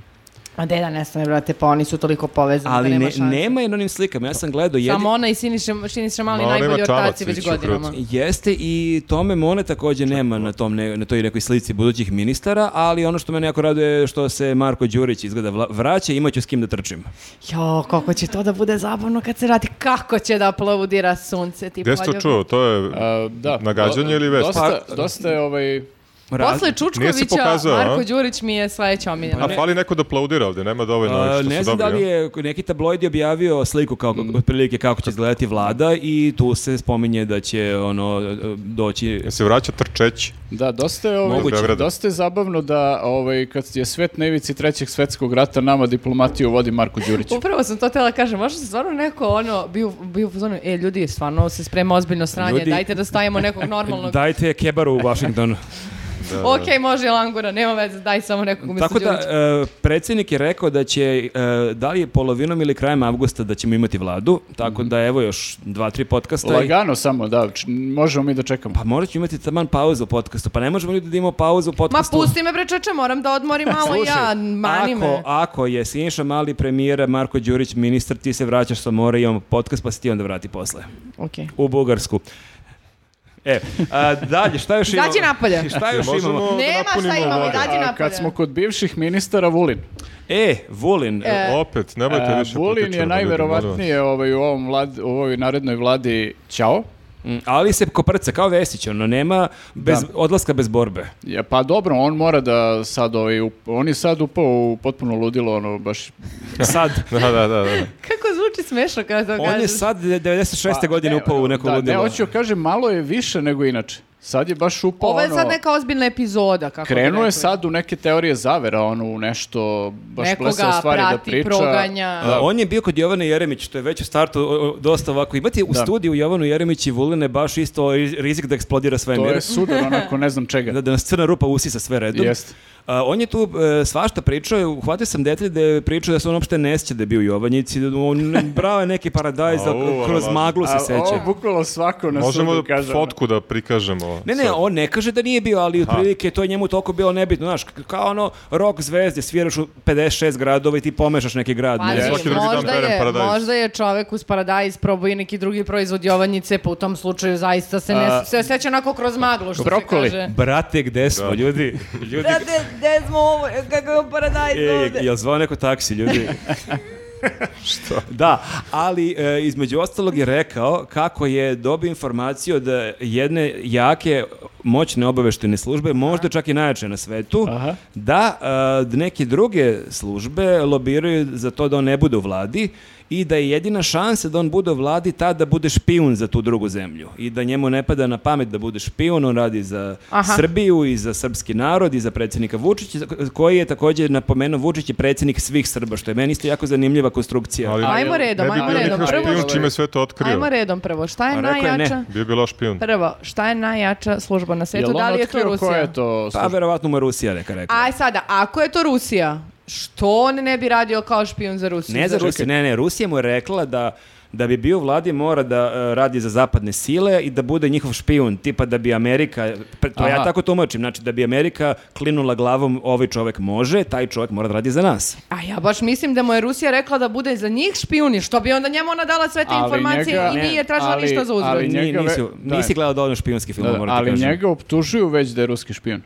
C: A de da nestane, brate, pa oni su toliko povezani
A: Ali
C: da
A: ne,
C: nema šanse.
A: nema je na onim slikama, ja sam gledao jedin...
C: Samo ona i Siniša, Siniša Mali
B: Ma, ona ima
C: najbolji
B: čamac
C: ortaci već
B: već u krucu.
C: godinama.
A: Jeste i tome Mone takođe nema na, tom, ne- na toj nekoj slici budućih ministara, ali ono što me jako raduje je što se Marko Đurić izgleda vla- vraća i imaću s kim da trčim.
C: Jo, kako će to da bude zabavno kad se radi, kako će da aplaudira sunce, ti
B: Gde si to
C: poljubi.
B: čuo? To je
D: A, da.
B: nagađanje ili vest?
D: Dosta,
A: Pa-
D: dosta je ovaj...
A: Raz-
C: Posle
B: Nije se
C: Čučkovića,
B: pokazao, a? Pa
C: Marko Đurić mi je sledeća omiljena.
B: A fali neko da aplaudira ovde, nema dovoljno ovih
A: pa A,
B: što
A: ne
B: su
A: znam da
B: dobri.
A: li
B: jel?
A: je neki tabloid je objavio sliku kako,
C: Mm.
A: otprilike kako će izgledati vlada i tu se spominje da će ono doći
B: Jel Se vraća trčeć.
D: Da, dosta je, ovaj,
A: Moguće.
D: dosta je zabavno da ovaj, kad je svet na ivici trećeg svetskog rata nama diplomatiju vodi Marko Đurić.
C: Upravo sam to tela kažem, možda se stvarno neko ono bio bio u fazonu, e ljudi, stvarno se sprema ozbiljno sranje,
A: Ljudi-
C: dajte da stavimo nekog normalnog.
A: dajte kebaru u Washingtonu.
C: ok, može Langura, nema veze, daj samo nekog umjesto
A: Tako da
C: Đurića.
A: e, predsjednik je rekao da će e, da li je polovinom ili krajem avgusta da ćemo imati vladu, tako
C: Mhm.
A: da evo još dva, tri podcasta. i-
D: Lagano samo, da, č- možemo mi da čekamo.
A: Pa morat ću imati taman pauzu u podcastu, pa ne možemo ljudi da imamo pauzu u
C: Ma
A: podcastu.
C: pusti me bre čoveče, moram da
B: E,
C: odmorim malo ja, mani
A: ako,
C: me.
A: ako je Siniša Mali premijera, Marko Đurić ministar, ti se vraćaš sa mora, imamo podcast, pa se ti onda vrati posle.
C: Okej.
A: U Bugarsku. E, a, dalje, šta još imamo?
C: Izađi napolje.
A: Šta E, još
B: Možemo
A: imamo?
B: da
C: Nema šta
B: napunimo
C: imamo,
B: ovo.
C: izađi
D: A
C: napolje.
D: kad smo kod bivših ministara Vulin.
A: E, Vulin.
C: E,
B: Opet, nemojte
A: E,
D: A,
B: više
D: Vulin
B: političara,
D: je
B: ljudi,
D: najverovatnije ovaj, u, ovom vlad, u ovoj narednoj vladi Ćao.
A: Mm, Ali se koprca, kao Vesić, ono, nema bez, odlaska bez borbe.
D: Ja, pa dobro, on mora da sad, ovaj, up- on je sad upao u potpuno ludilo, ono, baš...
A: Sad.
B: molim vas. Da, da, da. da.
C: Kako zvuči smešno kada to
A: On je
C: kažeš.
A: sad 96. godine
D: pa, Ne,
A: upao u neko
D: da,
A: ludilo.
D: Ne, hoću kažem, malo je više nego inače. Sad je baš upao,
C: Ovo je
D: ono,
C: sad neka ozbiljna epizoda, kako bi
D: krenuo
C: rekli.
D: je sad u neke teorije zavera, ono, u nešto, baš
C: Nekoga
D: blesave stvari da
C: prati,
D: priča.
C: proganja.
A: A, on je bio kod Jovane Jeremić, što je već u startu o, o, dosta ovako. Imati u
D: Da.
A: studiju Jovanu Jeremić i Vulina baš isto ri- rizik da eksplodira sve
D: To je sudar, onako, ne znam čega.
A: Da, da nas crna rupa usisa sve redom.
D: Jeste.
A: A, on je tu e, svašta pričao, uhvatio sam detalj da je pričao da se on uopšte ne sjeća da je bio u Jovanjici, da on brao je neki paradajz, da
B: Au,
A: kroz
B: laž.
A: maglu se
D: ono, A, Ovo
A: seća.
D: bukvalo svako na
B: Možemo
D: sudu
B: da
D: kaže. ono.
B: fotku da prikažemo.
A: Ne, ne,
B: sad.
A: on ne kaže da nije bio, ali otprilike to je njemu toliko bilo nebitno, znaš, k- kao ono rock zvezde, sviraš u 56 gradova i ti pomešaš neki grad.
C: Pazi,
A: ne znam.
B: Svaki drugi dan
C: možda,
B: berem
C: je,
B: paradajz.
C: možda je čovek uz paradajz probao i neki drugi proizvod Jovanjice, pa u tom slučaju zaista se ne se osjeća onako kroz maglu, što
D: Brokoli.
C: se kaže.
A: Brate, gde smo, ljudi? ljudi
E: Brate, gde smo ovo? Kako je paradajz
A: e,
E: ovde?
A: jel zvao neko taksi, ljudi? Da, ali e, između ostalog je rekao kako je dobio informaciju od e, jedne jake moćne obaveštene službe, možda čak i najjače na svetu,
D: Aha.
A: da e, neke druge službe lobiraju za to da on ne bude u vladi i da je jedina šansa da on bude u vladi ta da bude špijun za tu drugu zemlju i da njemu ne pada na pamet da bude špijun, on radi za
C: Aha.
A: Srbiju i za srpski narod i za predsjednika Vučića, koji je također napomenuo Vučić je predsjednik svih Srba, što je meni isto jako zanimljiva konstrukcija.
B: Ali
C: Ajmo
B: ne-
C: redom,
B: ne bi
C: ajmo
B: bio
C: redom.
B: nikakav
C: Prvo
B: špijun
C: što-
B: čime je sve to otkrio.
C: Ajmo redom prvo. Šta je
A: A rekao je ne.
C: najjača?
B: Bio bi loš špijun.
C: Prvo, šta je najjača služba na svijetu?
D: ono, Jel
C: Da
D: on
C: li je to
D: otkrio
C: Rusija?
D: koja je to
A: Pa
D: služba?
A: verovatno mu je Rusija neka rekla.
C: Aj sada, ako je to Rusija, što on ne bi radio kao špijun za Rusiju?
A: Ne za
C: Znači,
A: Rusiju, ne, ne, Rusija mu je rekla da da bi bio u vladi mora da e, radi za zapadne sile i da bude njihov špijun, tipa da bi Amerika, pre- to ja
D: Aha.
A: tako tumačim, znači da bi Amerika klinula glavom ovaj čovek može, taj čovek mora da radi za nas.
C: A ja baš mislim da mu je Rusija rekla da bude za njih špijun i što bi onda njemu ona dala sve te
D: Ali
C: informacije
D: njega-
C: i nije tražila
D: ali-
C: ništa za uzvrat.
D: ali
A: Ni-
D: njega ve-
A: nisi,
D: da.
A: nisi gledao dovoljno špijunski film,
D: Da, da,
A: moram ti
D: ali
A: kažem.
D: njega optužuju već da je ruski špijun.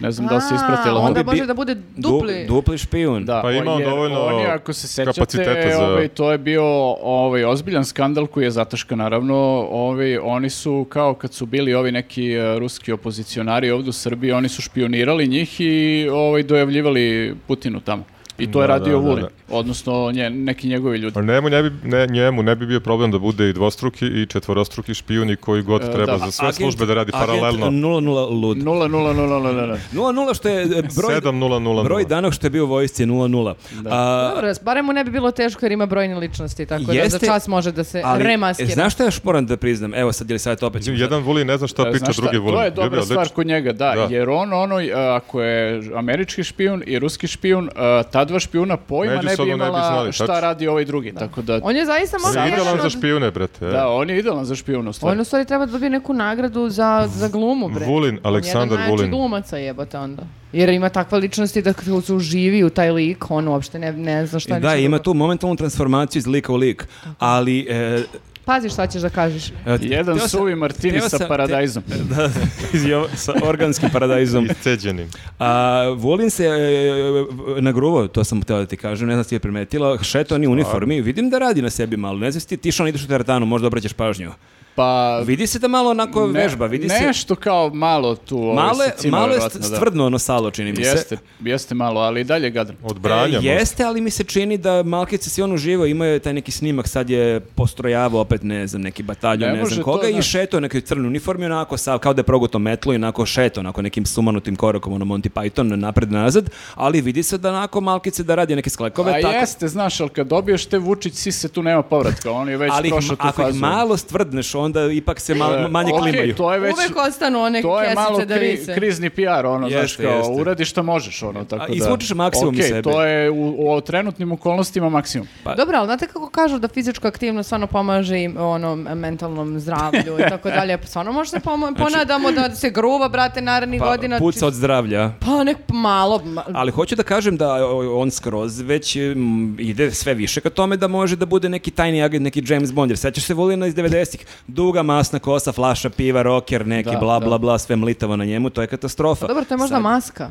D: Ne znam da li se
C: A,
D: ispratila.
C: Onda
A: bi bi-
C: može da bude dupli.
A: Du- dupli špijun.
D: Da,
B: Pa
D: on
B: ima on
D: je-
B: dovoljno
D: on je, ako se
B: kapaciteta
D: sećate,
B: za-
D: ovaj, to je bio ovaj, ozbiljan skandal koji je zataška, naravno. Ovaj, oni su, kao kad su bili ovi neki eh, ruski opozicionari ovdje u Srbiji, oni su špionirali njih i ovaj, dojavljivali Putinu tamo. I to je
B: Da,
D: radio
B: da, Pa, da,
D: Vulin, odnosno nje- neki njegovi ljudi.
B: Ali Njemu ne, bi, ne, njemu ne bi bio problem da bude i dvostruki i četvorostruki špijun i koji god
D: E,
B: treba za sve
A: Agent-
B: službe da radi
A: agent
B: paralelno.
A: 00 lud.
D: Nula, nula, nula, nula, nula.
A: 00 što je e, broj,
B: 7000.
A: broj danog što je bio u vojsci je 00. A,
C: Dobro, barem mu ne bi bilo teško jer ima brojne ličnosti, tako da
A: Jeste,
C: za čas može da se
A: ali, e,
C: remaskira.
A: znaš šta još moram da priznam? Evo sad ili sad opet. ćemo-
B: Jedan voli ne zna šta
D: E,
B: priča,
D: znaš šta,
B: drugi voli.
D: To
B: Bio
D: je
B: bi
D: dobra stvar
B: odličan.
D: kod njega, da,
B: Da.
D: jer on ono, e, ako je američki špijun i ruski špijun, e, ta dva špijuna pojma ne
B: Međusobno
D: bi
B: ne bi
D: imala
B: znali,
D: šta
B: tačno.
D: radi ovaj drugi, tako da...
C: On je zaista
B: On
C: možda
B: je
C: jedan
B: idealan za
C: od-
B: špijune, brate.
D: Da, on je idealan za špijun, u
A: Ono-
D: stvari.
C: On u stvari treba da dobije neku nagradu za, za glumu, bre.
B: Vulin, Aleksandar
C: Jedan najjači
B: Vulin.
C: glumaca jebote onda. Jer ima takva ličnosti da kad se uživi u taj lik, on uopšte ne, ne zna šta je
A: Da,
C: ništa
A: ima
C: drugo.
A: tu momentalnu transformaciju iz lika u lik, ali... E,
C: Pazi šta ćeš da kažeš.
A: e,
D: Jedan
A: teo sam-
D: suvi martini
A: teo
D: sa
A: sam-
D: paradajzom.
A: te- e, da, iz jo- sa organskim paradajzom.
B: Isceđenim.
A: A, Vulin se e, nagruvao, to sam htio da ti kažem, ne znam si je primetila, šeto on je u uniformi, vidim da radi na sebi malo, ne znam si ti, ti što on ideš u teretanu, možda obraćaš pažnju.
D: Pa...
A: Vidi se da malo onako
D: ne-
A: vežba, vidi se...
D: Nešto kao malo tu ovaj,
A: Malo, je-
D: se cima,
A: malo je
D: verovatno, da.
A: stvrdno ono salo, čini mi se.
D: Jeste, jeste malo, ali i dalje gadan.
B: Od branja.
A: E,
B: možda.
A: jeste, ali mi se čini da Malkice si on uživao, imao je taj neki snimak, sad je postrojavao opet, ne znam, neki bataljon,
D: Ne
A: ne,
D: može
A: znam
D: to,
A: koga, i
D: znaš.
A: šeto u nekoj crnoj uniformi, onako, sav, kao da je proguto metlo i onako šeto, onako nekim sumanutim korakom, ono Monty Python, napred nazad, ali vidi se da onako Malkice da radi neke sklekove,
D: A
A: tako,
D: jeste, znaš, ali kad dobiješ te Vučić, si se tu nema povratka, on je već
A: ali ih-
D: prošao tu
A: ako ih
D: fazu.
A: malo stvrdneš, onda ipak se ma-
D: E,
A: manje
D: okej,
A: klimaju.
D: to je već...
C: Uvek ostanu one
D: To je malo
C: E, kesice da
D: kri-
C: vise.
D: krizni PR, ono, znaš,
A: Jeste,
D: kao,
A: jeste.
D: uradi šta možeš, ono, tako
A: A,
D: da...
A: izvučeš maksimum iz
D: Okej,
A: sebe.
D: to je u, u trenutnim okolnostima maksimum.
A: Pa-
C: Dobro, ali znate kako kažu da fizička aktivnost stvarno pomaže i onom mentalnom zdravlju i tako dalje. Pa Stvarno može se pomo- ponadamo da se gruva, brate, narednih
A: Pa,
C: godina.
A: puca
C: či-
A: od zdravlja.
C: Pa nek malo, ma-
A: Ali hoću da kažem da o, on skroz već mm, ide sve više ka tome da može da bude neki tajni agent, neki James Bond, jer sećaš se Vulina iz 90-ih, duga masna kosa, flaša piva, roker, neki
D: Da,
A: bla
D: da.
A: bla bla, sve mlitavo na njemu, to je katastrofa.
C: Pa dobro, to je možda
A: Sad-
C: maska.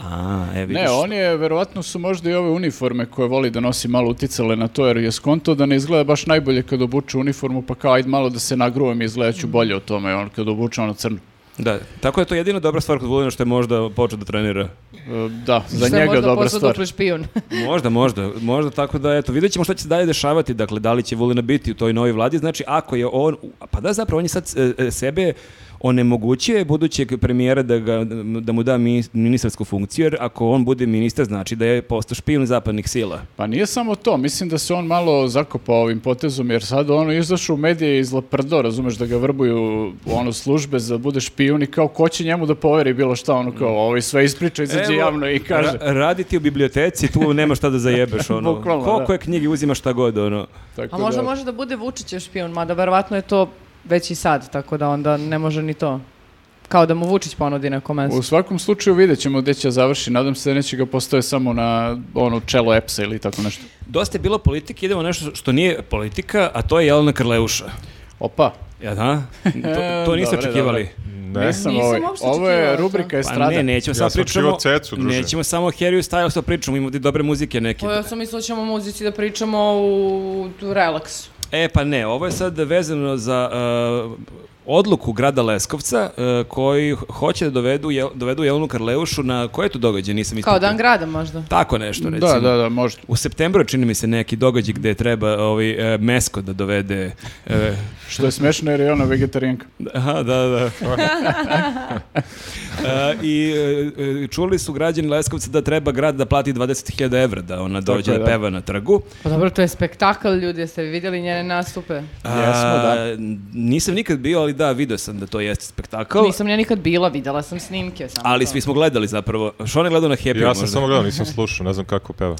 A: A, e, vidiš.
D: Ne, on je, verovatno su možda i ove uniforme koje voli da nosi malo uticale na to, jer je skonto da ne izgleda baš najbolje kad obuče uniformu, pa kao, ajde malo da se nagrujem i izgledat ću bolje o tome, on kad obuče ono crno.
A: Da, tako je to jedina dobra stvar kod Vulina što je možda počeo da trenira.
D: E, Da,
C: Što
D: za
C: je
D: njega
C: možda
D: dobra
C: postao
D: stvar.
C: dupli špijun.
A: Možda, možda, možda tako da eto, vidjet ćemo šta će se dalje dešavati, dakle da li će Vulina biti u toj novoj vladi, znači ako je on, pa da zapravo on je sad e, e, sebe onemogućuje budućeg premijera da, ga, da mu da minis- ministarsku funkciju, jer ako on bude ministar znači da je postao špijun zapadnih sila.
D: Pa nije samo to, mislim da se on malo zakopao ovim potezom, jer sad ono izašao u medije iz Laprdo, razumeš da ga vrbuju ono službe za da bude špijun i kao ko će njemu da poveri bilo šta, ono kao ovi sve ispriča, izađe
A: Evo,
D: javno i kaže.
A: Ra- raditi u biblioteci, tu nema šta da zajebeš, ono.
D: Bukvalno, da.
A: Koliko je knjigi, uzima šta god, ono.
D: Tako
C: A možda
D: da-
C: može da bude Vučićev špijun, mada verovatno je to već i sad, tako da onda ne može ni to. Kao da mu Vučić ponudi neko mesto.
D: U svakom slučaju vidjet ćemo gdje će završi. Nadam se da neće ga postoje samo na ono čelo EPS-a ili tako nešto.
A: Dosta je bilo politike, idemo nešto što nije politika, a to je Jelena Krleuša.
D: Opa.
A: Ja, da? To, to niste
D: E, Dobre,
A: očekivali.
D: dobre.
B: Ne, Ne.
D: Nisam
C: Nisam
D: ovaj.
C: uopšte
D: Ovo je
C: očekivala to.
D: rubrika
A: Pa
D: Estrada.
A: ne, nećemo
B: Ja
A: samo
B: sam
A: pričamo...
B: očekivao Cecu, druže.
A: Nećemo samo Harry Styles to pričamo, ima ovdje dobre muzike neke.
C: Pa ja sam mislila da ćemo o muzici da pričamo u, u relaksu.
A: E pa ne, ovo je sad vezano za uh, odluku grada Leskovca uh, koji hoće da dovedu, Jel- dovedu Jelenu Karleušu na koje je to događaj, nisam
C: Kao
A: ispratio.
C: dan grada možda.
A: Tako nešto, recimo.
D: Da, da, da, možda.
A: U septembru je, čini mi se neki događaj gdje treba ovaj, e, mesko da dovede. e,
D: Što je smešno jer je ona vegetarijanka.
A: aha, da, da. E, I e, e, čuli su građani Leskovca da treba grad da plati 20.000 evra da ona dođe
D: je,
A: da
D: da.
A: peva na trgu.
C: Pa dobro, to je spektakl, ljudi, jeste vi vidjeli njene nastupe?
A: A,
D: Jesmo, da.
A: Nisam nikad bio, ali da, video sam da to jeste spektakl.
C: Nisam nje nikad bila, vidjela sam snimke samo.
A: Ali
C: to.
A: svi smo gledali zapravo. Što je gledao na Happy
B: Ja sam
A: možda?
B: samo gledao, nisam slušao, ne znam kako peva.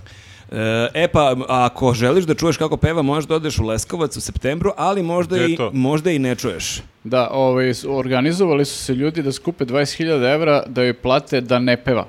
A: E, E pa, ako želiš da čuješ kako peva, možeš da odeš u Leskovac u septembru, ali možda,
B: Gde je
A: i,
B: to?
A: možda i ne čuješ.
D: Da, ovaj, s- organizovali su se ljudi da skupe 20.000 evra da joj plate da ne peva.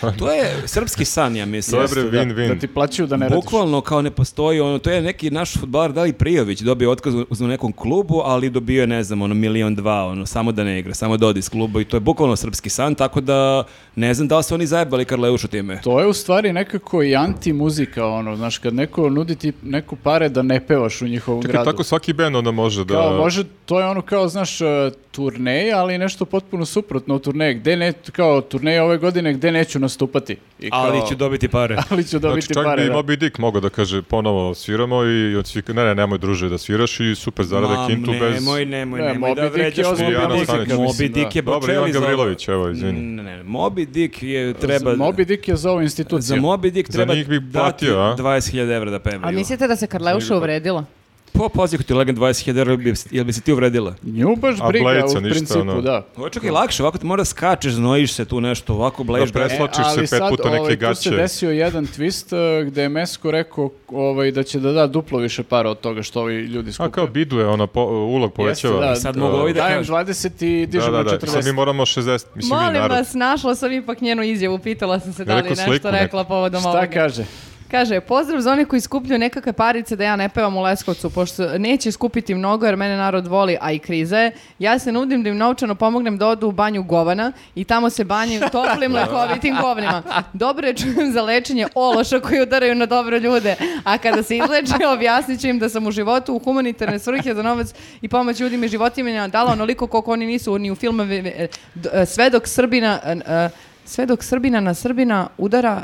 B: Pa-
A: To je srpski san, ja mislim.
B: Dobre,
D: Da,
B: win-win.
D: Da ti plaćaju da ne radiš.
A: Bukvalno kao ne postoji, ono, to je neki naš futbaler Dali Prijović dobio otkaz u, u nekom klubu, ali dobio je, ne znam, ono, milion dva, ono, samo da ne igra, samo da odi iz kluba i to je bukvalno srpski san, tako da ne znam da li su oni zajebali Karleušu time.
D: To je u stvari nekako i anti-muzika, ono, znaš, kad neko nudi ti neku pare da ne pevaš u njihovom
B: Čekaj,
D: gradu.
B: tako svaki band onda može da...
D: Kao, može, to je ono kao, znaš, e, turneja, ali nešto potpuno suprotno od turneje. Gde ne, kao, turneja ove godine gde neću nastupati. I kao,
A: Ali ću dobiti pare.
D: ali ću dobiti
B: Znači, čak
D: pare,
B: bi
D: da.
B: Moby Dick mogao da kaže ponovo sviramo i od svih, ne, ne, nemoj druže da sviraš i super zarada
A: Ma,
B: Kintu bez...
A: Nemoj, nemoj,
D: Ne,
A: nemoj da
D: Moby Dick je
A: vređaš
D: ozbiljan
A: Moby
B: Stanić,
A: Dick.
B: mislim,
A: Moby
D: da.
A: Dick je
B: Dobro, Ivan
A: počeli za ovo.
B: Gavrilović, evo, izvini.
A: Ne, ne, Moby Dick je treba...
D: Moby Dick je za ovu instituciju.
A: Za Moby Dick
B: Za
A: treba
B: njih bi
A: dati
B: platio, a?
A: 20.000 evra da
C: A
A: pevaju.
C: mislite da se Karleuša uvredila?
A: Po poziku ti legend 20.000 evra, bi- jel bi se ti uvredila?
D: Nju baš
B: A
D: briga,
B: Blejca
D: u
B: ništa,
D: principu,
B: ono.
D: da.
A: Ovo je čak i lakše, ovako ti mora skačeš, znojiš se tu nešto, ovako bleješ.
B: Da pres- Slačiš se
D: E, ali
B: pet
D: sad,
B: puta neke
D: ovaj, tu
B: gaće.
D: se desio jedan twist uh, gde je Mesko rekao ovaj, da će da da duplo više para od toga što ovi ljudi skupe.
B: A kao Bidu je ona po, ulog povećava.
D: da.
A: Sad mogu ovi da
D: Dajem
A: kažu.
D: 20 i
B: da,
D: dižemo
B: da,
D: na
B: da. Sad mi
D: 40.
B: moramo 60, mislim mi
C: Molim
B: narod.
C: vas, našla sam ipak njenu izjavu, pitala sam se da
B: Ja
C: li
B: rekao
C: je nešto
B: sliku neku.
C: rekla povodom
D: Šta
C: ovoga.
D: kaže?
C: Kaže, pozdrav za one koji skupljuju nekakve parice da ja ne pevam u Leskovcu, pošto neće skupiti mnogo jer mene narod voli, a i kriza je. Ja se nudim da im novčano pomognem da odu u banju govana i tamo se banjim toplim lekovitim govnima. Dobro je čujem za lečenje ološa koji udaraju na dobre ljude, a kada se izleče objasnit ću im da sam u životu u humanitarne svrhe za novac i pomoć ljudima i životinjama dala onoliko koliko oni nisu ni u filmove. e, d- e, Sve dok Srbina... e, e, Sve dok Srbina na Srbina udara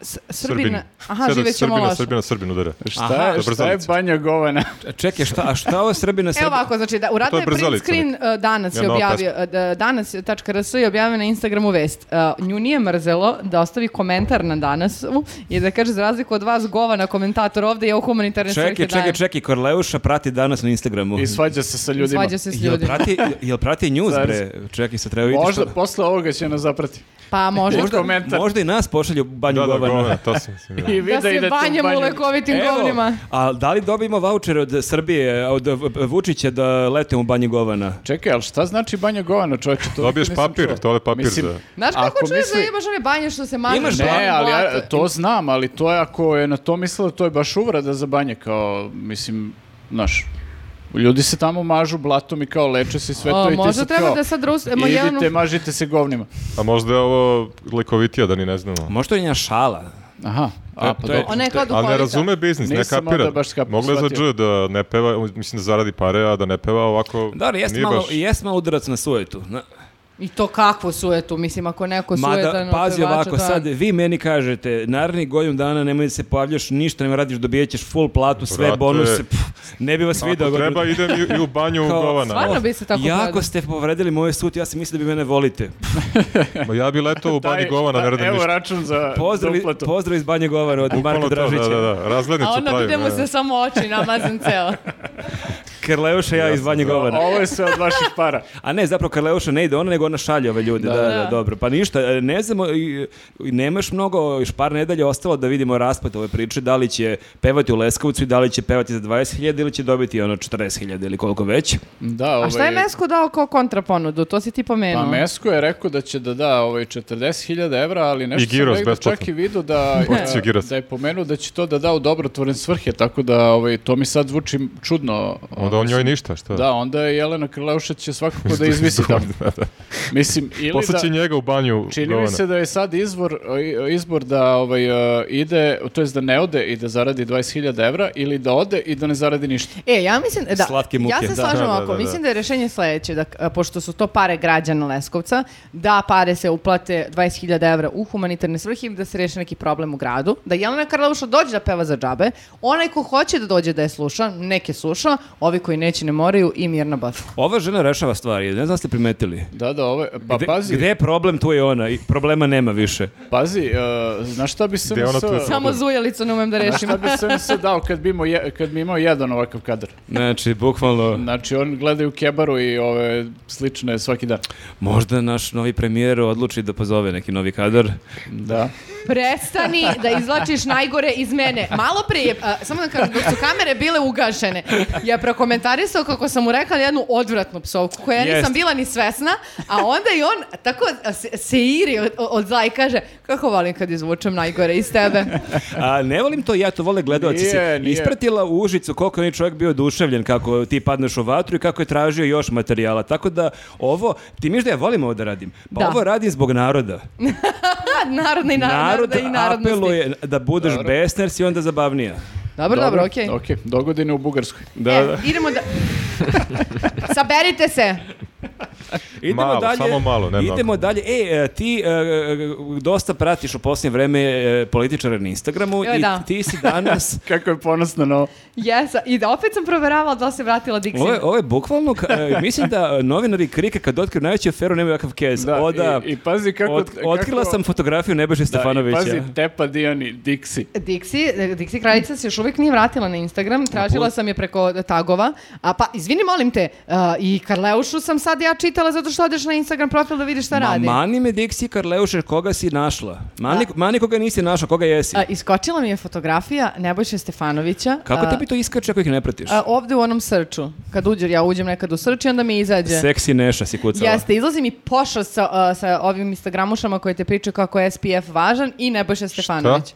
C: S- Srbina. Aha,
B: Sve dok
C: živjet ćemo
B: Srbina,
C: loše.
B: Srbina, Srbina udara.
D: Šta, je-
B: Aha.
D: šta je Banja Govana?
B: e.
A: Čekaj, šta, a šta ovo Srbina
C: Evo
A: Srbina?
C: ovako, znači, da, uradio
B: je
C: je print
B: brzalica
C: screen uh, danas
B: Ja,
C: je
B: nova
C: objavio, uh, da- danas.rs je objavio na Instagramu vest. Uh, nju nije mrzelo da ostavi komentar na danas i da kaže, za razliku od vas, govana komentator ovdje, ja u humanitarne svrhe
A: Čekaj, čekaj,
C: dajem.
A: čekaj, Korleuša prati danas na Instagramu.
D: I svađa se sa ljudima.
C: Svađa se s
A: Jel
C: ljudima.
A: prati, jel prati news,
D: Zavis.
A: bre? Čekaj, sad treba vidjeti
D: Možda
A: što...
D: posle ovoga će nas zaprati.
C: Pa možda.
D: Možda- komentar.
A: možda i nas pošalju u banju
B: Da, da,
A: govana.
B: govana, to sam mislim. da.
D: I
C: Da
D: vide
C: se
D: idete u
C: banjem u
D: banju.
C: lekovitim govnima.
A: a da li dobijemo voucher od Srbije, od V- Vučića da letimo u banji govana?
D: Čekaj, ali šta znači Banja Govana, čovječe? To
B: Dobiješ
D: nisam
B: papir,
D: čuo.
B: to je papir
D: Mislim,
B: za-
C: Znaš kako
D: ako
C: čuješ
D: misli-
C: da imaš one banje što se mažu?
A: Imaš
C: što
A: banje,
D: Ne,
C: je
D: ali ja,
C: blato?
D: to znam, ali to je ako je na to mislila, to je baš uvreda za banje, kao, mislim, znaš, ljudi se tamo mažu blatom i kao leče se i sve
C: O,
D: to i ti
C: možda
D: sad
C: treba
D: kao,
C: da sad Rus- emo,
D: idite,
C: jednu-
D: mažite se govnima.
B: A možda je ovo lekovitija da ni ne znamo.
A: Možda je nja šala.
D: Aha, a, pa
B: to je-
D: dobro.
C: Ona je kao
B: Ali
C: duhovita.
B: ne razume biznis, ne
D: Nisam
B: kapira.
D: onda baš kap-
B: Mogla je za
D: shvatio.
B: dž da ne peva, mislim da zaradi pare, a da ne peva ovako
A: Da, ali jeste
B: nije
A: malo,
B: baš.
A: jest malo udarac na sujetu. Na-
C: I to kakvu sujetu, mislim, ako neko sujetan
A: Mada,
C: od
A: pazi
C: pevača,
A: ovako,
C: to je-
A: sad vi meni kažete, naredni godinu dana nemoj da se pojavljaš, ništa ne radiš, dobijet ćeš full platu, sve
B: Brate.
A: bonuse, pff, ne bi vas
B: Ako
A: video.
B: treba idem i, i u banju u govana.
C: Stvarno? bi se tako
A: Jako
C: gledao.
A: ste povredili moje sut, ja sam mislio da bi mene volite.
B: Ma ja bi letao u banji
D: Taj-
B: govana, ne
D: taj-
B: radim
D: Pa, Evo
B: ništa.
D: račun za
A: Pozdrav,
D: za uplatu.
A: pozdrav iz Banje Govana od
B: Bukvalno
A: Marka
B: to,
A: Dražića.
B: Da, da, da, razglednicu
C: A ono
B: pravim.
C: vide mu
B: da, da.
C: se samo oči namazan ceo.
A: Karleuša ja iz Banje Govana.
D: Ovo je sve od vaših para.
A: A ne, zapravo Karleuša ne ide ona, nego ona šalje ove ljude. Da, da, dobro. Pa ništa, e, ne znamo, i- i nemaš mnogo, još par nedelja ostalo da vidimo raspad ove priče, da li će pevati u Leskovcu i da li će pevati za 20.000 ili će dobiti ono 40.000 ili koliko već.
D: Da, ovaj,
C: A šta je Mesko dao kao kontraponudu? To si ti
D: Pa
C: pomenuo.
D: Mesko je rekao da će da da ovaj 40.000 evra, ali
B: I
D: nešto
B: gyros
D: sam negde
B: besplatno.
D: čak i vidio da,
B: Porciju gyrosa.
D: da je pomenuo da će to da da u dobrotvorne svrhe, tako da ovaj, to mi sad zvuči čudno.
B: Onda o njoj ništa, šta?
D: Da, onda je Jelena Krleušić će svakako da izvisi tamo. Mislim, ili
B: Posle će
D: da-
B: njega u banju.
D: Čini mi
B: govana.
D: se da je sad izvor, izbor da ovaj, uh, ide, to jest da ne ode i da zaradi 20.000 evra ili da ode i da ne zaradi ništa.
C: E, ja mislim, da,
A: Slatke muke,
C: ja
A: da.
C: se slažem
B: Da, da,
C: ovako,
B: da, da.
C: mislim da je rešenje sledeće, da, a, pošto su to pare građana Leskovca, da pare se uplate 20.000 evra u humanitarne svrhe i da se reši neki problem u gradu, da Jelena Karlavuša dođe da peva za džabe, onaj ko hoće da dođe da je sluša, neke sluša, ovi koji neće ne moraju i mirna baš.
A: Ova žena rešava stvari, ne znam da ste primetili.
D: Da, da, ovo je- pa
A: Gde,
D: pazi,
A: gde je problem, tu je ona. I problema nema više.
D: pazi, uh, znaš šta bi se
B: Gde je ono, tu je
C: Samo zujalicu ne umem da rešim.
D: Šta bi SNS dao kad bi, imao je- kad bi imao jedan ovakav kadar?
A: Znači, bukvalno,
D: Znači, on gledaju kebaru i ove slične svaki dan.
A: možda naš novi premijer odluči da pozove neki novi kadar.
D: Da.
C: Prestani da izvlačiš najgore iz mene. Malo pre je, a, samo da kažem, dok su kamere bile ugašene, je prokomentarisao kako sam mu rekla jednu odvratnu psovku, koja ja
A: Jest.
C: nisam bila ni svesna, a onda i on tako se, se iri od, od zla i kaže kako volim kad izvučem najgore iz tebe.
A: A, ne volim to ja, to vole gledalci.
D: Nije,
A: Si
D: nije.
A: Ispratila u Užicu koliko je onaj čovjek bio oduševljen kako ti padneš u vatru i kako je tražio još materijala. Tako da ovo, ti miš da ja volim ovo da radim? Pa
C: Da.
A: ovo radim zbog naroda.
C: A, Pa, Narodni na,
A: Narod
C: naroda i narodnosti.
A: apeluje da budeš besner, si onda zabavnija.
C: Dobro, dobro, okej.
D: Ok, dogodine u Bugarskoj.
A: Da,
C: E,
A: da.
C: idemo da... Saberite se.
A: Idemo
B: Malo,
A: dalje.
B: samo malo, ne
A: Idemo dalje. E, e, ti e, e, dosta pratiš u posljednje vreme e, političare na Instagramu
C: Joj,
A: i
C: da.
A: ti si danas
D: Kako je ponosno na ovo.
C: Jesa, i da opet sam proveravala da li se vratila Dixie.
A: Ovo je, ovo je bukvalno, ka- e, mislim da e, novinari krike kad otkriju najveću aferu nemaju kakav kez.
D: Da,
A: o, da,
D: i, i pazi kako...
A: Ot- otkrila
D: kako-
A: sam fotografiju Nebojše
D: Da, i
A: Stefanovića.
D: pazi, Tepa Dijani, Dixi.
C: Dixi, e, Dixi kraljica se još uvijek nije vratila na Instagram, tražila sam je preko e, tagova, a pa, izvini molim te, uh, i Karleušu sam sad ja čitala zato što odeš na Instagram profil da vidiš šta
A: Ma,
C: radi.
A: mani me Dixi Karleuše, koga si našla? Mani, mani koga nisi našla, koga jesi?
C: A, E, iskočila mi je fotografija Nebojše Stefanovića.
A: Kako
C: a,
A: tebi to iskače ako ih ne pratiš?
C: a, ovde u onom srču, kad uđer, ja uđem nekad u srč i onda mi izađe.
A: Seksi Neša si kucala.
C: Jeste, izlazi mi pošast sa, a, sa ovim Instagramušama koje te pričaju kako je SPF važan i Nebojša Stefanović.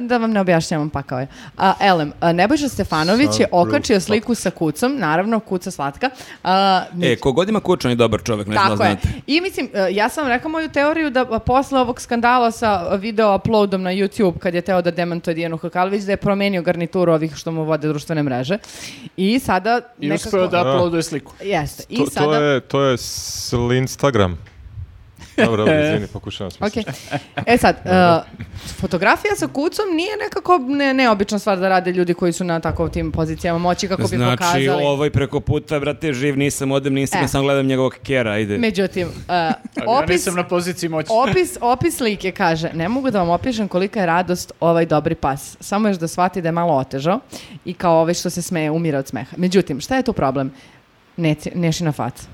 C: Da vam ne objašnjavam, pakao je. A, elem, a, Nebojša Stefanović je okačio sliku sa kucom, naravno, kuca slatka. A,
A: E, kogod ima kućan je dobar čovjek, ne znam,
C: Tako je.
A: znate.
C: I mislim, e, ja sam vam rekla moju teoriju da a, posle ovog skandala sa video uploadom na YouTube, kad je teo da demantuje Dijanu Hrkalović, da je promenio garnituru ovih što mu vode društvene mreže. I sada
D: I
C: nekako...
D: uspeo da
B: Da.
D: uploaduje sliku.
C: Jeste. I
B: To,
C: sada...
B: to je, to je Instagram. Dobro, dobro, izvini, pokušavam smisla.
C: Ok. E sad, e, fotografija sa kucom nije nekako ne, neobična stvar da rade ljudi koji su na tako tim pozicijama moći kako bi
A: Znači,
C: pokazali.
A: ovaj preko puta, brate, živ nisam, odem na Instagram,
C: E.
A: samo gledam njegovog kera, ajde.
C: Međutim, e,
D: Ali ja
C: opis,
D: nisam na poziciji moći.
C: opis, opis slike kaže, ne mogu da vam opišem kolika je radost ovaj dobri pas. Samo još da shvati da je malo otežao i kao ovaj što se smeje, umira od smeha. Međutim, šta je tu problem? Neci, nešina faca.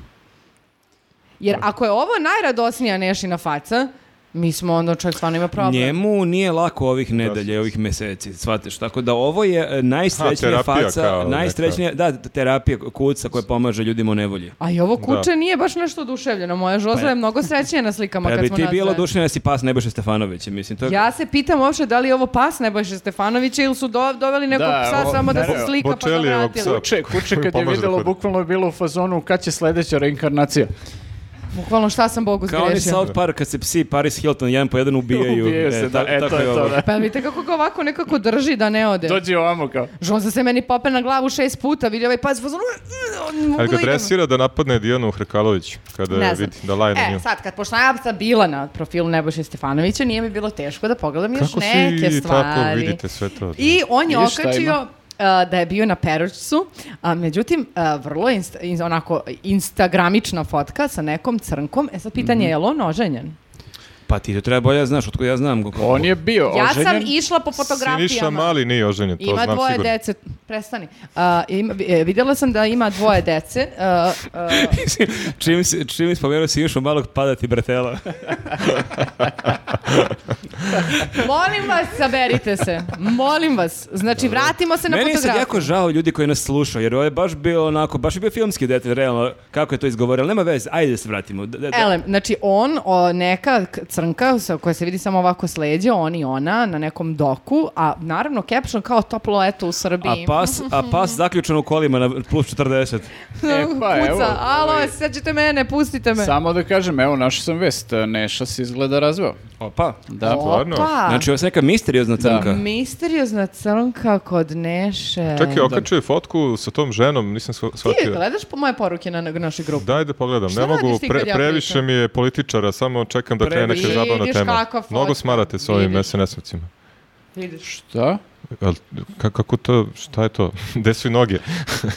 C: Jer ako je ovo najradosnija nešina faca, mi smo onda čovjek stvarno ima problem.
A: Njemu nije lako ovih nedelje, ovih meseci, shvateš. Tako da ovo je e, najsrećnija
B: Ha, terapija kao
A: faca,
B: neka.
A: najsrećnija, da, terapija kuca koja pomaže ljudima u nevolji.
C: A i ovo kuće
B: Da. Pa
C: nije baš nešto oduševljeno. Moja žoza je mnogo srećnija na slikama
A: Pa
C: kad
A: bi
C: smo
A: ti bilo
C: nazvali.
A: dušno da si pas Nebojše Stefanovića, mislim, to je...
C: Ja se pitam uopšte da li je ovo pas Nebojše Stefanovića ili su do, doveli nekog
D: Da,
C: psa
D: ovo-
C: samo da se
D: naravno,
C: slika pa ga
B: Bočelijevog
C: vratili.
B: psa.
D: Kuče, kuče kad je
B: Pomaže da
D: videlo,
B: hoda.
D: bukvalno je bilo u fazonu kad će sledeća reinkarnacija.
C: Bukvalno šta sam Bogu
A: Kao oni
C: zgrešio.
A: South Park, kad se psi Paris Hilton jedan po jedan ubijaju.
D: Ubijaju se, da, e, to
A: tako
D: je to,
A: ovo.
D: da.
C: Pa vidite kako ga ovako nekako drži da ne ode.
D: Dođi ovamo kao.
C: Žoza se meni pope na glavu šest puta, vidi ovaj pas, fazon, mogu
B: Ali
C: da
B: ga
C: idem.
B: dresira da napadne Dijanu Hrkalović kada
C: Ne
B: je
C: znam.
B: vidi, da laje na nju.
C: E, sad, kad pošto ja sam bila na profilu Nebojše Stefanovića, nije mi bilo teško da pogledam još
B: Kako
C: neke
B: svi
C: stvari.
B: tako vidite sve to?
C: I on je
D: I šta
C: okačio
D: ima?
C: uh, da je bio na Peručcu, a međutim, uh, vrlo je inst- ins- onako instagramična fotka sa nekom crnkom. E sad pitanje je, je li on oženjen?
A: Pa ti to treba bolje da znaš, otko ja znam. Kako.
D: On je bio
C: Ja
D: Pa oženjen.
C: sam išla po fotografijama.
B: Siniša Mali nije oženjen, to
C: Ima
B: znam
C: dvoje
B: sigurno.
C: dece, prestani. A, ima, e, vidjela sam da ima dvoje dece. e, a, a,
A: čim, si- čim spomenuo si išao malog padati bretela.
C: molim vas, saberite se. Molim vas. Znači, vratimo se na
A: Meni je sad
C: fotografiju.
A: jako žao ljudi koji nas slušaju, jer ovo je baš bio onako, baš je bio filmski detalj, realno, kako je to izgovorio, ali nema veze, ajde da se vratimo. Da, da, da.
C: Elem, znači on, o, neka k- crnka sa- koja se vidi samo ovako s leđa, on i ona na nekom doku, a naravno caption kao toplo leto u
A: A pa,
C: Srbiji.
A: pas, a pas zaključan u kolima na plus 40.
D: E, pa,
C: Kuca,
D: evo,
C: alo,
D: ovaj-
C: sad ćete mene, pustite me.
D: Samo da kažem, evo, našao sam vest, Neša se izgleda razveo.
A: Opa.
D: Da,
B: stvarno?
C: Opa!
A: Znači, ovo je neka misteriozna crnka.
C: Pa, Misteriozna crnka kod Neše.
B: Čekaj, okačio je fotku sa tom ženom, nisam shva-
C: Ti
B: shvatio.
C: gledaš po moje poruke na na našoj grupi.
B: Daj da pogledam,
C: Šta
B: ne mogu,
C: radiš ti
B: pre-
C: kad ja
B: previše
C: pričam?
B: mi je političara, samo čekam da krene neka
A: Previše.
B: zabavna
C: Vidiš
B: tema.
C: kakva fotka.
B: Mnogo smarate s ovim
C: Vidiš.
B: SNS-ovcima.
C: Vidiš.
D: Šta?
B: Jel- ka- Kako to, šta je to? Gde su i noge?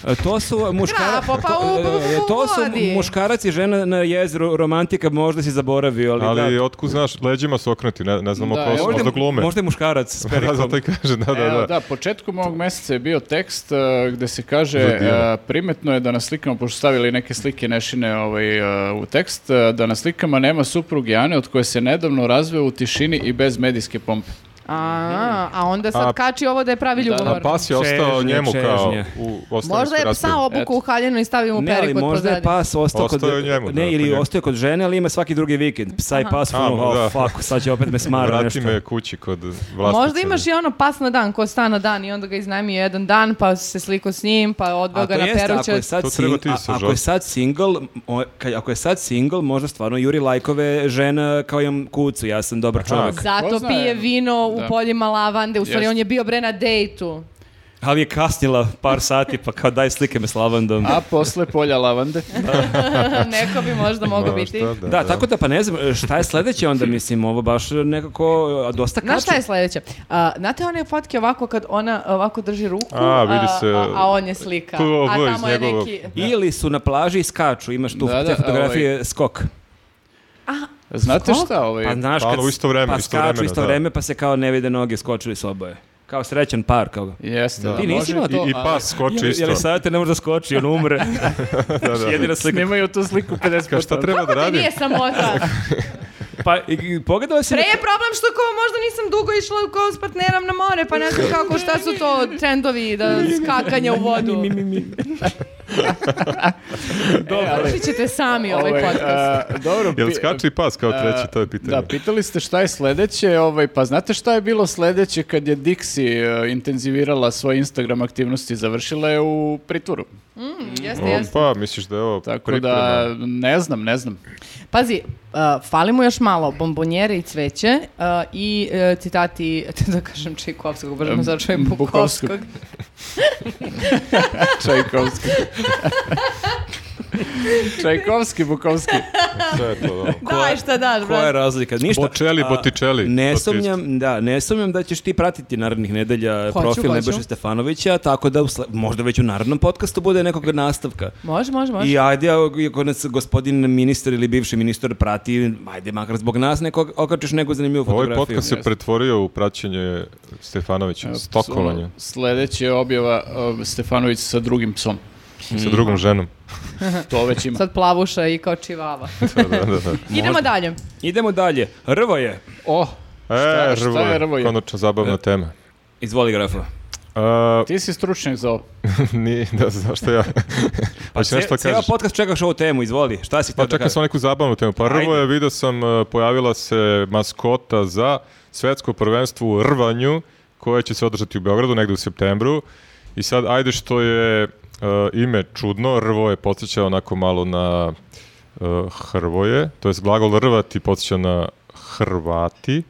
A: E, To su muškara... e,
C: Grapo, pa u- u- u- u
A: to su
C: vodi.
A: muškarac i žena na jezeru romantika, možda si zaboravio, ali,
B: Ali
A: da.
B: otkud znaš, leđima su okrenuti, ne, ne znamo
D: Da,
B: ko su,
D: evo,
A: Možda,
B: možda glume.
A: možda je muškarac s perikom.
B: Da, zato i kaže, da, da,
D: Evo,
B: da.
D: da, početkom ovog meseca je bio tekst uh, gde se kaže
B: Za divan.
D: uh, primetno je da na slikama, pošto su stavili neke slike Nešine ovaj, uh, u tekst, uh, da na slikama nema supruge Ane od koje se nedavno razveo u tišini i bez medijske pompe.
C: A, a onda sad
B: A- pa,
C: kači ovo da je pravi
B: A
C: ljubavar.
B: pas je ostao
A: Čežnje,
B: njemu kao
A: čežnje.
B: u ostavinsku
C: Možda je psa obuku u haljinu i stavio mu
A: Ne, ali
C: perik od
A: možda je
C: pozadi.
A: pas ostao kod...
B: Ostao je njemu, da,
A: ne, ili
B: kod njega.
A: ostao je kod žene, ali ima svaki drugi vikend. Psa i pas,
B: Aha.
A: ono,
B: A,
A: "O,
B: da.
A: fuck, sad će opet me smara
B: Vrati
A: nešto.
B: me kući kod vlasnice.
C: Možda imaš i ono pas na dan, ko sta na dan i onda ga iznajmio jedan dan, pa se sliko s njim, pa odveo
A: A to
C: ga na
A: jeste, ako je
C: peruće.
A: sad,
B: To treba
A: sing-
B: ti
A: a-
B: sa
A: ako
B: žal-
A: je sad single, o- kad- ako je sad single, možda stvarno juri lajkove žena kao imam kucu, ja sam dobar čovjek.
C: Zato
D: Ko zna,
C: pije
D: evo.
C: vino u
D: Da.
C: poljima lavande, u stvari
D: Jeste.
C: on je bio bre na dejtu.
A: Ali je kasnila par sati, pa kao daj slike me s lavandom.
D: A posle polja lavande.
C: Neko bi možda mogao biti.
B: Možda,
A: Da, tako da pa ne znam šta je sledeće onda, mislim, ovo baš nekako a, dosta kači.
C: Znaš šta je sledeće? A, znate one fotke ovako kad ona ovako drži ruku,
B: A, vidi se-
C: a, a on je slika.
B: Tu je ovo
C: a
B: iz
C: tamo je
B: njegovog-
C: neki...
A: Ili su na plaži i skaču, imaš tu
D: Da,
A: te
D: da,
A: fotografije skok.
D: Znate
C: Skok?
D: šta? Ovaj,
A: Pa znaš
B: Pa
A: kad
B: ono u isto vreme,
A: pa
B: isto
A: skaču
B: vremeno,
A: isto
B: da.
A: vreme pa se kao ne vide noge, skočili su oboje. Kao srećan par kao.
D: Jeste, da.
A: Ti nisi
D: može
A: imala
D: to,
B: I, I
D: ali-
B: pas skoči isto.
A: Jel sad te ne može da skoči, on umre.
B: Pa Da, da.
A: Jedina slika.
D: Snimaju tu sliku 50
B: Kao šta treba da
C: Kako te
B: radim?
C: nije sramota?
A: Pa i, i pogledala si
C: Pre je problem što kao možda nisam dugo išla kao s partnerom na more, pa ne znam kako šta su to trendovi da skakanje u vodu. Vršit ćete sami ovaj
D: Ovaj,
C: podcast.
D: a, dobro,
B: Jel
D: pi-
B: skače i pas kao treći, to je pitanje.
D: E, Da, pitali ste šta je sledeće, ovaj, pa znate šta je bilo sledeće kad je Dixi e, intenzivirala svoje Instagram aktivnosti, završila je u pritvoru.
C: Mm, jeste,
B: O,
C: jeste.
B: pa, misliš da je ovo
D: Tako
B: priprema?
D: da, ne znam, ne znam.
C: Pazi, uh, fali mu još malo bombonjere i cveće uh, i uh, citati, da kažem Čajkovskog, brzo me
D: Em,
C: začujem
D: Bukovskog.
C: Bukovskog.
D: Čajkovski. Čajkovski, Bukovski.
B: Sve je to, da.
C: Daj šta daš,
A: Koja je
C: brate.
A: razlika? Ništa.
B: Bocelli,
A: A,
B: Botticelli, to
A: Ne
B: ti
A: sumnjam, da, ne sumnjam da ćeš ti pratiti narednih nedelja
C: Hoću,
A: profil
C: hoću.
A: Nebojše Stefanovića, tako da usle- možda već u narednom podcastu bude nekog nastavka.
C: Može, može, može.
A: I ajde, ako nas gospodin ministar ili bivši ministar prati, ajde, makar zbog nas nekog okačeš neku zanimljivu
B: Ovaj
A: fotografiju.
B: podcast se pretvorio u praćenje Stefanovića, stokovanje
D: Sledeće je objava e, Stefanović sa drugim psom.
B: sa
A: Mhm.
B: drugom ženom.
D: To već ima.
C: Sad plavuša i kao čivava.
B: Da, da, da, da.
C: Idemo dalje.
A: Idemo dalje. Rvo je.
D: O,
B: E,
D: Šta- šta
B: Rvoje,
D: je Rvoje?
B: konačno zabavna tema.
A: Izvoli grafa.
B: A,
D: ti si stručnjak za ovo.
B: ni, da, zašto no, ja? Pa
A: Ce-
B: nešto da
A: ceo
B: kažeš.
A: podcast čekaš ovu temu, izvoli. Šta si
B: Pa
A: htio da
B: čekaj
A: kažeš?
B: samo neku zabavnu temu. Pa
A: Ajde.
B: Rvo je, vidio sam, e, pojavila se maskota za svetsko prvenstvo u rvanju, koje će se održati u Beogradu negde u septembru. I sad, ajde što je e, ime čudno, Rvo je podsjeća onako malo na e, Hrvoje, to je glagol rvati podsjeća na Hrvati,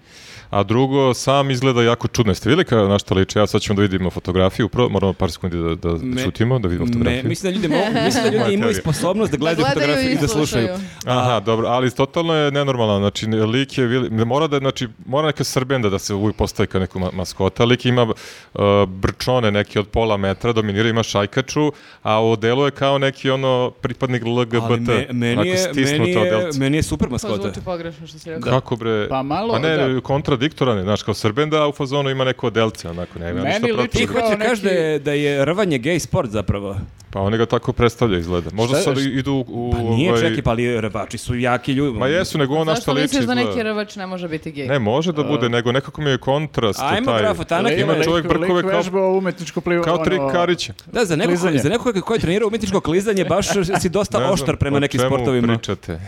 B: a drugo, sam izgleda jako čudno. Jeste vidjeli kao na što liče? Ja sad ćemo da vidimo fotografiju, prvo moramo par sekundi da, da
A: Me-
B: ćutimo, da vidimo
A: Ne,
B: fotografiju.
A: mislim da ljudi, mogu, mislim da
B: Moja
A: ljudi imaju
B: teorija.
A: sposobnost da gledaju,
C: gledaju
A: fotografiju
C: i
A: i da slušaju.
C: slušaju.
B: Aha, dobro, ali totalno je nenormalan, znači ne- lik je, vili- ne, mora da, znači, mora neka srbenda da se uvijek postavi kao neku ma- maskota, lik ima uh, brčone neke od pola metra, dominira, ima šajkaču, a u delu je kao neki ono pripadnik
A: Ali
B: LGBT,
A: me- meni, je,
B: onako
A: meni,
B: stisnuto
A: je,
B: odelce.
A: meni je super
C: To
A: maskota.
C: zvuči pogrešno što si rekao.
B: Kako bre?
D: Pa malo,
B: Pa ne,
D: da.
B: kontradiktoran je, znaš, kao srbenda, a u fazonu ima neko odelce, onako, ne, nema
D: Meni
B: ništa
D: liči
B: protiv.
A: Ti
D: Kao
A: hoće
D: neki-
A: kaži da je, da je rvanje gej sport zapravo.
B: Pa Pa oni ga tako predstavlja izgleda. Možda
D: Šta je-
B: sad
D: šta-
B: idu u... u
A: Pa nije,
B: ovaj-
A: čekaj, pa ali rvači su jaki ljudi.
B: Ma jesu, nego ona
C: Pa Zašto
B: šta liči
C: misliš da
B: izgleda.
C: neki rvač ne može biti gej?
B: Ne, može da bude, nego nekako mi je kontrast.
A: E, Ajmo,
B: taj,
A: grafo, tanak
B: ima
A: je.
B: čovjek brkove kao,
D: vežbao umetničko ono- plivanje.
B: kao tri kariće.
A: Da, za nekog,
D: Klizanje.
A: za nekog koji trenira umetničko klizanje, baš si dosta
B: Ne znam
A: oštar prema
B: o
A: nekim
B: čemu
A: sportovima.
B: pričate.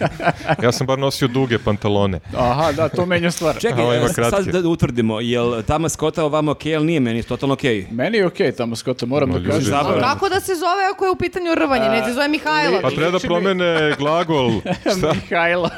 B: Ja sam bar nosio duge pantalone.
D: Aha, da, to menja stvar.
A: Čekaj,
B: A ovaj
A: e,
B: ima
A: s- sad
B: kratke.
A: da utvrdimo, jel ta maskota ovamo okej ili nije meni, totalno okej.
D: Meni je okej tamo skota, moram
B: Ma,
D: da
B: ljudi,
D: kažem.
A: zabavno.
C: A kako da se zove ako je u pitanju rvanje? Ne se zove Mihajlo.
B: Pa treba da
D: Liči mi-
B: promene glagol. Šta?
D: Mihajlo.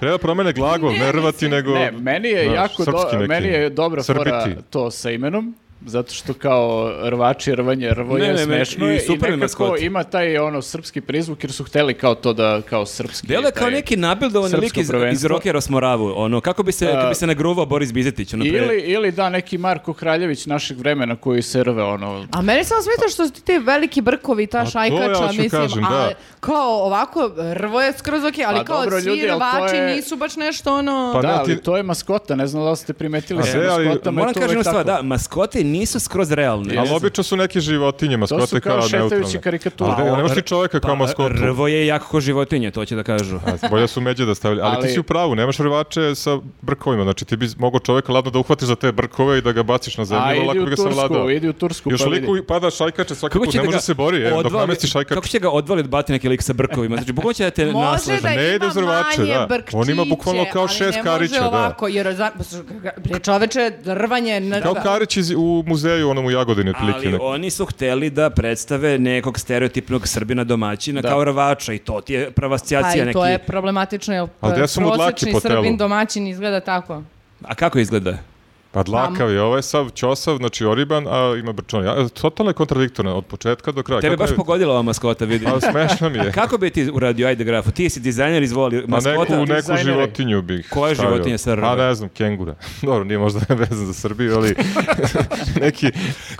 B: Treba da promene glagol, ne rvati, nego...
D: Ne, meni je
B: znaš,
D: jako do,
B: srpski neki.
D: meni je dobra fora
B: Srbiti.
D: to sa imenom. Zato što kao rvači, rvanje, rvo
A: Ne,
D: je
A: ne, ne,
D: smešno
A: i
D: je i
A: super je
D: nekako
A: maskot.
D: ima taj ono srpski prizvuk jer su hteli kao to da kao srpski.
A: Delo je kao
D: taj-
A: neki nabildovan lik
D: srpsko
A: iz, iz
D: prvenstvo.
A: Rokera Smoravu, ono, kako bi se, kako bi se nagruvao Boris Bizetić, ono, pre-
D: Ili, ili da neki Marko Kraljević našeg vremena koji se rve ono
C: A meni samo smeta što su ti veliki brkovi i ta
B: to
C: šajkača,
B: ja ću
C: mislim,
B: kažem,
C: a
B: da.
C: kao ovako, rvo je skroz okej, ali
D: Pa
C: kao
D: dobro,
C: svi
D: ljudi, ali to
C: rvači
D: je-
C: nisu baš nešto ono...
B: Pa
D: da,
B: ne,
D: ali
B: ti-
D: to je maskota, ne znam da li ste primetili
B: A
D: sa
B: sve, ali
D: maskotama. je
A: Moram
D: to
A: kažem jednu
D: uvek
A: stvar, da,
D: tako.
A: maskote nisu skroz realne.
B: Ali obično su neke životinje,
D: To su
B: maskote
D: kao
B: kao
D: šetajući
B: neutralne.
D: karikature.
B: Ali ne, ne možeš ti čoveka
A: Pa,
B: kao maskotu.
A: Rvo je jako ko životinje, to će da kažu.
B: A, Bolje su međe da stavljaju. Ali,
D: Ali-
B: ti si u pravu, nemaš rivače sa brkovima. Znači ti bi mogao čoveka ladno da uhvatiš za te brkove i da ga baciš na zemlju,
D: A
B: lako
D: idi
B: bi
D: u
B: ga sam
D: Tursku,
B: vladao.
D: idi u Tursku
B: Još
D: pa vidi.
B: liku pada šajkače svaki put, ne može da se bori, e, dok
A: odvali-
B: namesti šajkač.
A: Kako će ga odvaliti bati neki lik sa brkovima? Znači, bukvalno će da te
C: Može
A: naslaže.
C: da
B: Ne
C: ima
B: ide uz rvače,
C: manje
B: da.
C: brkčiće,
B: On ima bukvalno kao
C: ali
B: šest
C: ne
B: karića,
C: može
B: da.
C: ovako, jer za, bre, čoveče, rvanje... Na,
B: Kao Karić iz- u muzeju, onom u Jagodini, otprilike.
A: Ali
B: neko.
A: oni su hteli da predstave nekog stereotipnog srbina domaćina
D: Da.
A: kao rvača i to ti je prva
C: Pa
A: asocijacija
C: i
A: neki.
C: to je problematično, jer
B: Ali ja sam od Laki
C: prosječni
B: po telu.
C: srbin domaćin izgleda tako.
A: A kako izgleda?
B: Pa dlakav je, ovaj je sav ćosav, znači oriban, a ima brčone. Ja, totalno je kontradiktorno, od početka do kraja.
A: Tebe
B: Pa Kako
A: baš
B: je-
A: pogodila ova maskota, vidi.
B: Pa smešno mi je.
A: Kako bi ti uradio, ajde grafu, ti si dizajner, izvoli
B: Ma
A: maskota.
B: neku, neku
D: dizajnere.
B: životinju bih
A: Koje
B: stavio.
A: životinje sa rve?
B: Pa ne znam, kengura. Dobro, nije možda vezan za Srbiju, ali neki...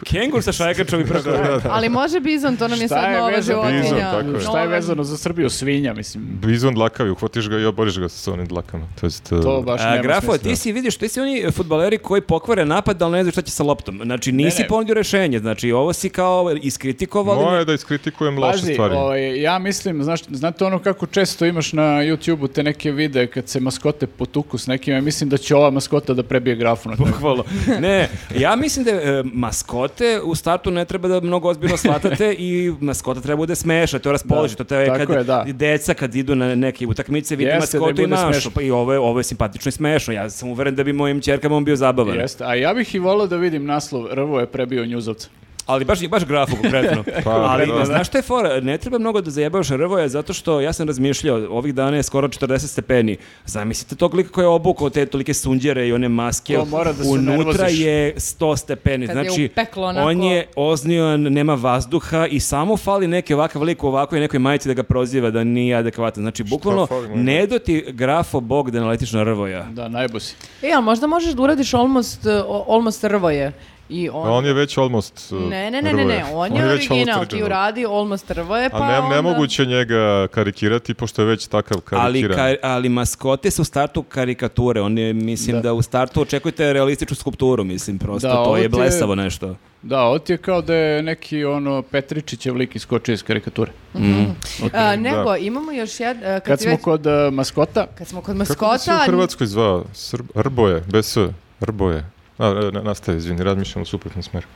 A: Kengur sa šajkačom i
B: Da, da,
A: brkovima.
B: da.
C: Ali može bizon, to nam je
D: Šta
C: E sad
D: je
C: nova
D: vezano-
C: životinja.
B: Bizon, tako je.
D: Šta je
C: Nova-
D: vezano za Srbiju? Svinja, mislim.
B: Bizon dlakavi, uhvatiš ga i oboriš ga sa onim dlakama. To jest, e,
D: To
B: to
D: baš
A: A,
D: nema
A: grafo,
D: smisla.
A: ti si, vidiš, ti si oni futbaleri koji pokvare napad, ali ne znaju šta će sa loptom. Znači, nisi
D: Ne, ne.
A: ponudio rešenje, znači, ovo si kao iskritikovao. ali
B: Moje je da iskritikujem loše
D: Pazi,
B: stvari.
D: ovaj, ja mislim, znaš, znate ono kako često imaš na YouTube-u te neke videe kad se maskote potuku s nekim, ja mislim da će ova maskota da prebije grafu na tebe.
A: Bukvalno. Ne, ja mislim da e, maskote u startu ne treba da mnogo ozbiljno shvatate i maskota treba bude smeša, to je raspoložito. To je
D: tako
A: kad
D: je, da.
A: deca kad idu na neke utakmice, vidi
D: Jeste, da im
A: maskotu i
D: bude
A: našu.
D: smešno.
A: Pa i ovo je, ovo je simpatično i smešno. Ja sam uveren da bi mojim čerkama on bio zabavan.
D: Jeste, a ja bih i volao da vidim naslov Rvo je prebio njuzovca.
A: Ali baš, baš grafu konkretno.
B: Pa,
A: Ali
B: da.
A: znaš šta je fora? Ne treba mnogo da zajebavaš Rvoja zato što ja sam razmišljao, ovih dana je skoro 40 stepeni. Zamislite tog lika koji je obukao te tolike sunđere i one maske.
D: To mora da se
A: Unutra
D: nervoziš.
A: je 100 stepeni.
C: Kad je
A: znači,
C: upeklo onako.
A: on je oznioan, nema vazduha i samo fali neki ovakav lik u ovakvoj nekoj majici da ga proziva da nije adekvatan. Znači, bukvalno
B: fali, molim?
A: ne doti grafo bog da naletiš na Rvoja.
D: Da, najbosi.
C: E, ali možda možeš da uradiš almost, uh, almost rvoje. I on...
B: A on je već almost uh,
C: Ne, ne, ne, ne,
B: rvoje.
C: ne, on je
B: već ono.
C: original, ti
B: original.
C: uradi almost rvoje, pa
B: A ne,
C: onda...
B: nemoguće njega karikirati, pošto je već takav
A: Ali,
B: karikiran.
A: ka- ali maskote su u startu karikature, on je, mislim da.
D: Da.
A: u startu očekujete realističnu skulpturu, mislim, prosto,
D: Da,
A: to
D: ovo
A: je
D: ti je-
A: blesavo nešto.
D: Da, ovo ti je kao da je neki ono Petričićev lik iskočio iz karikature.
A: Mm.
C: A, nego, imamo još jedan... kad,
D: Kad
C: si
D: smo
C: već-
D: kod e, maskota,
C: kad smo kod
B: Kako bi se u
C: maskota...
B: Hrvatskoj zvao? Srb- Rboje, bez S, Rboje. A, e, na- nastavi, izvini, razmišljam u suprotnom smeru.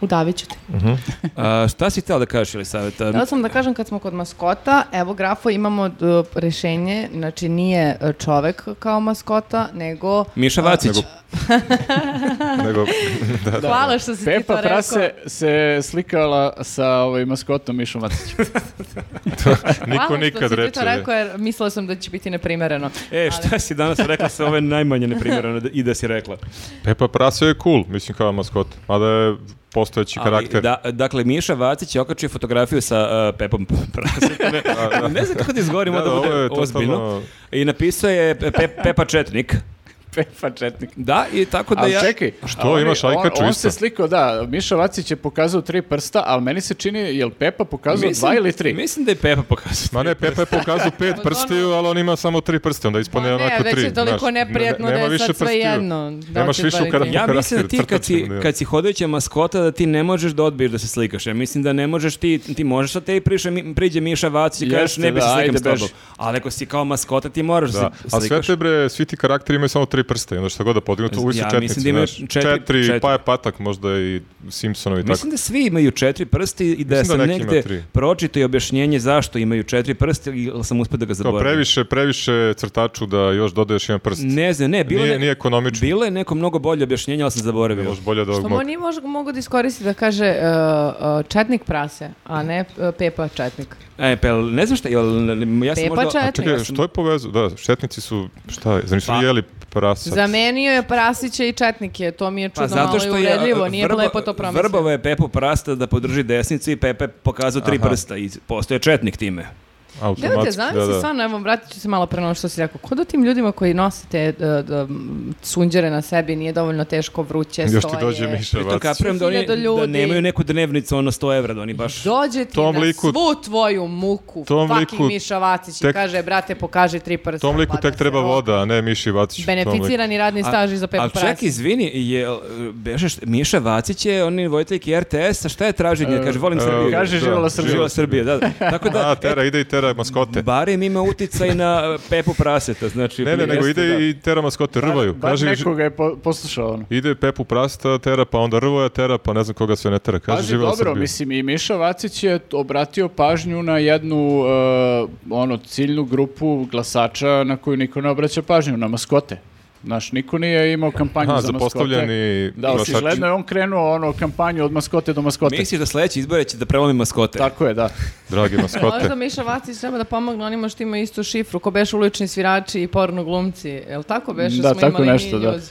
C: Udavit ću te.
A: A, šta si htjela da kažeš ili savjeta?
C: Htjela sam da kažem kad smo kod maskota, evo grafo imamo d- rješenje, znači nije e, čovek kao maskota, nego...
A: Miša Vacić.
B: Nego- Nego, da, da.
C: Hvala što si ti to
D: Pepa
C: rekao.
D: Prase se slikala sa ovaj maskotom Mišom Vacićem.
B: niko
C: Hvala
B: nikad
C: što si ti
B: reče.
C: to rekao jer mislila sam da će biti neprimereno.
A: E, šta si danas rekla sa ove najmanje neprimjereno da- i da si rekla?
B: Pepa Prase je cool, mislim kao maskot, mada je postojeći karakter.
A: Da, dakle, Miša Vacić je okačio fotografiju sa uh, Pepom Prasetom. Ne, ne znam kako da izgovorim,
B: Da,
A: da,
B: da, ovo
A: bude
B: je totalno-
A: ozbiljno. I napisao je Pe- Pepa Četnik.
D: Pepa Četnik.
A: Da, i tako Pa da
D: ali
A: ja...
D: čekaj,
B: Što,
D: on-
B: imaš
D: on-
B: ajkaču
D: On
B: isto?
D: se slikao, da, Miša Vacić je pokazao tri prsta, ali meni se čini, jel Pepa pokazao dva ili tri?
A: Mislim da je Pepa pokazao.
B: Ma ne, Pepe je pokazao pet prstiju, ali on ima samo tri prste, onda
C: Pa
B: ispadne onako
C: već
B: tri.
C: je toliko
B: znaš, ne-
C: neprijatno
B: nema
C: da je
B: više
C: sad sve
B: prstiju.
C: jedno. Da
B: Nemaš
C: li
B: više
C: bar
B: u karakteru.
A: E, Ja
B: Karakter,
A: mislim da ti kad si,
B: crtačima, da.
A: kad si hodajuća maskota da ti ne možeš da odbiješ da se slikaš. Ja mislim da ne možeš ti, ti možeš da te i priše, mi- priđe Miša Vacić i kažeš
D: Jeste,
A: ne bi
D: da,
A: se slikam
D: ajde,
A: s tobom.
D: beži.
A: Ali ako si kao maskota ti moraš da,
B: Da.
A: se
B: A sve
A: slikaš.
B: te bre, svi ti karakteri imaju samo tri prste, i onda šta god da podignu, to
A: Ja
B: uvijek su četnici,
A: mislim da imaju
B: znaš.
A: četiri- četiri.
B: pa je patak možda i Simpsonovi i tako.
A: Mislim da svi imaju četiri prsti i da
B: Mislim da
A: sam
B: neki ima
A: negde
B: tri.
A: pročito i objašnjenje zašto imaju četiri prste i sam uspio da ga
B: To
A: zaboravim.
B: previše, previše crtaču da još dodaješ jedan prst.
A: Ne znam, ne, bilo,
B: Nije-
A: je,
B: nije ekonomično.
A: bilo je neko mnogo bolje objašnjenje, ali sam zaboravio.
B: Još bolje da
C: Što
B: ovog
C: mu
B: mog.
C: oni mož- mogu da iskoristi da kaže e, e, četnik prase, a ne e, Pepa četnik.
A: E, pa jel- ne znam šta, jel, ja sam
C: Pepa
A: možda...
C: Četnik.
B: Čekaj, što je povezu? Da, šetnici su, šta je, zar
A: Pa,
B: nisu jeli prasad?
C: Zamenio je prasića i četnike, to
B: Pa
C: mi je
A: Pa
C: čudno malo i uvredljivo,
B: e,
C: nije lepo to promislio.
A: Vrbava je Pepu prasta da podrži desnicu i Pepe pokazao tri
B: Aha.
A: prsta i postoje četnik time.
C: Da, te,
B: Automatski,
C: znam
B: da,
C: se
B: da.
C: stvarno, evo, vratit ću se malo pre na ono što si rekao. Kuda tim ljudima koji nosite uh, sunđere na sebi nije dovoljno teško vruće,
B: Još ti
C: stoje?
B: dođe Miša
A: Pritom
B: Vacić.
A: kapiram da, oni,
C: 1000 ljudi.
A: da nemaju neku dnevnicu, ono 100 evra, da oni baš...
C: Dođe ti
B: Tom
C: na
B: liku-
C: svu tvoju muku,
B: Tom
C: fucking
B: liku
C: Miša Vacić i
B: tek-
C: kaže, brate, pokaži tri prsta.
B: Tom liku
C: pa da
B: tek
C: se
B: treba
C: ono-
B: voda, a ne Miši Vaciću. tom liku. E,
C: Beneficirani radni staž i Mhm. za Pepa
A: Ali
C: Prasa.
A: čak, izvini, je, beše, št- Miša Vacić je, on je vojitelj RTS, a šta je traženje? Kaže, volim
B: e,
A: Srbiju.
D: kaže,
B: da,
D: živela Srbija.
A: Živela Srbija, da. da. Tako da,
B: A, tera, ide i tera maskote.
A: barem ima uticaj na e, Pepu Praseta, znači...
B: Ne, ne, nego
A: jeste, da.
B: ide i tera maskote, rvaju.
D: Bar
B: Kaže, ž-
D: nekoga je po- poslušao ono.
B: ide Pepu prasta, tera, pa onda rvoja, tera, pa ne znam koga sve ne tera. Kaže,
D: Pazi,
B: živela
D: dobro,
B: Srbija.
D: mislim, i Miša Vacić je t- obratio pažnju na jednu e, ono, ciljnu grupu glasača na koju niko ne obraća pažnju, na maskote. Znaš, niko nije imao kampanju
B: Aha,
D: za
B: zapostavljeni
D: maskote. Da,
B: glasači.
D: očigledno je on krenuo ono kampanju od maskote do maskote.
A: Misliš da sledeći izbore će da prelomi maskote?
D: Tako je, da.
B: Dragi maskote.
C: Možda Miša Vacić treba da pomogne onima što imaju istu šifru, ko beše ulični svirači i porno glumci. Jel tako beše?
D: Da,
C: Smo
D: tako
C: imali
D: nešto,
C: mi
D: da.
C: news.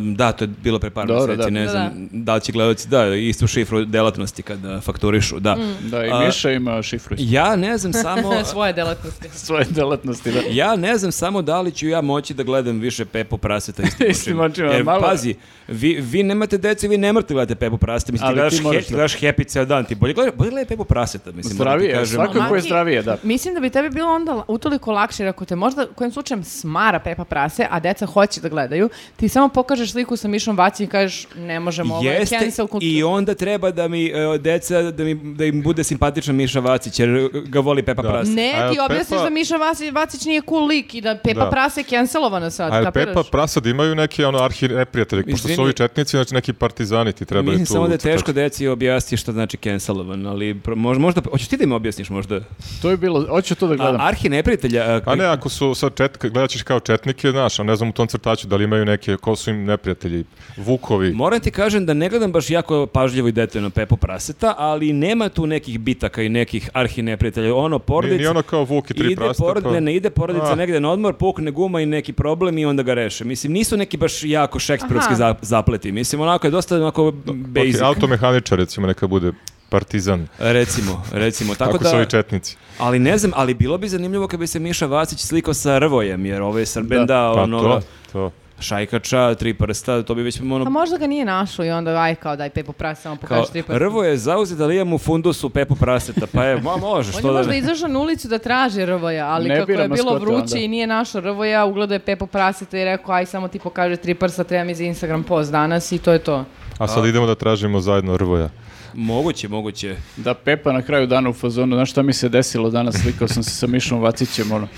A: Um, da, to je bilo pre par
D: Dobro,
A: meseci,
D: da.
A: ne
C: Da,
A: znam da li će gledalci, da, istu šifru delatnosti kada fakturišu, da.
D: Da, i
A: A-
D: Miša ima šifru iz
A: Ja ne znam samo...
C: Svoje delatnosti.
D: svoje delatnosti, da.
A: Ja ne znam samo da li ću ja moći da gledam više Pepo Praseta istim
D: Istim
A: očima.
D: očima,
A: Jer,
D: malo-
A: pazi, vi, vi nemate dece, vi ne morate gledati Pepo Praseta. Mislim, ti
D: Ali
A: gledaš, ti
D: ti moraš
A: he,
D: da.
A: gledaš Happy ceo dan, ti bolje gledaj, bolje gledaj Pepo Praseta. Mislim, moram ti
D: Zdravije,
A: kažem. ono.
D: svakako
C: Maki,
D: je zdravije, da.
C: Mislim da bi tebi bilo onda la- utoliko lakše, jer ako te možda kojim slučajem smara Pepa Prase, a deca hoće da gledaju, ti samo pokažeš sliku sa Mišom Vacić i kažeš ne možemo, ovo je
A: Jeste
C: cancel kultura.
A: i onda treba da mi e, deca da, mi, da im bude simpatičan Miša Vacić jer e, ga voli Pepa
B: Da.
A: Prase.
C: Ne,
B: A jel
C: ti objasniš
B: Pepa-
C: da Miša Vacić, Vacić nije cool lik i da Pepa
B: Da.
C: Prase je cancelovana sad,
B: A jel
C: kapiraš?
B: Pepa prasad imaju neki ono arhi neprijatelji, pošto
A: Izvini.
B: su ovi četnici, znači neki partizani ti trebaju
A: Mislim
B: tu.
A: samo da je teško
B: crtaču.
A: deci objasniti šta znači cancelovan, ali pro- možda, možda hoćeš ti da im objasniš možda?
D: To je bilo, hoću to da
A: A,
D: gledam.
A: arhi neprijatelja, a,
B: A ne, ako su sad četka, gledat ćeš kao četnike, znaš, a ne znam u tom crtaću da li imaju neke, ko su im neprijatelji, vukovi.
A: moram ti kažem da ne gledam baš jako pažljivo i detaljno Pepo Praseta, ali nema tu nekih bitaka i nekih arhi neprijatelja. Ono, porodica...
B: Nije, nije ono kao vuk i tri
A: ide
B: prasta.
A: porod-
B: pa-
A: ne, ne, ide porodica
B: A.
A: negde na odmor, pukne guma i neki problem i onda ga reše. Mislim, nisu neki baš jako šekspirovski
C: Aha.
A: za- zapleti. Mislim, onako je dosta onako basic,
B: Ok, automehaničar, recimo, neka bude partizan,
A: recimo, recimo. Tako
B: ako
A: da,
B: su ovi četnici.
A: ali ne znam, ali bilo bi zanimljivo kad bi se Miša Vacić slikao sa Rvojem, jer ovo je Srbenda,
B: Pa
A: ono,
B: to, to.
A: šajkača, tri prsta, to bi već
C: A
A: ono...
C: možda ga nije našao i onda aj kao daj Pepo Prase, samo
A: Kao,
C: pokaži Pa tri prsta.
A: rvo je zauzet, ali imam u fundusu Pepu Praseta, pa je, ma može,
C: On je
A: što da
C: možda
A: ne.
C: izašao na ulicu da traži rvoja, ali
D: Ne
C: kako
D: bira
C: je bilo
D: maskote
C: vruće
D: onda.
C: i nije našao rvoja, ugledao je Pepo praseta i rekao aj samo ti pokaže tri prsta, treba mi za Instagram post danas i to je to.
B: A sad idemo da tražimo zajedno Rvoja.
A: Moguće, moguće.
D: Da Pepa na kraju dana u fazonu, znaš šta mi se desilo danas, slikao sam se sa Mišom Vacićem, ono.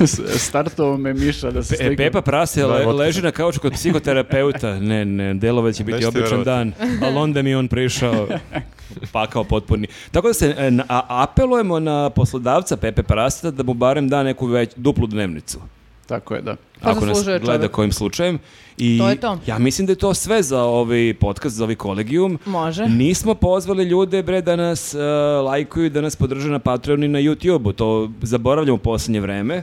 D: S- Startovao me Miša da se
A: E,
D: slikam.
A: Pepa Prase le-
B: otišao.
A: leži na kauču kod psihoterapeuta. Ne, ne, delova će biti
B: Nećete
A: običan dan. Ali onda mi je on prišao pakao potpuni. Tako da se e, na- a- apelujemo na poslodavca Pepe Praseta da mu barem da neku već, duplu dnevnicu.
D: Tako je, da.
C: Pa
A: ako nas
C: zaslužuje
A: gleda
C: čovek.
A: kojim slučajem. I
C: To je to.
A: Ja mislim da je to sve za ovaj podcast, za ovaj kolegijum.
C: Može.
A: Nismo pozvali ljude bre da nas e, lajkuju, da nas podrže na Patreon i na YouTubeu. To zaboravljamo u posljednje vreme.
C: Uh,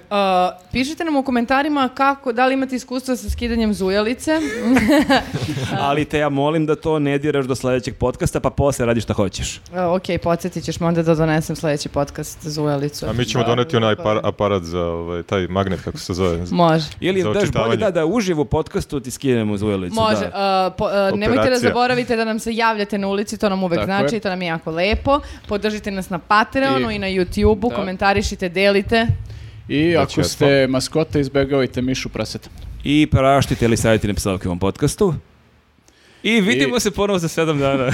C: pišite nam u komentarima kako, da li imate iskustva sa skidanjem zujalice.
A: Ali te ja molim da to ne diraš do sledećeg podcasta, pa posle radi šta hoćeš.
C: Uh, ok, podsjetit ćeš me onda da donesem sljedeći podcast zujalicu.
B: A mi ćemo doneti onaj par- aparat za ovaj, taj magnet, kako se zove.
C: Može.
A: I Ili
B: Za
A: daš bolje
B: očitavanje.
A: da, da uživo u podcastu ti skinemo zujelicu.
C: Može,
A: Da.
C: uh, po- uh, nemojte da
B: Operacija.
C: zaboravite da nam se javljate na ulici, to nam uvek
D: Tako
C: znači,
D: je.
C: to nam je jako lepo. Podržite nas na Patreonu i,
D: I-
C: na YouTubeu,
D: Da.
C: komentarišite, delite.
D: I ako
B: ja
D: ste maskota, izbegavajte mišu praseta.
A: I praštite ili savjeti na psovke u ovom podcastu. I vidimo
D: I-
A: se ponovo za sedam dana.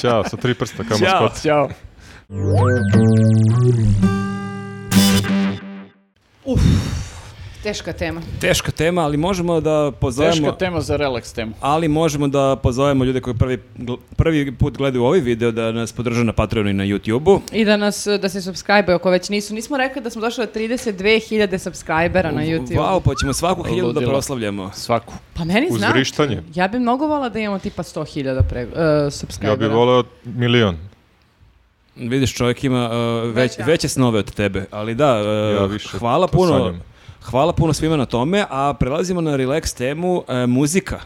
B: Ćao, sa tri prsta, kamo
A: Ćao.
B: skot.
D: Ćao.
C: Teška tema.
A: Teška tema, ali možemo da pozovemo...
D: Teška tema za relaks temu.
A: Ali možemo da pozovemo ljude koji prvi, gl- prvi put gledaju ovaj video da nas podrže na Patreonu i na YouTubeu.
C: I da nas, uh, da se subscribe ako već nisu. Nismo rekli da smo došli do 32.000 subscribera na YouTube.
A: Wow, pa ćemo svaku hiljadu da
D: Ludilo.
A: proslavljamo.
D: Svaku.
C: Pa meni
B: Uz
C: znaš,
B: vrištanje.
C: ja bi mnogo vola da imamo tipa 100.000 pre, uh, subscribera.
B: Ja bih voleo milion.
A: Vidiš, čovjek ima uh, već,
C: Veća.
A: veće snove od tebe, ali da, uh,
B: Ja više
A: hvala
B: to
A: puno.
B: sanjam.
A: Hvala puno svima na tome, a prelazimo na relax temu uh, muzika.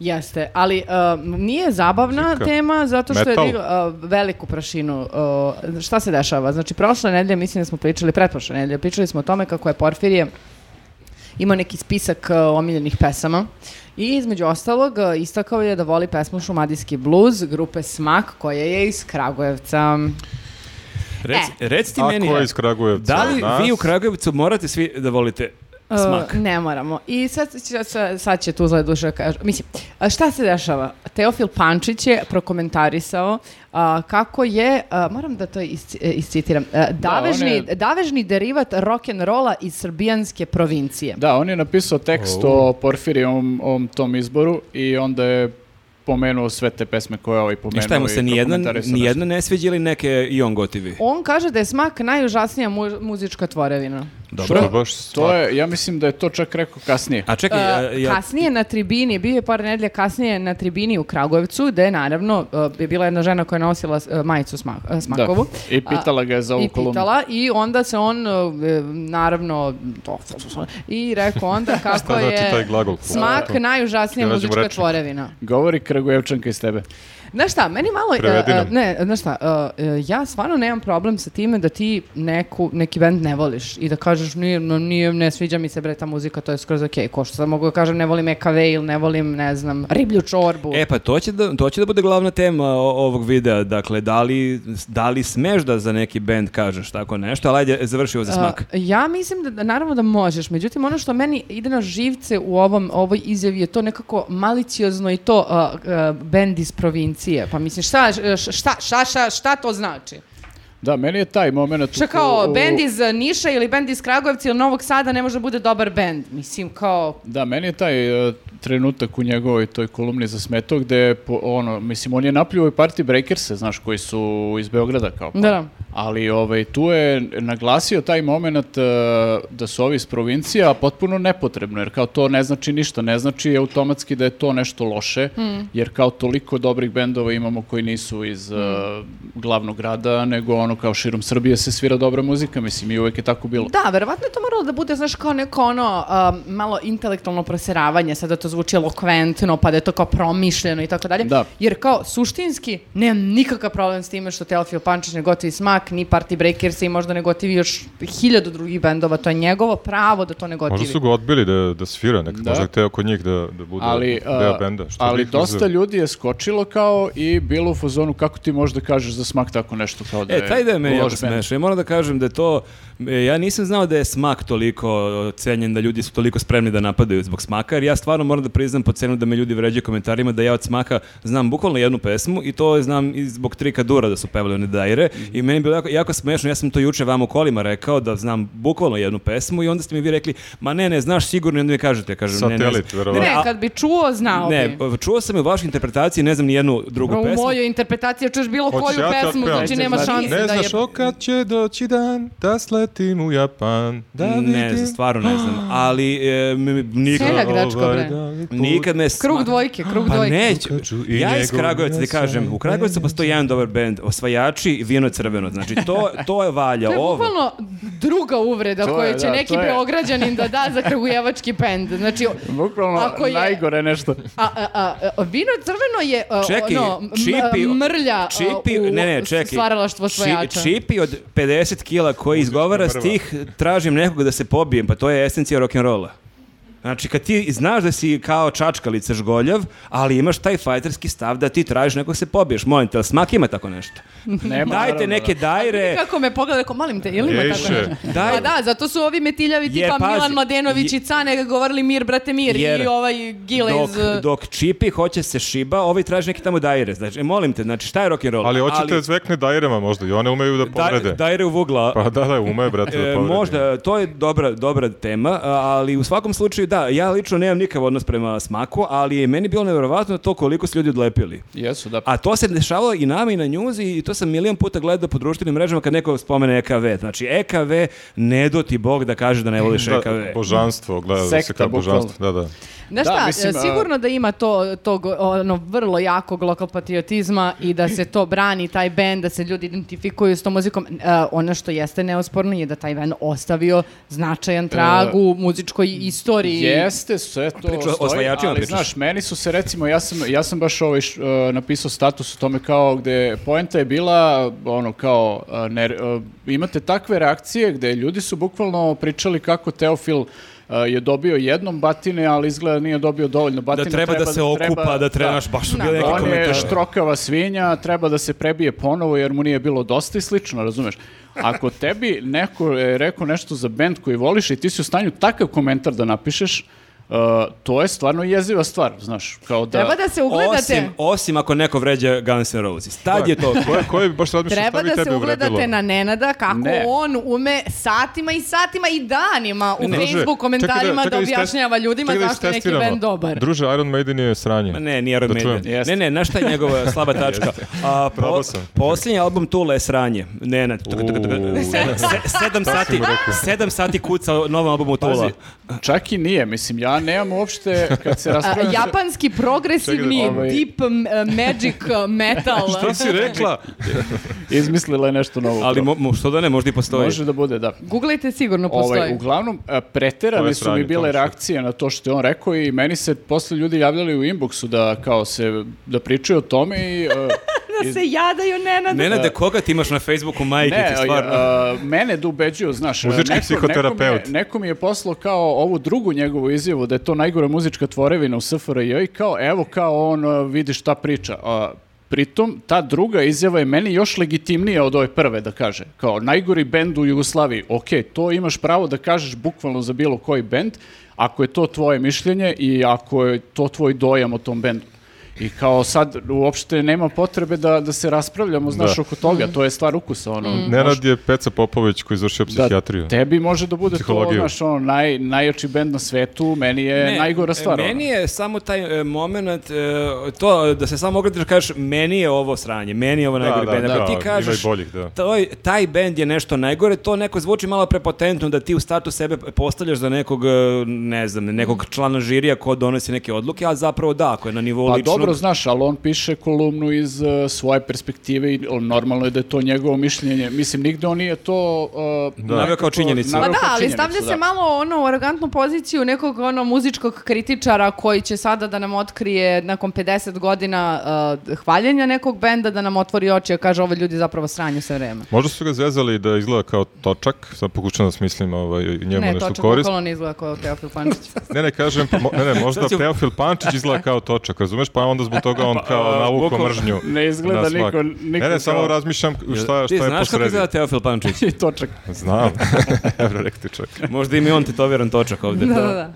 C: Jeste, ali uh, nije zabavna
B: Muzika.
C: tema zato što
B: Metal.
C: je digla uh, veliku prašinu. uh, šta se dešava? Znači, prošle nedelje mislim da smo pričali, pretprošle nedelje, pričali smo o tome kako je Porfirije imao neki spisak uh, omiljenih pesama i između ostalog uh, istakao je da voli pesmu Šumadijski bluz grupe Smak koja je iz Kragujevca.
A: Rec,
C: E.
A: rec ti
B: Ako
A: meni,
B: je iz Kragujevca
A: da li
B: od nas,
A: vi u Kragujevcu morate svi da volite smak?
C: Uh, ne moramo. I sad, će- sad, sad će tu zle duše kažu. Mislim, a šta se dešava? Teofil Pančić je prokomentarisao a, kako je, a, moram da to isci- e, iscitiram, e, davežni,
D: on je-
C: davežni derivat rock'n'rolla iz srbijanske provincije.
D: Da, on je napisao tekst o Porfirijevom ovom tom izboru i onda je pomenuo sve te pesme koje je ovaj pomenuo.
A: I šta mu se,
D: i
A: nijedna,
D: prokomentarisao
A: nijedna ne sviđa ili neke i on gotivi?
C: On kaže da je smak najužasnija mu- muzička tvorevina.
B: Što
A: Dobro.
B: je baš
D: nešto. To je, ja mislim da je to čak rekao kasnije.
A: A čekaj, ja-
C: E,
A: ja,
C: kasnije na tribini, bio je par nedelja kasnije na tribini u Kragujevcu, gde je naravno e, bila jedna žena koja je nosila e, majicu Sma- e,
D: Da.
C: Smakovu.
D: I pitala
C: A-
D: ga je za ovu
C: I
D: kolumnu.
C: pitala i onda se on e, naravno to, i rekao onda kako
B: Šta znači taj
C: je
B: glagol?
C: smak najužasnija
B: Da nađemo
C: muzička
B: rečnik.
C: tvorevina.
D: Govori Kragujevčanka iz tebe.
C: Znaš šta, meni malo... e,
B: Prevedi
C: e,
B: nam.
C: ne, znaš šta, e, e, ja stvarno nemam problem sa time da ti neku, neki band ne voliš i da kažeš nije, no, nije, ne sviđa mi se bre ta muzika, to je skroz okej. Ko što sad mogu da kažem ne volim EKV ili ne volim, ne znam, riblju čorbu.
A: E pa to će da, to će da bude glavna tema o- ovog videa, dakle da li, da li smeš da za neki band kažeš tako nešto, ali ajde završi ovo za smak.
C: A, ja mislim da- da naravno da možeš, međutim ono što meni ide na živce u ovom ovoj izjavi je to nekako maliciozno i to a, a, bend iz provincije. Pa mislim šta šta šta šta, šta to znači?
D: Da, meni je taj moment...
C: Šta
D: u-
C: kao
D: u-
C: bend iz Niša ili bend iz Kragujevca ili Novog Sada ne može da bude dobar bend. Mislim kao
D: Da, meni je taj e, trenutak u njegovoj toj kolumni za smeto gde je po- ono, mislim, on je napljivo i Party Breakers-e, znaš, koji su iz Beograda kao pa.
C: Da, da.
D: Ali ovaj, tu je naglasio taj moment e, da su ovi iz provincija potpuno nepotrebno, jer kao to ne znači ništa, ne znači automatski da je to nešto loše,
B: Hmm.
D: jer kao toliko dobrih bendova imamo koji nisu iz e,
B: Hmm.
D: glavnog grada, nego ono kao širom Srbije se svira dobra muzika, mislim, i uvek je tako bilo.
C: Da, verovatno je to moralo da bude, znaš, kao neko ono um, malo intelektualno proseravanje, sada to zvuči elokventno, pa da je to kao promišljeno i tako dalje.
D: Da.
C: Jer kao suštinski nemam nikakav problem s time što Teofil Pančić ne gotivi smak, ni Party Breakers i možda ne gotivi još hiljadu drugih bendova, to je njegovo pravo da to ne gotivi.
B: Možda su ga odbili da, da svira nekad,
D: Da.
B: možda je hteo kod njih da, da bude
D: ali,
B: deo
D: a,
B: benda. Što
D: ali
B: bih uzeo?
D: dosta ljudi je skočilo kao i bilo u fazonu kako ti možeš da kažeš za smak tako nešto kao da
A: E, taj da je meni jako
D: loš bend.
A: smešan. Ja moram da kažem da je to, e, ja nisam znao da je smak toliko cenjen, da ljudi su toliko spremni da napadaju zbog smaka, jer ja stvarno moram da priznam po cenu da me ljudi vređaju komentarima da ja od smaka znam bukvalno jednu pesmu i to znam i zbog trika dura da su pevali one dajre i meni je bilo jako, jako smešno, ja sam to juče vam u kolima rekao da znam bukvalno jednu pesmu i onda ste mi vi rekli, ma ne, ne, znaš sigurno i onda mi kažete, ja kažem, ne, ne, znam."
B: Satelit, verovatno.
C: Ne,
A: a-
C: kad bi čuo, znao
A: Ne,
B: pa,
C: bi.
A: e, čuo sam je u vašoj interpretaciji, ne znam ni jednu drugu
C: U
A: pesmu.
C: mojoj interpretaciji čuješ bilo
B: Hoćeš
C: koju
B: ja ti
C: pesmu,
B: otpevam?
C: znači nema
D: Ne
C: šanse
B: Ne
C: da je...
B: znaš o kad će doći dan da sletim u Japan da
A: ne
B: vidim
A: znam, stvarno ne znam, ali e, m- m- nikad-
C: Seljak, dačko, bre.
B: dan. pravi put.
A: Nikad ne sma-
C: Krug dvojke, krug
A: Pa
C: dvojke.
A: neću.
B: Lukaču i
A: Ja iz
B: njegov
A: Kragujevca ti
B: jasan
A: kažem, u Kragujevcu postoji jedan dobar bend, Osvajači i Vino crveno. Znači, to, to je valja.
C: To je
A: ovo.
C: bukvalno druga uvreda
D: To je,
C: koju će
D: da,
C: neki
D: to je.
C: beograđanin da da za kragujevački pend. Znači,
D: Bukvalno
C: Ako je-
D: najgore nešto.
C: a, a, a, a, vino crveno je a,
A: Čekaj,
C: ono, m-
A: Čipi-
C: mrlja a,
A: Čipi,
C: u
A: ne, ne, čekaj.
C: stvaralaštvo
A: Či-
C: svojača.
A: čipi od 50 kila koji izgovara
B: mrva.
A: stih tražim nekog da se pobijem, pa to je esencija rock'n'rolla. Znači, kad ti znaš da si kao čačkalica žgoljav, ali imaš taj fajterski stav da ti tražiš nekog da se pobiješ. Molim te, ali smak ima tako nešto?
D: Nema,
A: Dajte
D: naravno,
A: neke
D: da.
A: dajre,
C: Kako me pogleda, rekao, malim te, ili ima tako
B: Eše.
C: nešto?
A: Daj.
C: Pa da, zato su ovi metiljavi
A: Jer,
C: tipa
A: pazi,
C: Milan Mladenović
A: je-
C: i Cane govorili mir, brate, mir
A: Jer
C: i ovaj Gile
A: dok,
C: iz... uh,
A: dok čipi hoće se šiba, ovi traži neki tamo dajre. Znači, e, molim te, znači, šta je rock'n'roll?
B: Ali hoćete da zvekne dajrema možda i one umeju da
A: da-
B: povrede.
A: dajre u vugla,
B: Pa da, da, ume, brate, da
A: E,
B: povrede.
A: možda, to je dobra, dobra tema, a, ali u svakom slučaju, da, ja lično nemam nikakav odnos prema smaku, ali je meni bilo nevjerovatno to koliko su ljudi odlepili.
D: Jesu, da.
A: A to se dešavalo i nama i na njuzi i to sam milion puta gledao po društvenim mrežama kad neko spomene EKV. Znači, EKV, ne do ti Bog da kaže da ne voliš E
B: Da,
A: EKV.
B: božanstvo, gleda se
D: Sekta,
B: kao
D: bukvalno.
B: božanstvo, da, da.
C: Znaš
D: Da,
C: šta,
D: mislim,
C: e,
D: a-
C: sigurno da ima to, tog ono, vrlo jakog lokal patriotizma i da se to brani, taj band, da se ljudi identifikuju s tom muzikom. E, ono što jeste neosporno je da taj band ostavio značajan trag
D: E,
C: u muzičkoj istoriji.
D: Jeste, sve to
A: Priča o
D: stoji,
A: osvajačima
D: ali
A: pričaš.
D: znaš, meni su se recimo, ja sam, ja sam baš ovaj, š- e, napisao status o tome kao gde poenta je bila, ono kao, e, ne- e, imate takve reakcije gde ljudi su bukvalno pričali kako Teofil e, je dobio jednom batine, ali izgleda nije dobio dovoljno batine.
A: Da treba da se okupa, da treba, naš, baš su
C: Da.
A: bili neki
D: On je
A: komentari.
D: štrokava svinja, treba da se prebije ponovo jer mu nije bilo dosta i slično, razumeš? Ako tebi neko je rekao nešto za band koji voliš i ti si u stanju takav komentar da napišeš, uh, to je stvarno jeziva stvar, znaš, kao da...
C: Treba da se ugledate...
A: Osim, osim ako neko vređa Guns N' Roses. Tad je to...
B: Koje, koje bi baš razmišljao
C: Treba
B: šta bi
C: da
B: tebi
C: se
B: uvredilo?
C: ugledate na Nenada kako
D: Ne.
C: on ume satima i satima i danima u
B: Druže, čekaj
C: Facebook komentarima da,
B: čekaj istest-
C: objašnjava ljudima
B: čekaj da
C: zašto je neki
B: istestiramo.
C: band dobar.
B: Druže, Iron Maiden je sranje.
A: Ma Pa Ne, nije Iron
B: Da
A: Maiden.
B: čujem.
A: Ne,
D: Jeste.
A: ne, znaš šta je njegova slaba tačka? A, po,
B: Probao sam.
A: posljednji album Tula je sranje. Ne, ne, tuk, tuk, tuk, tuk.
B: Uuu.
A: Se- se- sedam sati, sedam sati kuca o novom albumu Tula.
D: Pazi, čak i nije, mislim, ja nemam uopšte, kad se
C: A,
D: raspravljam...
C: E, japanski progresivni
B: Čekaj da- ovaj-
C: deep m, e, magic e, metal.
B: Šta si rekla?
D: Izmislila je nešto novo.
A: Ali mo, mo- što da ne, možda i postoji.
D: Može da bude, da.
C: Googlejte, sigurno postoji.
D: Ovaj, uglavnom, a,
B: To
D: preterane
B: je
D: su
B: sranje,
D: mi
B: to
D: bile
B: je sranje.
D: reakcije na to što je on rekao i meni se posle ljudi javljali u inboxu da kao se, da pričaju o tome i... e,
C: da se jadaju Nenad.
A: Nenade, koga ti imaš na Facebooku, majke
D: Ne,
A: ti stvarno?
D: a, mene da ubeđuju, znaš.
B: Muzički psihoterapeut.
D: Neko mi, je, neko mi je poslao kao ovu drugu njegovu izjavu da je to najgora muzička tvorevina u SFRJ i kao evo kao on a, vidi šta priča. A, pritom, ta druga izjava je meni još legitimnija od ove prve, da kaže. Kao najgori bend u Jugoslaviji. Ok, to imaš pravo da kažeš bukvalno za bilo koji bend, ako je to tvoje mišljenje i ako je to tvoj dojam o tom bendu. I kao sad uopšte nema potrebe da, da se raspravljamo, znaš,
B: Da.
D: oko toga. To je stvar ukusa, ono.
B: Nenad je Peca Popović koji je izvršio psihijatriju.
D: Da, tebi može da bude
B: Psihologiju.
D: to, znaš, ono, naj, najjači bend na svetu, meni je
A: Ne,
C: e,
D: najgora stvar. ono.
A: Meni je samo taj e, moment, e, to da se samo oglediš i kažeš, meni je ovo sranje, meni je ovo
B: Da,
A: najgori
B: da,
A: bend. Ako
B: da,
A: ti
B: ima i
A: kažeš,
B: boljih, da.
A: toj- taj bend je nešto najgore, to neko zvuči malo prepotentno da ti u startu sebe postavljaš za nekog, e, ne znam, nekog člana žirija ko donosi neke odluke, a zapravo da, ako je na nivou
D: ono. Pa
A: ličnog...
D: dobro, znaš, ali on piše kolumnu iz uh, svoje perspektive i o, normalno je da je to njegovo mišljenje. Mislim, nigde on nije to... Uh,
B: Da.
A: Naveo kao
D: nekako
A: činjenicu.
D: naveo
C: Pa da,
D: kao
C: ali
D: činjenicu,
C: stavlja
D: da.
C: se malo ono u arogantnu poziciju nekog ono muzičkog kritičara koji će sada da nam otkrije nakon 50 godina uh, hvaljenja nekog benda da nam otvori oči i kaže ovo ljudi zapravo sranju sve vreme.
B: Možda su ga zezali da izgleda kao točak, sad pokušam da smislim ovaj, njemu
C: ne,
B: nešto
C: točno
B: korist.
C: bukvalno ne izgleda kao Teofil Pančić.
B: Ne, ne, kažem, mo- ne, ne, možda
A: Sad ću-
B: Teofil Pančić izgleda kao točak, razumeš? Pa onda zbog toga on kao
A: a,
B: navukao
A: bukvalno
B: mržnju.
D: ne izgleda
B: na smak.
D: niko-
B: Ne,
D: niko
B: ne,
D: kao-
B: samo razmišljam šta,
A: Ti
B: šta je
A: znaš kako
B: posredi.
A: izgleda Teofil Pančić?
D: I točak.
B: Znam, evro rekti čovjek.
A: Možda im je on tetoviran točak ovde.
C: da, da, da.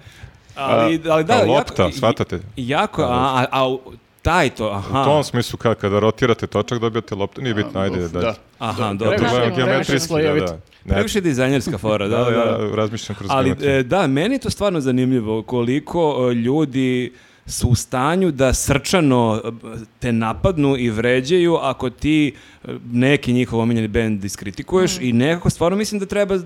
A: Ali, ali da,
B: A,
A: jako-
B: lopta, shvatate?
A: Jako, a, a, a u- taj to, aha.
B: U tom smislu ka- kada rotirate točak dobijate loptu, nije bitno, ajde,
D: Uf,
B: dalje.
D: da.
A: Aha,
B: Ja
A: dobro.
B: to gledam
C: Previše
B: geometrijski, da,
D: slojevit.
B: da. Ne,
A: Previše dizajnerska fora, da, da, da.
B: ja razmišljam kroz
A: Ali
B: geometriju.
A: e, da, meni je to stvarno zanimljivo koliko e, ljudi su u stanju da srčano e, te napadnu i vređaju ako
C: Mm.
A: ti e, neki njihov omiljeni band diskritikuješ i nekako stvarno mislim da treba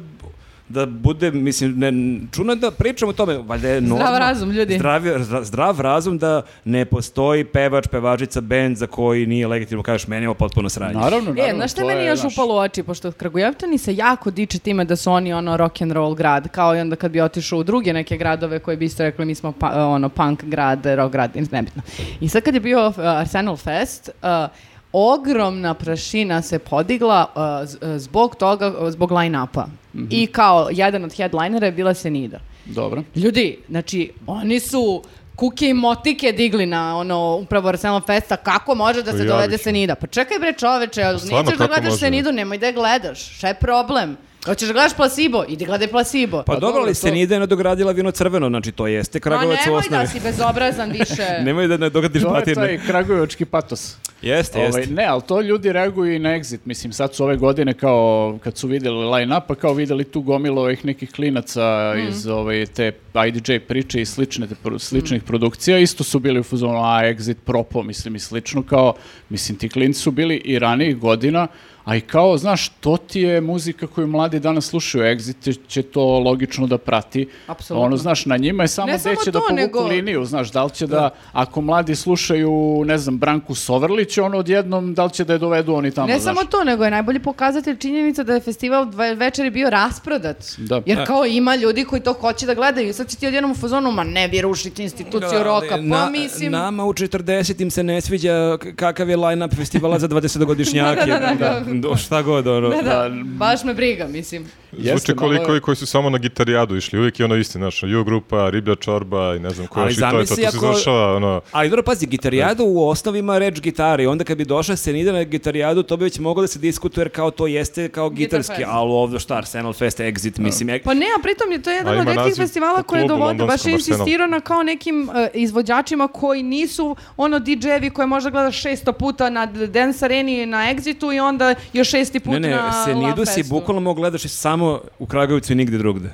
A: da bude, mislim, ne, čuno je da pričamo o tome, valjda je
C: Zdrav
A: normalno-
C: razum, ljudi.
A: Zdrav, zra- zdrav razum da ne postoji pevač, pevačica, bend za koji nije legitimno, kažeš, meni je ovo potpuno sranje.
D: Naravno, naravno.
C: E, znaš šta
D: to
C: je meni
D: je,
C: još
D: znaš,
C: upalo u oči, pošto Kragujevčani se jako diče time da su oni ono rock and roll grad, kao i onda kad bi otišao u druge neke gradove koje bi isto rekli mi smo pa- ono punk grad, rock grad, i nebitno. I sad kad je bio uh, Arsenal Fest, uh, ogromna prašina se podigla uh, z- uh, zbog toga, uh, zbog line-upa.
D: Mhm.
C: I kao jedan od headlinera je bila Senida.
D: Dobro.
C: Ljudi, znači, oni su kuke i motike digli na ono upravo Arsenal Festa, kako može da se
B: Javiš.
C: dovede Senida? Pa čekaj bre čoveče,
B: Pa stvarno,
C: nećeš da
B: kako
C: gledaš
B: može?
C: Senidu, nemoj da je gledaš, šta je problem? Hoćeš da gledaš Placebo, idi gledaj Placebo.
A: Pa dobro,
D: dobro,
A: ali
D: to-
A: se nije nadogradila vino crveno, znači to jeste
C: Ma
A: Kragovac u
C: Pa nemoj da
A: osnovi.
C: si bezobrazan više.
A: Nemoj da ne dogadiš
D: To je
A: batine.
D: taj kragujevački patos.
A: Jeste, jeste.
D: Ovaj, ne, ali to ljudi reaguju i na exit. Mislim, sad su ove godine kao, kad su vidjeli line-up, pa kao vidjeli tu gomilu ovih nekih klinaca
C: Mhm.
D: iz ove, te IDJ priče i slične, te pro- sličnih produkcija, isto su bili u fuzonu, a exit, propo, mislim i slično, kao, mislim, ti klinci su bili i ranijih godina, a i kao, znaš, to ti je muzika koju mladi danas slušaju, exit će to logično da prati.
C: Apsolutno.
D: Ono, znaš, na njima je samo
C: Ne
D: gde
C: samo
D: će da
C: to,
D: povuku
C: nego-
D: liniju, znaš, da li će da, ako mladi slušaju, ne znam, Branku Sovrlić, ono odjednom, da li će da je dovedu oni tamo,
C: Ne
D: znaš.
C: samo to, nego je najbolji pokazatelj činjenica da je festival dva večeri bio rasprodat.
D: Da.
C: Jer kao ima ljudi koji to hoće da gledaju. I sad si ti odjednom u fazonu, ma ne vi rušite instituciju roka. Pa
A: Na-
C: mislim...
A: Nama u 40-im se ne sviđa k- kakav je line-up festivala za 20-godišnjake.
C: Da, da, da,
A: Do- Šta god, ono.
C: Da, da, baš me briga, mislim.
D: Jeste,
B: Zvuči
D: malo
B: koliko
D: je-
B: koji koji su samo na gitarijadu išli, uvijek je ono isti, znaš, U grupa, riblja čorba i ne znam ko
A: Ali
B: još i to je to,
A: zamisli
B: to se
A: ako-
B: završava, ono,
A: Ali dobro, pazi, gitarijadu u osnovima reč gitari, onda kad bi došla Senida na gitarijadu, to bi već moglo da se diskutuje, jer kao to jeste kao
C: Guitar
A: gitarski,
C: fest.
A: ali ovdje šta, Arsenal Fest, Exit, mislim. ek-
C: Pa ne, a pritom je to jedan
B: A
C: od
B: ima
C: redkih
B: naziv
C: festivala
B: po
C: koje
B: klubu
C: dovode, baš je
B: londonskom Arsenalu.
C: insistirao na kao nekim e, izvođačima koji nisu ono DJ-evi koje možda gledaš 600 puta na Dance Areni na Exitu i onda još šesti put
A: Ne, ne,
C: na
A: Senidu
C: Love
A: si
C: Festu.
A: bukvalno mogu gledaš samo u Kragujevcu i nigde drugde.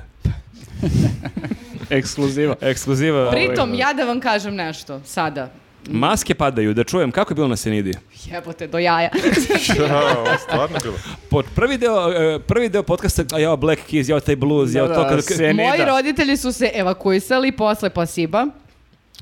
D: Ekskluziva.
A: Ekskluziva.
B: Ovaj,
A: ovaj,
C: Pritom, ja da vam kažem nešto sada.
A: Maske padaju, da čujem, kako je bilo na Senidi?
C: Jebote, do jaja.
B: ja, ovo je stvarno bilo.
A: Po- prvi, deo, e, prvi deo podcasta, a jao Black Keys, jao taj blues, jao
D: Da,
A: to
D: da,
A: kad...
D: se- Senida.
C: Moji roditelji su se evakuisali posle pasiba.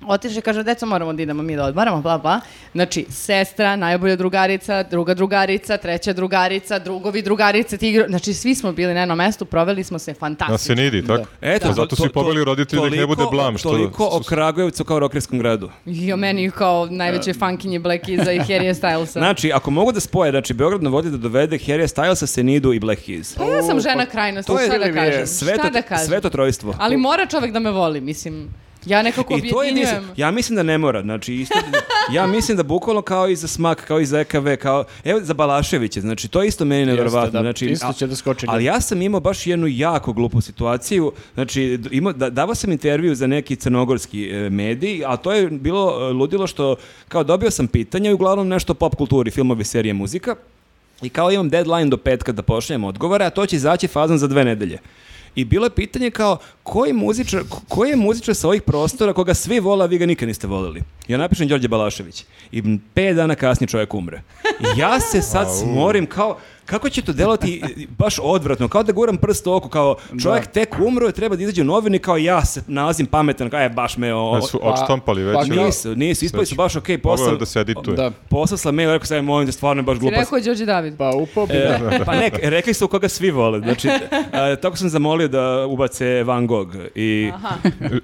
C: Otišli i kažu, deco, moramo da idemo mi da odmaramo, bla, bla. Znači, sestra, najbolja drugarica, druga drugarica, treća drugarica, drugovi drugarice, tigro... Znači, svi smo bili na jednom mestu, proveli smo se
B: Na
C: fantastično.
B: Senidi, tako?
A: Eto,
B: Pa zato su i pobili roditelji da ih ne bude
A: toliko-
B: blam, što...
A: Toliko o
B: su-
A: Kragujevcu kao rokerskom gradu.
C: Jo, meni kao najveće funkinje Black Keys-a i Harry Stylesa.
A: Znači, ako mogu da spoje, znači, Beograd na vodi da dovede Harry Stylesa, Senidu i Black Keys.
C: pa ja sam žena krajnosti,
A: to je
C: šta da
D: ili je
C: kažem?
A: Sveto,
C: šta da kažem?
A: sveto trojstvo.
C: Ali mora čovek da me voli, mislim. Ja nekako
A: I to je
C: objedinjujem.
A: jedinstvo. Ja mislim da ne mora, znači isto ja mislim da bukvalno kao i za smak, kao i za EKV, kao evo za Balaševića, znači to je isto meni neverovatno,
D: da,
A: znači
D: isto
A: a-
D: će da skoči.
A: Ali ja sam imao baš jednu jako glupu situaciju, znači d- imao da, davao sam intervju za neki crnogorski e, medij, a to je bilo e, ludilo što kao dobio sam pitanja i uglavnom nešto o pop kulturi, filmovi, serije, muzika. I kao imam deadline do petka da pošaljem odgovore, a to će izaći fazom za dve nedelje. I bilo je pitanje kao, koji muzičar, ko- koji je muzičar sa ovih prostora koga svi vola, a vi ga nikad niste volili? Ja napišem Đorđe Balašević. I m, pet dana kasnije čovjek umre. I ja se sad smorim kao, kako će to delati i- i baš odvratno, kao da guram prst u oko, kao čovjek tek umro i treba da izađe u novini, kao ja se nalazim pametan, kao je baš me o...
B: Da su odštampali već.
D: pa
B: da-
A: Nisu, nisu, ispali su baš okej,
B: Mogao
A: poslao,
B: je da se edituje.
D: Da.
A: poslao sam mail, rekao sam, molim te, stvarno je baš
C: Ti
A: glupa
C: Rekao je Đorđe David.
D: Pa upao bi, da.
A: E, pa ne, rekli su koga svi vole. Znači, e, tako sam zamolio da ubace Van Gogh. I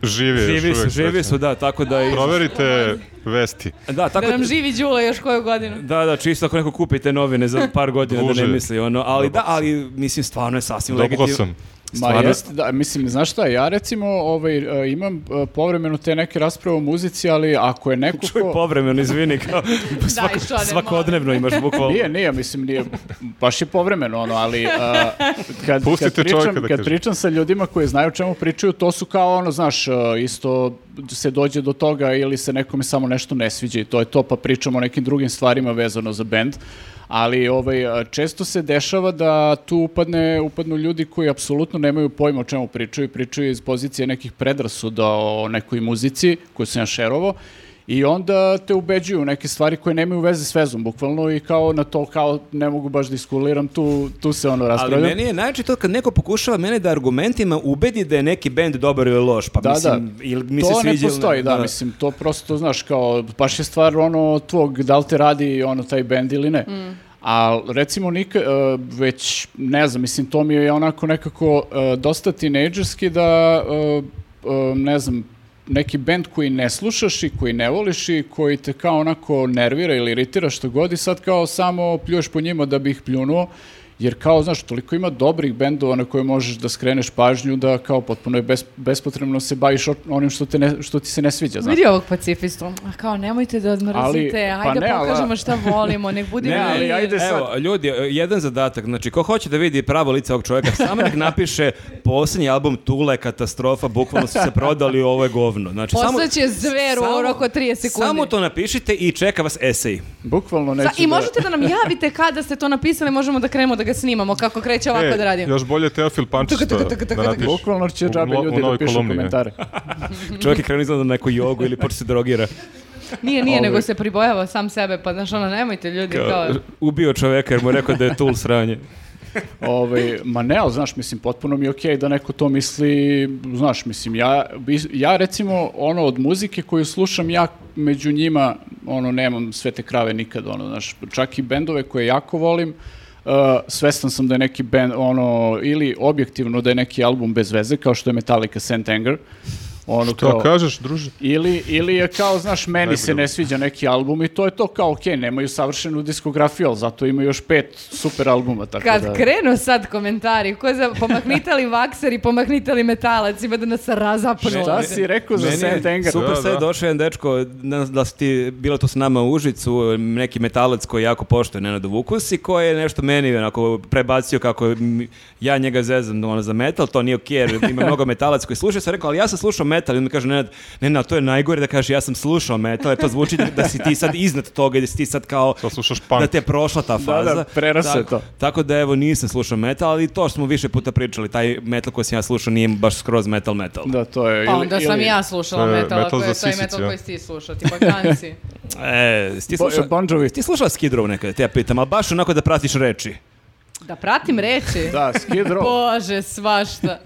B: Živi, još
A: živi su,
B: uvek,
A: živi
B: srećan.
A: su, da, tako da... i-
B: Proverite vesti.
A: da, tako
C: Da nam živi Đula još koju godinu.
A: Da, da, čisto ako neko kupi te novine za par godina da ne
B: Druže.
A: misli ono, ali da, ali mislim stvarno je sasvim
B: Dobro
A: legitimno.
B: sam.
D: Ma
A: Stvarno?
D: jeste, da, mislim, znaš šta, ja recimo ovaj, e, imam e, povremeno te neke rasprave o muzici, ali ako je neko
A: Čuj
D: ko-
A: povremeno, izvini, kao Pa svako-
C: što ne,
A: svakodnevno imaš bukvalno.
D: Nije, nije, mislim, nije, baš je povremeno, ono, ali a, kad,
B: Pustite
D: kad, pričam,
B: čovjeka da
D: kad
B: kaže.
D: pričam sa ljudima koji znaju o čemu pričaju, to su kao, ono, znaš, a, isto se dođe do toga ili se nekome samo nešto ne sviđa i to je to, pa pričamo o nekim drugim stvarima vezano za bend, ali ovaj, a, često se dešava da tu upadne, upadnu ljudi koji apsolutno nemaju pojma o čemu pričaju, pričaju iz pozicije nekih predrasuda o nekoj muzici koju sam ja šerovo I onda te ubeđuju u neke stvari koje nemaju veze s vezom, bukvalno, i kao na to kao ne mogu baš da iskuliram, tu, tu se ono raspravlja.
A: Ali meni je najče to kad neko pokušava mene da argumentima ubedi da je neki bend dobar ili loš, pa
D: Da,
A: mislim,
D: da.
A: ili mi se
D: to ne
A: sviđa ili
D: postoji, da, mislim, to prosto, znaš, kao, baš je stvar ono tvog, da li te radi ono taj bend ili ne. A recimo nika, e, već, ne znam, mislim, to mi je onako nekako e, dosta tinejdžerski da, e, e, ne znam, neki bend koji ne slušaš i koji ne voliš i koji te kao onako nervira ili iritira što god i sad kao samo pljuješ po njima da bi ih pljunuo jer kao, znaš, toliko ima dobrih bendova na koje možeš da skreneš pažnju da kao potpuno je bes- bespotrebno se baviš o- onim što, te ne- što ti se ne sviđa, znaš.
C: Vidi ovog pacifistu. A kao, nemojte da
D: Ali,
C: odmrzite,
D: pa
C: ajde
D: ne, ali-
C: pokažemo šta volimo, nek budi
D: Ne, ali
C: mir.
D: ajde sad.
A: Evo, ljudi, jedan zadatak, znači, ko hoće da vidi pravo lice ovog čovjeka, samo nek napiše posljednji album Tule, katastrofa, bukvalno su se prodali ovo je govno. Znači, samo,
C: Poslaće zveru u
A: samo-
C: roku od 30 sekundi.
A: samo to napišite i čeka vas esej.
D: Bukvalno neću
C: Sa- I
D: da-
C: možete da nam javite kada ste to napisali, možemo da krenemo da ga snimamo, kako kreće ovako
D: E,
C: da radimo.
B: E, Još bolje Teofil Pančić
C: Tuka, tuka,
B: da-
C: tuka, tuka,
B: da
C: tuka.
B: napiše.
D: Bukvalno će
B: U
D: džabe
B: no- u
D: ljudi da
B: novoj
D: pišu
B: kolumni, ne?
D: komentare.
A: Čovjek je krenuo izgleda na neku jogu ili počne se drogira.
C: Nije, nije,
D: Ovaj.
C: nego se pribojava sam sebe, pa znaš ono, nemojte ljudi, kao...
A: Ubio čovjeka jer mu je rekao da je Tul sranje.
D: Ovaj, ma ne, ali znaš, mislim, potpuno mi je okej da neko to misli, znaš, mislim, ja, bi- ja recimo, ono, od muzike koju slušam, ja među njima, ono, nemam sve te krave nikad, ono, znaš, čak i bendove koje jako volim, Uh, svestan sam da je neki band, ono, ili objektivno da je neki album bez veze, kao što je Metallica St. Anger, ono
B: To kažeš, druže?
D: ili, ili je kao, znaš, meni se
B: Najbolje.
D: ne sviđa neki album i to je to kao, okej, nemaju savršenu diskografiju, ali zato imaju još pet super albuma, tako
C: Kad
D: da...
C: krenu sad komentari, ko za pomahnite li vakser i pomahnite li metalac, ima da nas razapnu.
D: Šta si rekao za
A: Meni je
D: Saint Anger?
A: Super,
B: Da,
A: sad je
B: da.
A: došao jedan dečko, ne znam da si ti bila tu s nama u Užicu, neki metalac koji jako poštuje Nenada Vukus i koji je nešto meni onako prebacio kako mi- ja njega zezam ono, za metal, to nije okej, jer ima mnogo metalac koji slušaju, sam rekao, ali ja sam slušao metal i on mi kaže, Nenad, Nenad, to je najgore da kaže ja sam slušao metal, jer to zvuči da, da si ti sad iznad toga i da si ti sad kao...
B: Sad slušaš punk.
A: Da te je prošla ta faza.
D: da, preraslo je
A: tako,
D: to.
A: Tako da evo nisam slušao metal, ali to što smo više puta pričali, taj metal koji sam ja slušao nije baš skroz metal metal.
D: Da, to je.
C: Pa
D: ili-
C: onda sam
D: ili- E,
C: ja slušala
B: To je
C: metal,
B: metal
C: ako je
B: za
C: to i
B: sisice,
C: metal
B: ja.
C: koji si ti slušao, tipa kanci.
A: E, jesi ti
D: Bo-
A: slušao...
D: Bon Jovi.
A: Ti slušao Skid Row nekada, te ja pitam, ali baš onako da pratiš reči.
C: Da pratim reći.
D: Da, Skid Row.
C: Bože, svašta.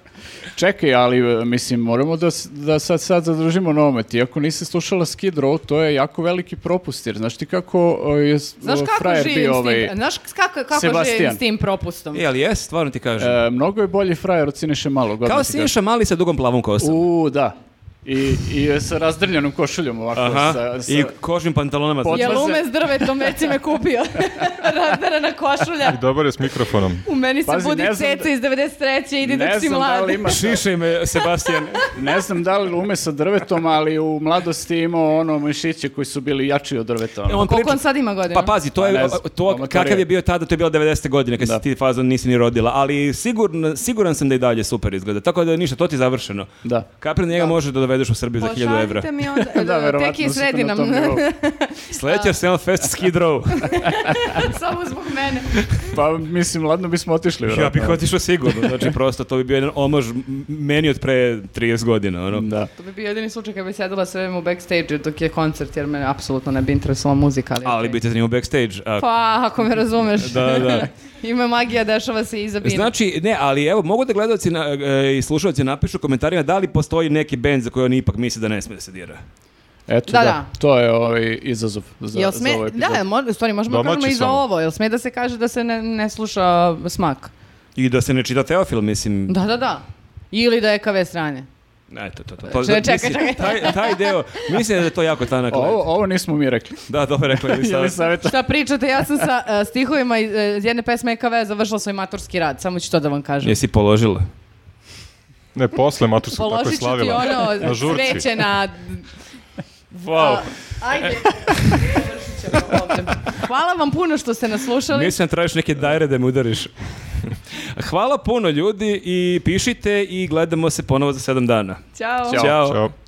D: Čekaj, ali e, mislim, moramo da, s- da sad, sad zadržimo nomet. Iako nisi slušala Skid Row, to je jako veliki propust, jer znaš ti kako e, je s-
C: Znaš
D: o,
C: kako
D: frajer
C: živim
D: bio
C: s tim,
D: ovaj...
C: znaš kako, kako živim
D: Sebastian.
C: s tim propustom.
A: E, ali jes, stvarno ti kažem.
D: e, mnogo je bolji frajer od Siniše Malog. odmah
A: Kao
D: ti kažem.
A: Siniša Mali sa dugom plavom kosom.
D: U, da. I, i sa razdrljenom košuljom ovako.
A: Aha,
D: sa- sa-
A: i kožnim pantalonama.
D: Pod-
C: Jel
D: odlaze-
C: ume s drvetom, već si me kupio. Razdarana košulja.
B: I dobar je s mikrofonom.
C: U meni se
D: Pazi,
C: budi
D: ne znam
C: ceca
D: da-
C: iz 93. Idi dok
D: Ne
C: si
D: znam da
C: mlad.
D: li ima
A: Šišaj me, e, Sebastian.
D: Ne znam da li ume sa drvetom, ali u mladosti je imao ono mišiće koji su bili jači od drveta. ono.
A: On
C: Koliko
A: priča-
C: on sad ima godina?
A: Pa pazi, to
D: Pa
A: je
D: ne znam,
A: to
D: amatorija.
A: kakav je bio tada, to je bilo 90. godine kad
D: Da.
A: si ti fazon nisi ni rodila, ali sigurno siguran sam da i dalje super izgleda. Tako da ništa, to ti je završeno.
D: Da.
A: Kapren njega može da dovedeš u Srbiju za 1000 evra.
C: Pošaljite mi onda, e,
D: Da, verovatno
C: tek je
D: su to na
C: sredi nam,
D: tom nivou.
A: Sledeća Selma Fest Skid Row.
C: samo zbog mene.
D: Pa mislim, ladno bismo otišli.
A: Ja
D: verovatno.
A: bih otišao sigurno, znači prosto to bi bio jedan omaž m- meni od pre 30 godina, ono.
D: Da.
C: To bi bio jedini slučaj kad bi sedela sve vreme u backstage dok je koncert, jer mene apsolutno ne bi interesovala muzika. Ali,
A: Ali
C: okej.
A: bi te zanimao backstage. A,
C: Pa, ako me razumeš.
A: Da, da.
C: Ima magija, dešava se iza bine.
A: Znači, ne, ali evo, mogu da gledalci na, e, i slušalci napišu u komentarima da li postoji neki band za koji oni ipak misle da ne smije da se dira.
D: Eto,
C: Da,
D: da,
C: da.
D: To je ovaj izazov za,
C: Jel
D: za
C: sme,
D: ovaj epizod.
C: da, mo, u stvari, možemo da
B: Domaći
C: kažemo i za
B: samo.
C: ovo. Jel sme da se kaže da se ne, ne sluša uh, smak?
A: I da se ne čita Teofil, mislim.
C: Da, da, da. Ili da je KV strane.
A: Eto, to, to. to,
C: Čekaj,
A: mislim,
C: čekaj, čekaj.
A: Taj, taj deo, mislim da je to jako tanak led.
D: Ovo, ovo nismo mi rekli.
A: Da, dobro rekla je Elisaveta.
D: Jelisaveta.
C: Šta pričate, ja sam sa e, stihovima iz e, iz jedne pesme EKV završila svoj maturski rad, samo ću to da vam kažem.
A: Jesi položila?
B: Ne, posle maturskog tako je
C: Položit ću ti
B: slavila.
C: ono
B: na žurci.
C: sveće na...
A: Wow.
C: Ajde. završit ćemo ovdje. Hvala vam puno što ste nas slušali.
A: Mislim da tražiš neke dajre da me udariš. Hvala puno ljudi i pišite i gledamo se ponovo za sedam dana.
C: Ćao.
D: Ćao.
A: Ćao.
B: Ćao.